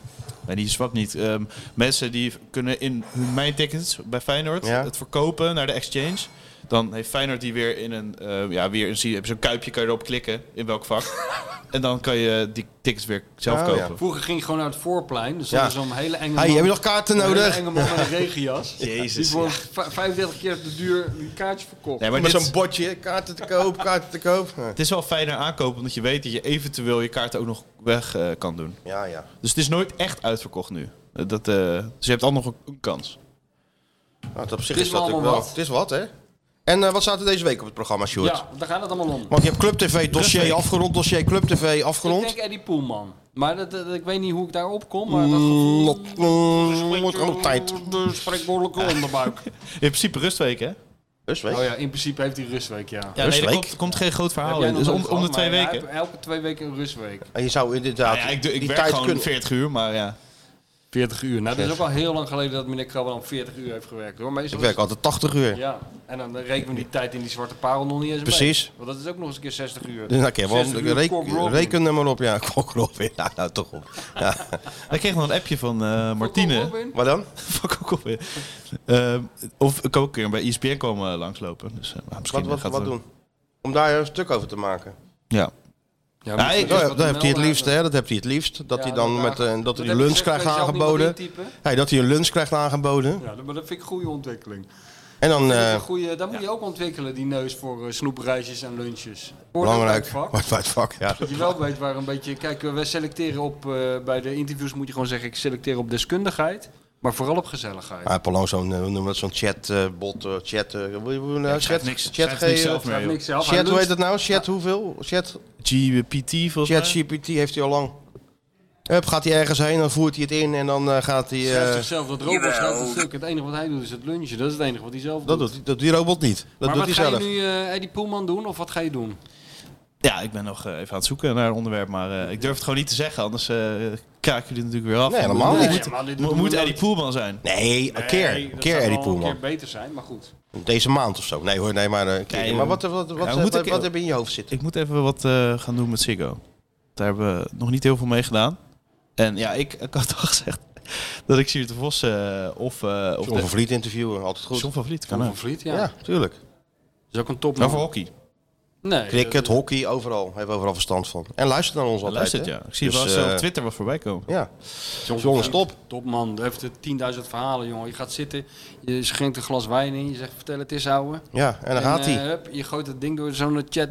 A: Nee, die swap niet. Ehm, mensen die kunnen in hun mijn tickets bij Feyenoord
C: Ja.
A: het verkopen naar de exchange. Dan heeft Feyenoord die weer in een, eh, ja, weer een, zie- hebben ze een kuipje, kan je erop klikken in welk vak. en dan kan je die tickets weer zelf
C: Ah,
D: Oh, ja.
A: kopen.
D: Vroeger ging je gewoon naar het voorplein. Dus
A: Ja.
D: ja. zo'n hele enge
A: Hey,
D: man-
A: heb je nog kaarten
D: een hele
A: nodig?
D: enge man met een regenjas.
A: Jezus,
D: Die wordt v- 35 keer te duur een kaartje verkocht.
A: Nee, maar
C: Met
A: dit-
C: zo'n bordje, kaarten te koop, kaarten te koop. Ja.
A: Het is wel fijner aankopen, omdat je weet dat je eventueel je kaarten ook nog weg eh, kan doen.
C: Ja, ja.
A: Dus het is nooit echt uitverkocht nu. Eh, Dat, eh, dus je hebt al nog een, een kans.
C: Nou, op zich
D: Het
C: is,
D: is
C: dat
D: wel
C: natuurlijk wel.
D: allemaal
C: Het is wat, hè? En eh, wat staat er deze week op het programma, Sjoerd?
D: Ja, daar gaat het allemaal om.
C: Want je hebt Club TV
D: Rugweek.
C: dossier afgerond, dossier Club TV
D: Ik
C: afgerond.
D: denk Eddie Poelman. Maar dat, dat- ik weet niet hoe ik daarop kom. Maar dat
C: Mm,
D: gevoel
C: Lot, mm, wordt gewoon tijd.
D: de spreekwoordelijke onderbuik.
A: In principe rustweek, hè?
C: Rustweek?
D: Oh ja, in principe heeft hij rustweek, ja.
A: Ja, nee, er komt, komt geen groot
D: Heb
A: verhaal
D: jij
A: in.
D: nog
A: Dus om,
D: nooit
A: om de
D: gehad,
A: twee
D: maar hij
A: weken.
D: heeft elke twee weken een rustweek.
C: En Nou, je zou inderdaad
D: Nou
A: ja, ik, doe- ik
C: die
A: werk
C: tijd
A: gewoon
C: kunnen...
A: 40 uur, maar ja.
D: 40 uur. Nou, dat is ook al heel lang geleden dat meneer Krabbe dan 40 uur heeft gewerkt hoor. Meestal
C: Ik
D: is- dus-
C: werk altijd 80 uur.
D: Ja, en dan rekenen we die tijd in die zwarte parel nog niet eens mee.
C: Precies.
D: Want dat is ook nog eens een keer 60 uur.
C: Dus nou, oké, wel,
D: 60 uur
C: reken-
D: Corp Robin.
C: reken er maar op. Ja, kok Robin. Nou, nou, toch op. Ja.
A: Ik kreeg nog een appje van eh, Martine.
D: Robin?
C: Wat dan?
A: Van Coco Robin. Ehm, of ik kan ook een keer bij ESPN komen eh, langslopen. Dus, eh, maar misschien
C: Wat, wat,
A: gaat
C: wat
A: het-
C: doen? Om daar een stuk over te maken.
A: Ja.
D: Ja,
C: Ja,
D: maar
C: ik,
D: dat
C: dat,
D: is
C: dat
D: wat nou
C: heeft hij het
D: melden
C: liefst, hè? Dat heeft hij het liefst. Dat
D: Ja,
C: hij dan
D: dat
C: met
D: daar-
C: eh, dat hij
D: dat
C: een
D: heb
C: lunch
D: je
C: krijgt
D: zelf niet
C: aangeboden.
D: moeten intypen.
C: Hey, dat hij een lunch krijgt aangeboden.
D: Ja, dat- maar dat vind ik goede ontwikkeling.
C: En dan
D: Dat is
C: eh
D: een goede, daar moet je ook ontwikkelen, die neus voor eh, snoepreisjes en lunches. Hoort ook bij het
C: belangrijk.
D: vak.
C: Wordt bij het vak, ja.
D: Dat je wel weet waar een beetje. Kijk, wij selecteren op. eh, bij de interviews moet je gewoon zeggen: ik selecteer op deskundigheid. Maar vooral op gezelligheid.
C: Hij heeft al lang zo'n eh, hoe noemen we dat, zo'n chatbot, eh, chat, eh, hoe- hoe- hoe- nou,
A: schrijft
C: chat,
A: niks-
C: chat,
A: schrijft niks
C: ge-
A: zelf mee,
D: joh. Niks zelf, hij
C: chat, hoe
D: luncht.
C: heet dat nou? Chat hoeveel? Chat,
A: GPT volgens mij.
C: chat GPT heeft hij al lang. Hup, gaat hij ergens heen, dan voert hij het in en dan eh, gaat hij...
D: Hij schrijft
C: eh,
D: zichzelf dat robot schrijft een stuk. Het enige wat hij doet is het lunchen. Dat is het enige wat hij zelf
C: dat
D: doet.
C: doet hij- dat doet die robot niet. Dat
D: maar
C: doet
D: wat
C: hij
D: ga
C: zelf.
D: je nu eh Eddie Poelman doen? Of wat ga je doen?
A: Ja, ik ben nog eh, even aan het zoeken naar een onderwerp, maar eh, ik durf het gewoon niet te zeggen, anders eh kraak jullie natuurlijk weer af.
C: Nee, helemaal
A: Moet-
C: niet.
A: Moet,
D: maar dit
A: moet,
D: doen we
A: Eddie Poelman zijn.
C: Nee, een keer. Een
D: dat
C: keer
D: zou
C: Eddie
D: wel
C: Poelman.
D: Een keer beter zijn, maar goed.
C: Deze maand of zo. Nee hoor, nee, maar eh, een keer.
A: Nee,
C: maar wat, wat, wat,
A: Ja,
C: wat,
A: we moeten
C: wat
A: een keer-
C: heb je in je hoofd zitten?
A: Ik moet even wat eh, gaan doen met Ziggo. Daar hebben we nog niet heel veel mee gedaan. En ja, ik, ik had al gezegd dat ik Siert de Vos eh, of... eh of
C: John
A: de-
C: van Vliet interviewen, altijd goed.
A: John van Vliet kan
D: Van
A: ook.
D: Van Vliet, ja.
C: Ja, tuurlijk.
D: Is ook een
A: Maar
C: Nou,
D: topman.
A: voor hockey.
D: Nee,
C: Cricket,
D: dat-
C: hockey, overal. Hebben we overal verstand van. En luister naar ons altijd.
A: Luistert,
C: hè?
A: ja. Ik zie
C: Dus,
A: wel eens, eh,
C: eh,
A: op Twitter wat voorbij komen.
C: Ja.
D: John van
C: Jongens,
D: Vliet,
C: top.
D: Topman. Hij heeft eh, 10.000 verhalen, jongen. Je gaat zitten, je schenkt een glas wijn in. Je zegt: vertel het eens, ouwe.
C: Ja, en dan gaat
D: eh,
C: hij.
D: hup, je gooit dat ding door zo'n eh, chat,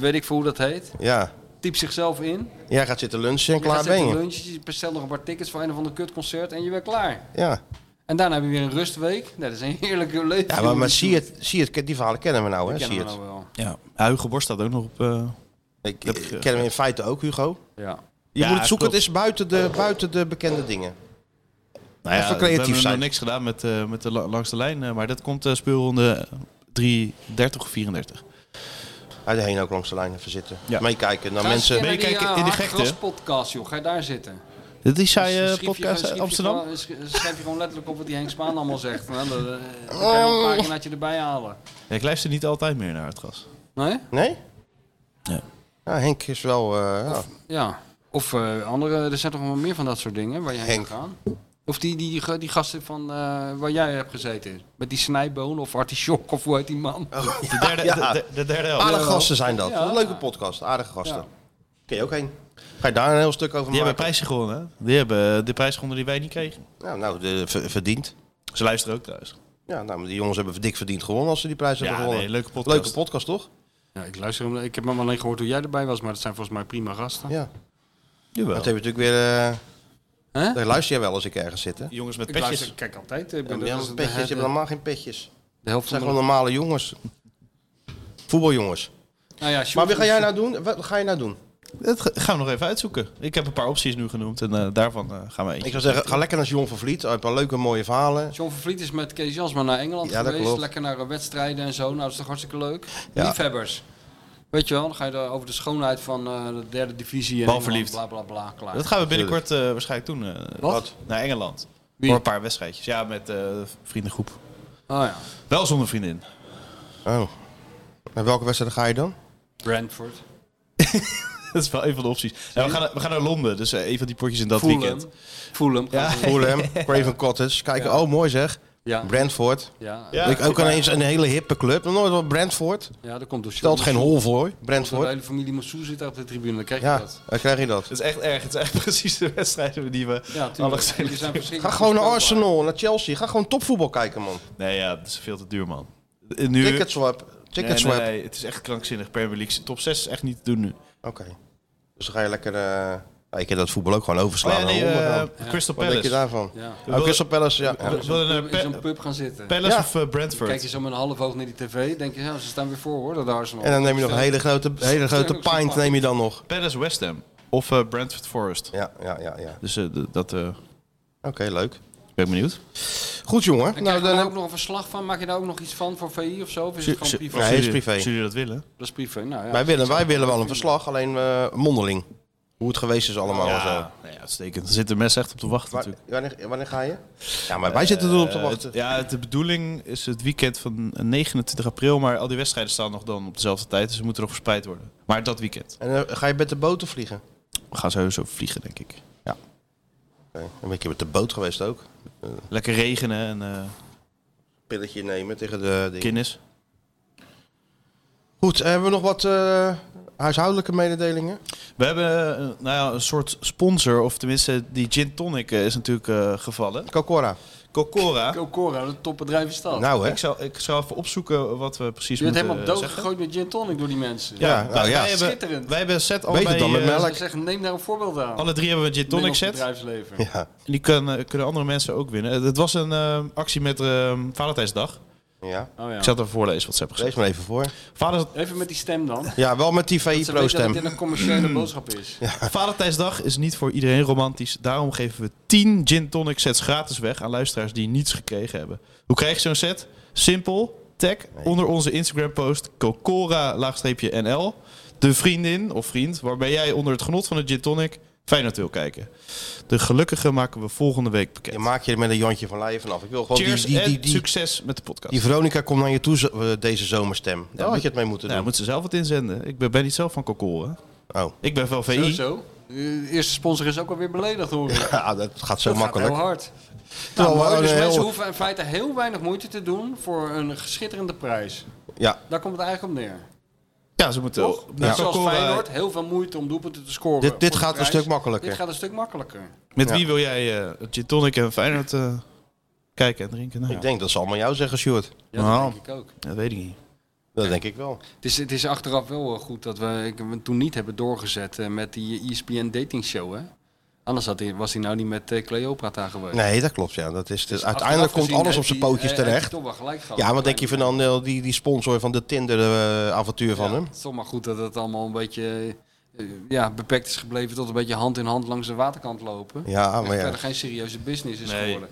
D: weet ik veel hoe dat heet.
C: Ja.
D: Typ zichzelf in.
C: Jij gaat zitten lunchen en
D: Je gaat
C: klaar ben
D: zitten
C: je.
D: lunchen, je bestelt nog een paar tickets voor een of ander kutconcert en je bent klaar.
C: Ja.
D: En daarna heb je weer een rustweek. Nou, dat is een heerlijke leven.
C: Ja, maar, maar zie het, zie het, die verhalen kennen we nou, hè?
D: Dat kennen
C: Zie
D: we
C: het.
D: nou wel.
A: Ja. Ja, Hugo Borst staat ook nog op... eh,
C: Ik,
A: Dat-
C: ik ken hem in feite ook, Hugo.
D: Ja.
C: Je
A: Ja,
C: moet het zoeken,
A: klopt.
C: het is buiten de, buiten de bekende dingen.
A: Nou
C: Even
A: we
C: creatief
A: hebben nog
C: zijn.
A: niks gedaan met, eh, met de la- langs de lijn, eh, maar dat komt eh, speelronde 3, 30 of 34.
C: Hij heen ook langs de lijn even zitten.
A: Ja.
C: Meekijken naar
D: Ga eens
C: mensen.
D: een keer naar
A: meekijken
D: die,
A: in de
D: eh,
A: gekte.
D: Haakgras-podcast, joh. Ga je daar zitten.
A: Dit is
C: eh,
A: zij
D: Dus schrijf je
A: podcast uit
D: gewoon- schrijf je
A: Amsterdam.
D: gewoon- sch- Schrijf je gewoon letterlijk op wat die Henk Spaan allemaal zegt. Nou, dan, eh, dan kan je wel
C: Oh.
D: een paginaatje erbij halen.
A: Ja, ik luister niet altijd meer naar het gas.
D: Nee?
C: Nee?
A: Ja.
C: Ja, Henk is wel... eh, ja.
D: Ja. Of eh, andere, er zijn toch wel meer van dat soort dingen waar je heen
C: Henk.
D: kan gaan. Of die, die, die, die gasten van eh, waar jij hebt gezeten. Met die snijboon of artichok of hoe heet die man?
C: Oh.
A: De derde,
C: Ja. Ah,
A: de, oh, de- de derde helft.
C: Aardige gasten zijn dat.
D: Ja.
C: Wat een leuke podcast. Aardige gasten.
D: Ja.
C: Kun je ook heen. Ga je daar een heel stuk over
A: Die hebben
C: maken?
A: prijzen gewonnen. hè? Die hebben eh, de prijs gewonnen die wij niet kregen.
C: Ja, nou, de, ver- verdiend.
A: Ze luisteren ook thuis.
C: Ja, nou, maar die jongens hebben dik verdiend gewonnen als ze die prijs
A: Ja,
C: hebben gewonnen.
A: nee, leuke podcast.
C: Leuke podcast, toch?
D: Ja, ik luister hem. Ik heb hem alleen gehoord hoe jij erbij was, maar dat zijn volgens mij prima gasten.
C: Ja.
A: Jawel.
C: Dat hebben we natuurlijk weer... eh,
D: Hè?
C: daar luister jij wel als ik ergens zit, hè?
A: Jongens met
D: Ik luister,
A: petjes.
D: ik kijk altijd. Ik
C: Ja,
D: ben-
C: maar ja,
D: dat
C: maar
D: is de-
C: petjes, je
D: de-
C: hebt helemaal geen petjes.
D: de helft
C: Het zijn
D: van
C: gewoon
D: de-
C: normale jongens. Voetbaljongens.
D: Nou ja, Sjoerd-
C: Maar wat ga jij nou doen? Wat ga je nou doen?
A: Dat ga- gaan we nog even uitzoeken. Ik heb een paar opties nu genoemd en eh, daarvan eh, gaan we eentje.
C: Ik zou zeggen, ga lekker naar Jon van Vliet. Hij heeft wel leuke, mooie verhalen.
D: John van Vliet is met Kees Jansma naar Engeland
C: Ja, dat
D: geweest.
C: klopt.
D: Lekker naar eh, wedstrijden en zo. Nou, dat is toch hartstikke leuk.
C: Ja.
D: Liefhebbers. Weet je wel, dan ga je daar over de schoonheid van eh, de derde divisie. en
A: Balverliefd.
D: Engeland, Bla bla bla, klaar.
A: Dat gaan we binnenkort eh, waarschijnlijk doen. eh,
D: Wat?
A: Naar Engeland.
D: Wie?
A: Voor een paar wedstrijdjes. Ja, met eh vriendengroep.
D: Oh ja.
A: Wel zonder vriendin.
C: Oh. En welke wedstrijd ga je dan?
D: Brentford.
A: Dat is wel een van de opties. Nou, we, gaan, we gaan naar Londen, dus eh, een van die potjes in dat
D: Fulham.
A: weekend.
D: Fulham.
A: Ja.
C: Fulham, Craven Cottage. Kijken,
A: Ja.
C: oh mooi zeg.
D: Ja.
C: Brentford.
D: Ja.
A: Ja.
C: Ik ook ineens een hele hippe club. Nog nooit wat Brentford.
D: Ja, dat komt door
C: Stelt
D: Sjoerd
C: geen
D: Moussou.
C: hol voor, hoor. Brentford.
D: De hele familie Moussou zit daar op de tribune, dan krijg je
C: Ja,
D: dat.
C: dan krijg je dat.
A: Het is echt erg. Het is echt precies de wedstrijden die we
D: Ja,
A: alle
D: tuurlijk.
A: gezien
D: Die
C: Ga
D: zijn verschrikkelijk
C: gewoon naar
D: voorspelbaar.
C: Arsenal, naar Chelsea. Ga gewoon topvoetbal kijken, man.
A: Nee, ja, dat is veel te duur, man. Eh, Nu...
C: Ticketswap.
A: Nee,
C: Ticketswap.
A: Nee, nee, het is echt krankzinnig. Premier League top 6 is echt niet te doen nu.
C: Oké. Dus dan ga je lekker... eh ja, je kan dat voetbal ook gewoon overslaan.
A: Oh ja, nee,
C: en
A: eh,
C: ondergaan.
A: Crystal
C: Wat denk je
A: Palace.
C: daarvan?
D: Ja.
C: Oh, Crystal Palace, ja. ja.
A: We willen
D: in
A: naar
D: zo'n pub gaan zitten.
A: Palace
C: Ja.
A: of eh,
D: Dan kijk je
A: Brentford.
D: zo met een half oog naar die tv, denk je, ja, ze staan weer voor hoor, dat Arsenal.
C: En dan neem je nog een hele grote, hele grote
D: Sterk zo'n
C: pint
D: pak.
C: neem je dan nog.
A: Palace West Ham of eh, Brentford Forest.
C: Ja, ja, ja. ja.
A: Dus eh, d- dat eh,
C: Oké, leuk.
A: ben ik benieuwd.
C: Goed, jongen.
D: En krijg
C: Nou,
D: je daar
C: dan
D: ook nog een verslag van? Maak je daar ook nog iets van voor VI of zo? Of is het gewoon privé?
C: Nee,
A: Als
C: is
A: jullie-
C: privé.
A: Als jullie dat willen.
D: Dat is privé. Nou, ja,
C: wij, willen, wij willen wel een verslag, alleen eh, mondeling. Hoe het geweest is allemaal. en Oh, zo.
A: Ja, nee, uitstekend. Er zit de mes echt op te wachten
C: Waar-
A: natuurlijk.
C: wanneer, wanneer ga je? Ja, maar wij zitten er op te
A: Eh,
C: wachten.
A: het- ja, het- de bedoeling is het weekend van 29 april, maar al die wedstrijden staan nog dan op dezelfde tijd, dus ze moeten nog verspreid worden. Maar dat weekend.
C: En eh, ga je met de boten vliegen?
A: We gaan sowieso vliegen, denk ik.
C: Oké. Een beetje met de boot geweest ook.
A: Lekker regenen en eh
C: Pilletje nemen tegen de dingen.
A: kinnis.
C: Goed, hebben we nog wat eh, huishoudelijke mededelingen?
A: We hebben eh, nou ja, een soort sponsor, of tenminste die gin tonic eh, is natuurlijk eh, gevallen.
C: Kokora.
A: Cocora.
D: Cocora, dat topbedrijf is dat.
C: Nou hè.
A: Ik zal, ik zal even opzoeken wat we precies
D: je bent
A: moeten
D: helemaal
A: eh, zeggen.
D: doodgegooid met gin tonic door die mensen.
A: Ja,
C: Ja,
A: wij,
C: nou ja.
A: wij hebben,
D: Schitterend.
A: wij hebben een set
C: Beter
A: allebei,
C: dan met
A: eh,
C: melk.
D: Ik zeg, neem daar een voorbeeld aan.
A: Alle drie hebben we een gin tonic
D: Nederlands
A: set.
D: bedrijfsleven.
C: Ja.
A: En die kun- eh, kunnen andere mensen ook winnen. Eh, Het was een eh, actie met eh, Valentijnsdag.
C: ja.
D: Oh, ja.
A: Ik zal het even voorlezen wat ze hebben
C: Lees
A: gezegd.
C: maar even voor.
A: Vaders-
D: Even met die stem dan.
C: Ja, wel met die VI
D: Ze weten dat dit
C: Pro-stem.
D: een commerciële boodschap is.
A: Valentijnsdag is niet voor iedereen romantisch. Daarom geven we 10 gin tonic sets gratis weg aan luisteraars die niets gekregen hebben. Hoe krijg je zo'n set? Simpel. Tag onder onze Instagram post cocora-nl. De vriendin of vriend waarbij jij onder het genot van de gin tonic Feyenoord wil kijken. De gelukkige maken we volgende week
C: Je
A: bekend.
C: maakt je er met een jantje van lijf vanaf. Ik wil gewoon die,
A: Cheers
C: die, die,
A: en
C: die,
A: succes met de podcast.
C: die Veronica komt naar je toe zo- eh, deze zomerstem. Daar
D: Oh,
C: had je het mee moeten
A: nou,
C: doen.
A: moeten ze zelf wat inzenden. Ik ben, ben niet zelf van Cocora.
C: Oh.
A: Ik ben van VI.
D: Sowieso. De eerste sponsor is ook alweer beledigd hoor. Dat
C: Ja, dat gaat zo
D: gaat
C: makkelijk.
D: heel hard.
C: Terwijl we
D: Nou,
C: een
D: dus
C: heel-
D: mensen hoeven in feite heel weinig moeite te doen voor een geschitterende prijs.
C: Ja,
D: Daar komt het eigenlijk op neer.
A: Ja, ze moeten
D: Toch?
A: naar
D: Net zoals
A: Cocora.
D: Feyenoord, heel veel moeite om doelpunten te scoren.
C: Dit- dit
D: voor de
C: gaat een
D: prijs.
C: stuk makkelijker.
D: Dit gaat een stuk makkelijker.
A: Met
C: Ja.
A: wie wil jij eh gin tonic en Feyenoord eh, kijken en drinken? Nou,
C: ik denk dat ze allemaal jou zeggen, Sjoerd.
D: Ja,
A: Nou.
D: dat denk ik ook.
A: Dat weet ik niet.
C: Dat denk ik wel.
D: Het is, het is achteraf wel eh, goed dat we, ik, we toen niet hebben doorgezet eh, met die ESPN dating show. Hè? Anders had hij, was hij nou niet met eh, Cleopatra geweest.
C: Nee, dat klopt. Ja. Dat is,
D: Dus
C: uiteindelijk
D: achteraf
C: komt
D: gezien
C: alles op
D: heeft
C: zijn
D: hij,
C: pootjes
D: eh, heeft
C: terecht.
D: hij toch wel gelijk gehad.
C: Ja, wat denk je van dan eh, die, die sponsor van de Tinder-avontuur van
D: Ja,
C: hem?
D: Het is toch maar goed dat het allemaal een beetje eh, ja, beperkt is gebleven tot een beetje hand in hand langs de waterkant lopen.
C: Ja,
D: En
C: maar ja.
D: verder geen serieuze business is
A: Nee.
D: geworden.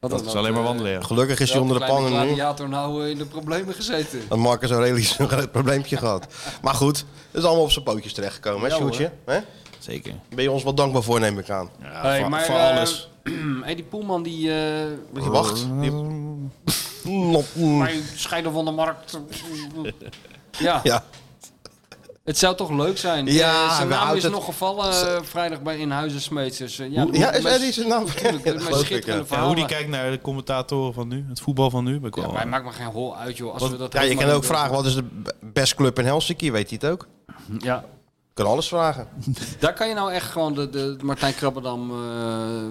D: Want
A: Dat
D: dan
A: is
D: had,
A: alleen maar
D: eh,
A: wandelen. ja.
C: Gelukkig is hij
D: welke
C: onder de
D: kleine
C: pannen nu.
D: gladiator nou eh, in de problemen gezeten.
C: Dat Marcus Aurelius een groot probleempje gehad. Maar goed, het is allemaal op zijn pootjes terechtgekomen, hè,
D: Ja, hoor.
C: Sjoerdje? Hè?
A: Zeker.
C: Ben je ons wel dankbaar voor, neem ik aan.
A: Ja,
D: Hey,
A: voor,
D: maar,
A: voor
D: eh,
A: alles.
D: hey, die Poelman die eh,
C: Die wacht. Die...
D: Mm.
C: Lop, mm.
D: bij scheiden van de markt. ja,
C: Ja,
D: het zou toch leuk zijn.
C: Ja,
D: Eh, zijn
C: we
D: naam
C: houden
D: is
C: het-
D: nog gevallen eh, vrijdag bij Inhuizen Smeets. Dus, eh, ja, eh,
C: ja is,
D: maar-
C: er is een naam.
D: natuurlijk,
C: Ja,
D: maar
C: geloof ik,
D: schitterende
C: ja.
A: Ja, hoe die
D: verhalen.
A: kijkt naar de commentatoren van nu, het voetbal van nu. Ben ik
D: Ja,
A: wel- eh,
D: maar hij maakt maar geen hol uit, joh. Als we dat
C: Ja, je
D: helemaal
C: kan ook
D: niet
C: vragen, wat is de b- best club in Helsinki? Weet hij het ook?
D: doen. Ja,
C: Je kan alles vragen.
D: Daar kan je nou echt gewoon de, de Martijn Krabbendam eh,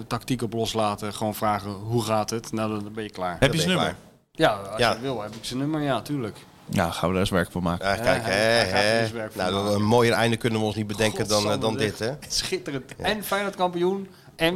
D: tactiek op loslaten. Gewoon vragen, hoe gaat het? Nou, dan- dan ben je klaar.
A: Heb je
C: Dat
A: zijn
C: denk ik
A: nummer?
D: Ja, als
C: Ja.
D: je wil, heb ik zijn nummer. Ja, tuurlijk.
A: Ja, gaan we daar eens werk van maken.
C: Ja, kijk,
D: hij-
C: hè,
D: hij gaat er
C: hè.
D: dus werk van
C: Nou,
D: maken.
C: een mooier einde kunnen we ons niet bedenken dan, eh, dan
D: Godsamme,
C: dit, hè?
D: Schitterend. En Feyenoord kampioen. En...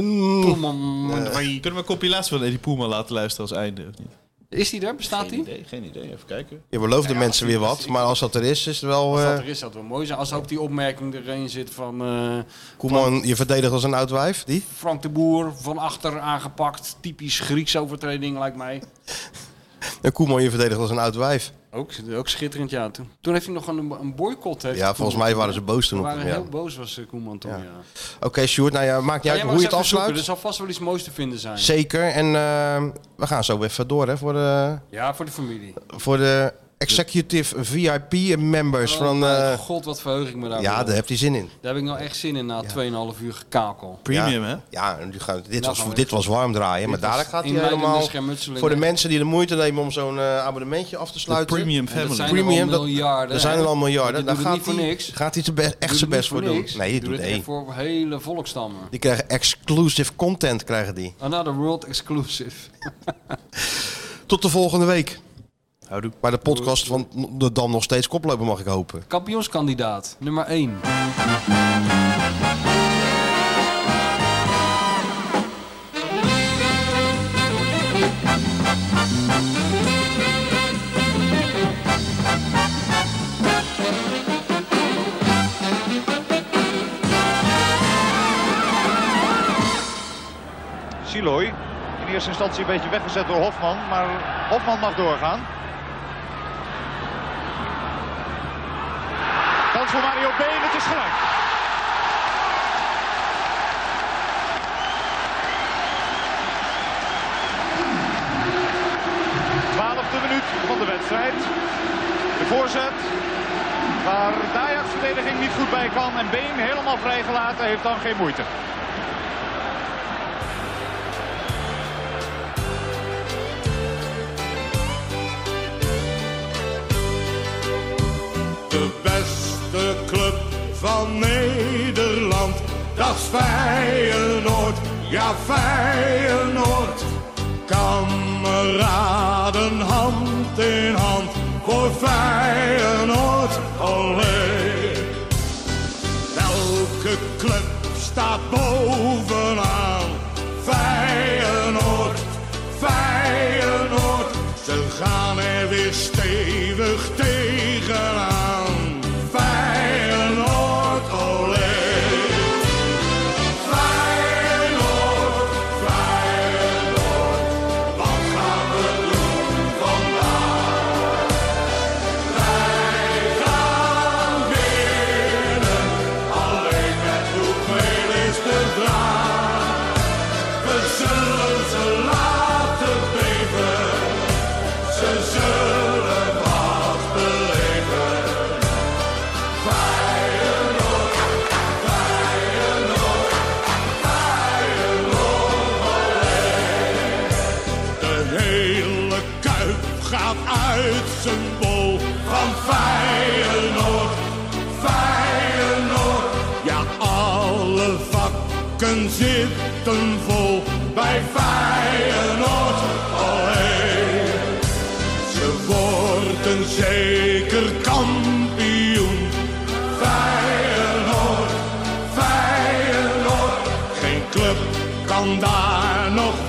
C: Mm.
D: Poelman.
A: Kunnen we een compilatie van Eddie Poelman laten luisteren als einde? Of niet?
D: Is die er? Bestaat die?
A: idee, geen idee. Even kijken.
C: Je belooft de mensen weer wat, maar als dat er is, is het wel...
D: Als
C: eh,
D: dat er is, dat wel mooi zijn. Als ook die opmerking erin zit van eh,
C: Koeman, je verdedigt als een oud wijf, die?
D: Frank de Boer van achter aangepakt. Typisch Grieks overtreding, lijkt mij.
C: En Koeman, je verdedigt als een oud wijf.
D: Ook, ook schitterend, ja. Toen, toen heeft hij nog een, een boycott. Hè,
C: Ja, volgens mij waren ze boos toen
D: We
C: op
D: waren
C: hem,
D: heel
C: ja.
D: boos, was eh, Koeman toen,
C: Ja.
D: ja.
C: Oké, Sjoerd, nou ja, maakt niet uit
D: Ja, jij mag
C: hoe je
D: eens
C: het
D: even
C: afsluit.
D: zoeken, dus-
C: ehm,
D: Er zal vast wel iets moois te vinden zijn.
C: Zeker, en eh, we gaan zo even door, hè, voor de...
D: Ja, voor de familie.
C: Voor de Executive VIP members van...
D: Oh,
C: eh,
D: God, wat verheug ik me daarvoor.
C: ja, daar heb je zin in.
D: Daar heb ik nou echt zin in na 2,5 uur gekakel.
C: ja. hè? Ja, en nu gaan, dit,
D: Nou, gaan
C: was,
D: we-
C: dit was warm draaien, maar
D: Dit was
C: dadelijk gaat hij
D: inleidende
C: helemaal...
D: schermutseling,
C: Voor de
D: hè?
C: mensen die de moeite nemen om zo'n eh, abonnementje af te sluiten.
A: premium En dat family. zijn er
C: Premium,
A: al
C: dat-
A: miljarden,
C: Er zijn er
A: hè?
C: al miljarden.
A: Die
C: Daar
A: doen het
C: gaat
A: niet voor
C: hij-
A: niks.
C: Gaat hij te be- echt zijn best voor doen. Nee, die doet
D: het echt
C: één.
D: voor hele volkstammen.
C: Die krijgen exclusive content, krijgen die.
D: Another world exclusive.
C: Tot de volgende week. Bij de podcast van de Dam nog steeds koploper, mag ik hopen.
D: Kampioenskandidaat, nummer 1.
M: Siloy. In eerste instantie een beetje weggezet door Hofman. Maar Hofman mag doorgaan. Kans voor Mario B. en Het is gelijk. Twaalfde minuut van de wedstrijd. De voorzet. Waar de Ajax-verdediging niet goed bij kan. En Been helemaal vrijgelaten heeft dan geen moeite.
N: De beste club van Nederland, dat is Feyenoord, ja Feyenoord. Kameraden hand in hand, voor Feyenoord, alleen. Welke club staat bovenaan? Feyenoord, Feyenoord. Ze gaan er weer stevig tegenaan. Feyenoord, olé. Feyenoord, Feyenoord. Wat gaan we doen vandaag? Wij gaan winnen. Alleen het hoeveel is te draag. We zullen ze laten beven. Ze zullen wat beleven. Feyenoord, Feyenoord, Feyenoord, olé. De hele kuip gaat uit zijn bol van Feyenoord. Feyenoord. Ja, alle vakken zitten vol bij Feyenoord. Olé. Ze worden zeker kampioen. Feyenoord, Feyenoord. Geen club kan daar nog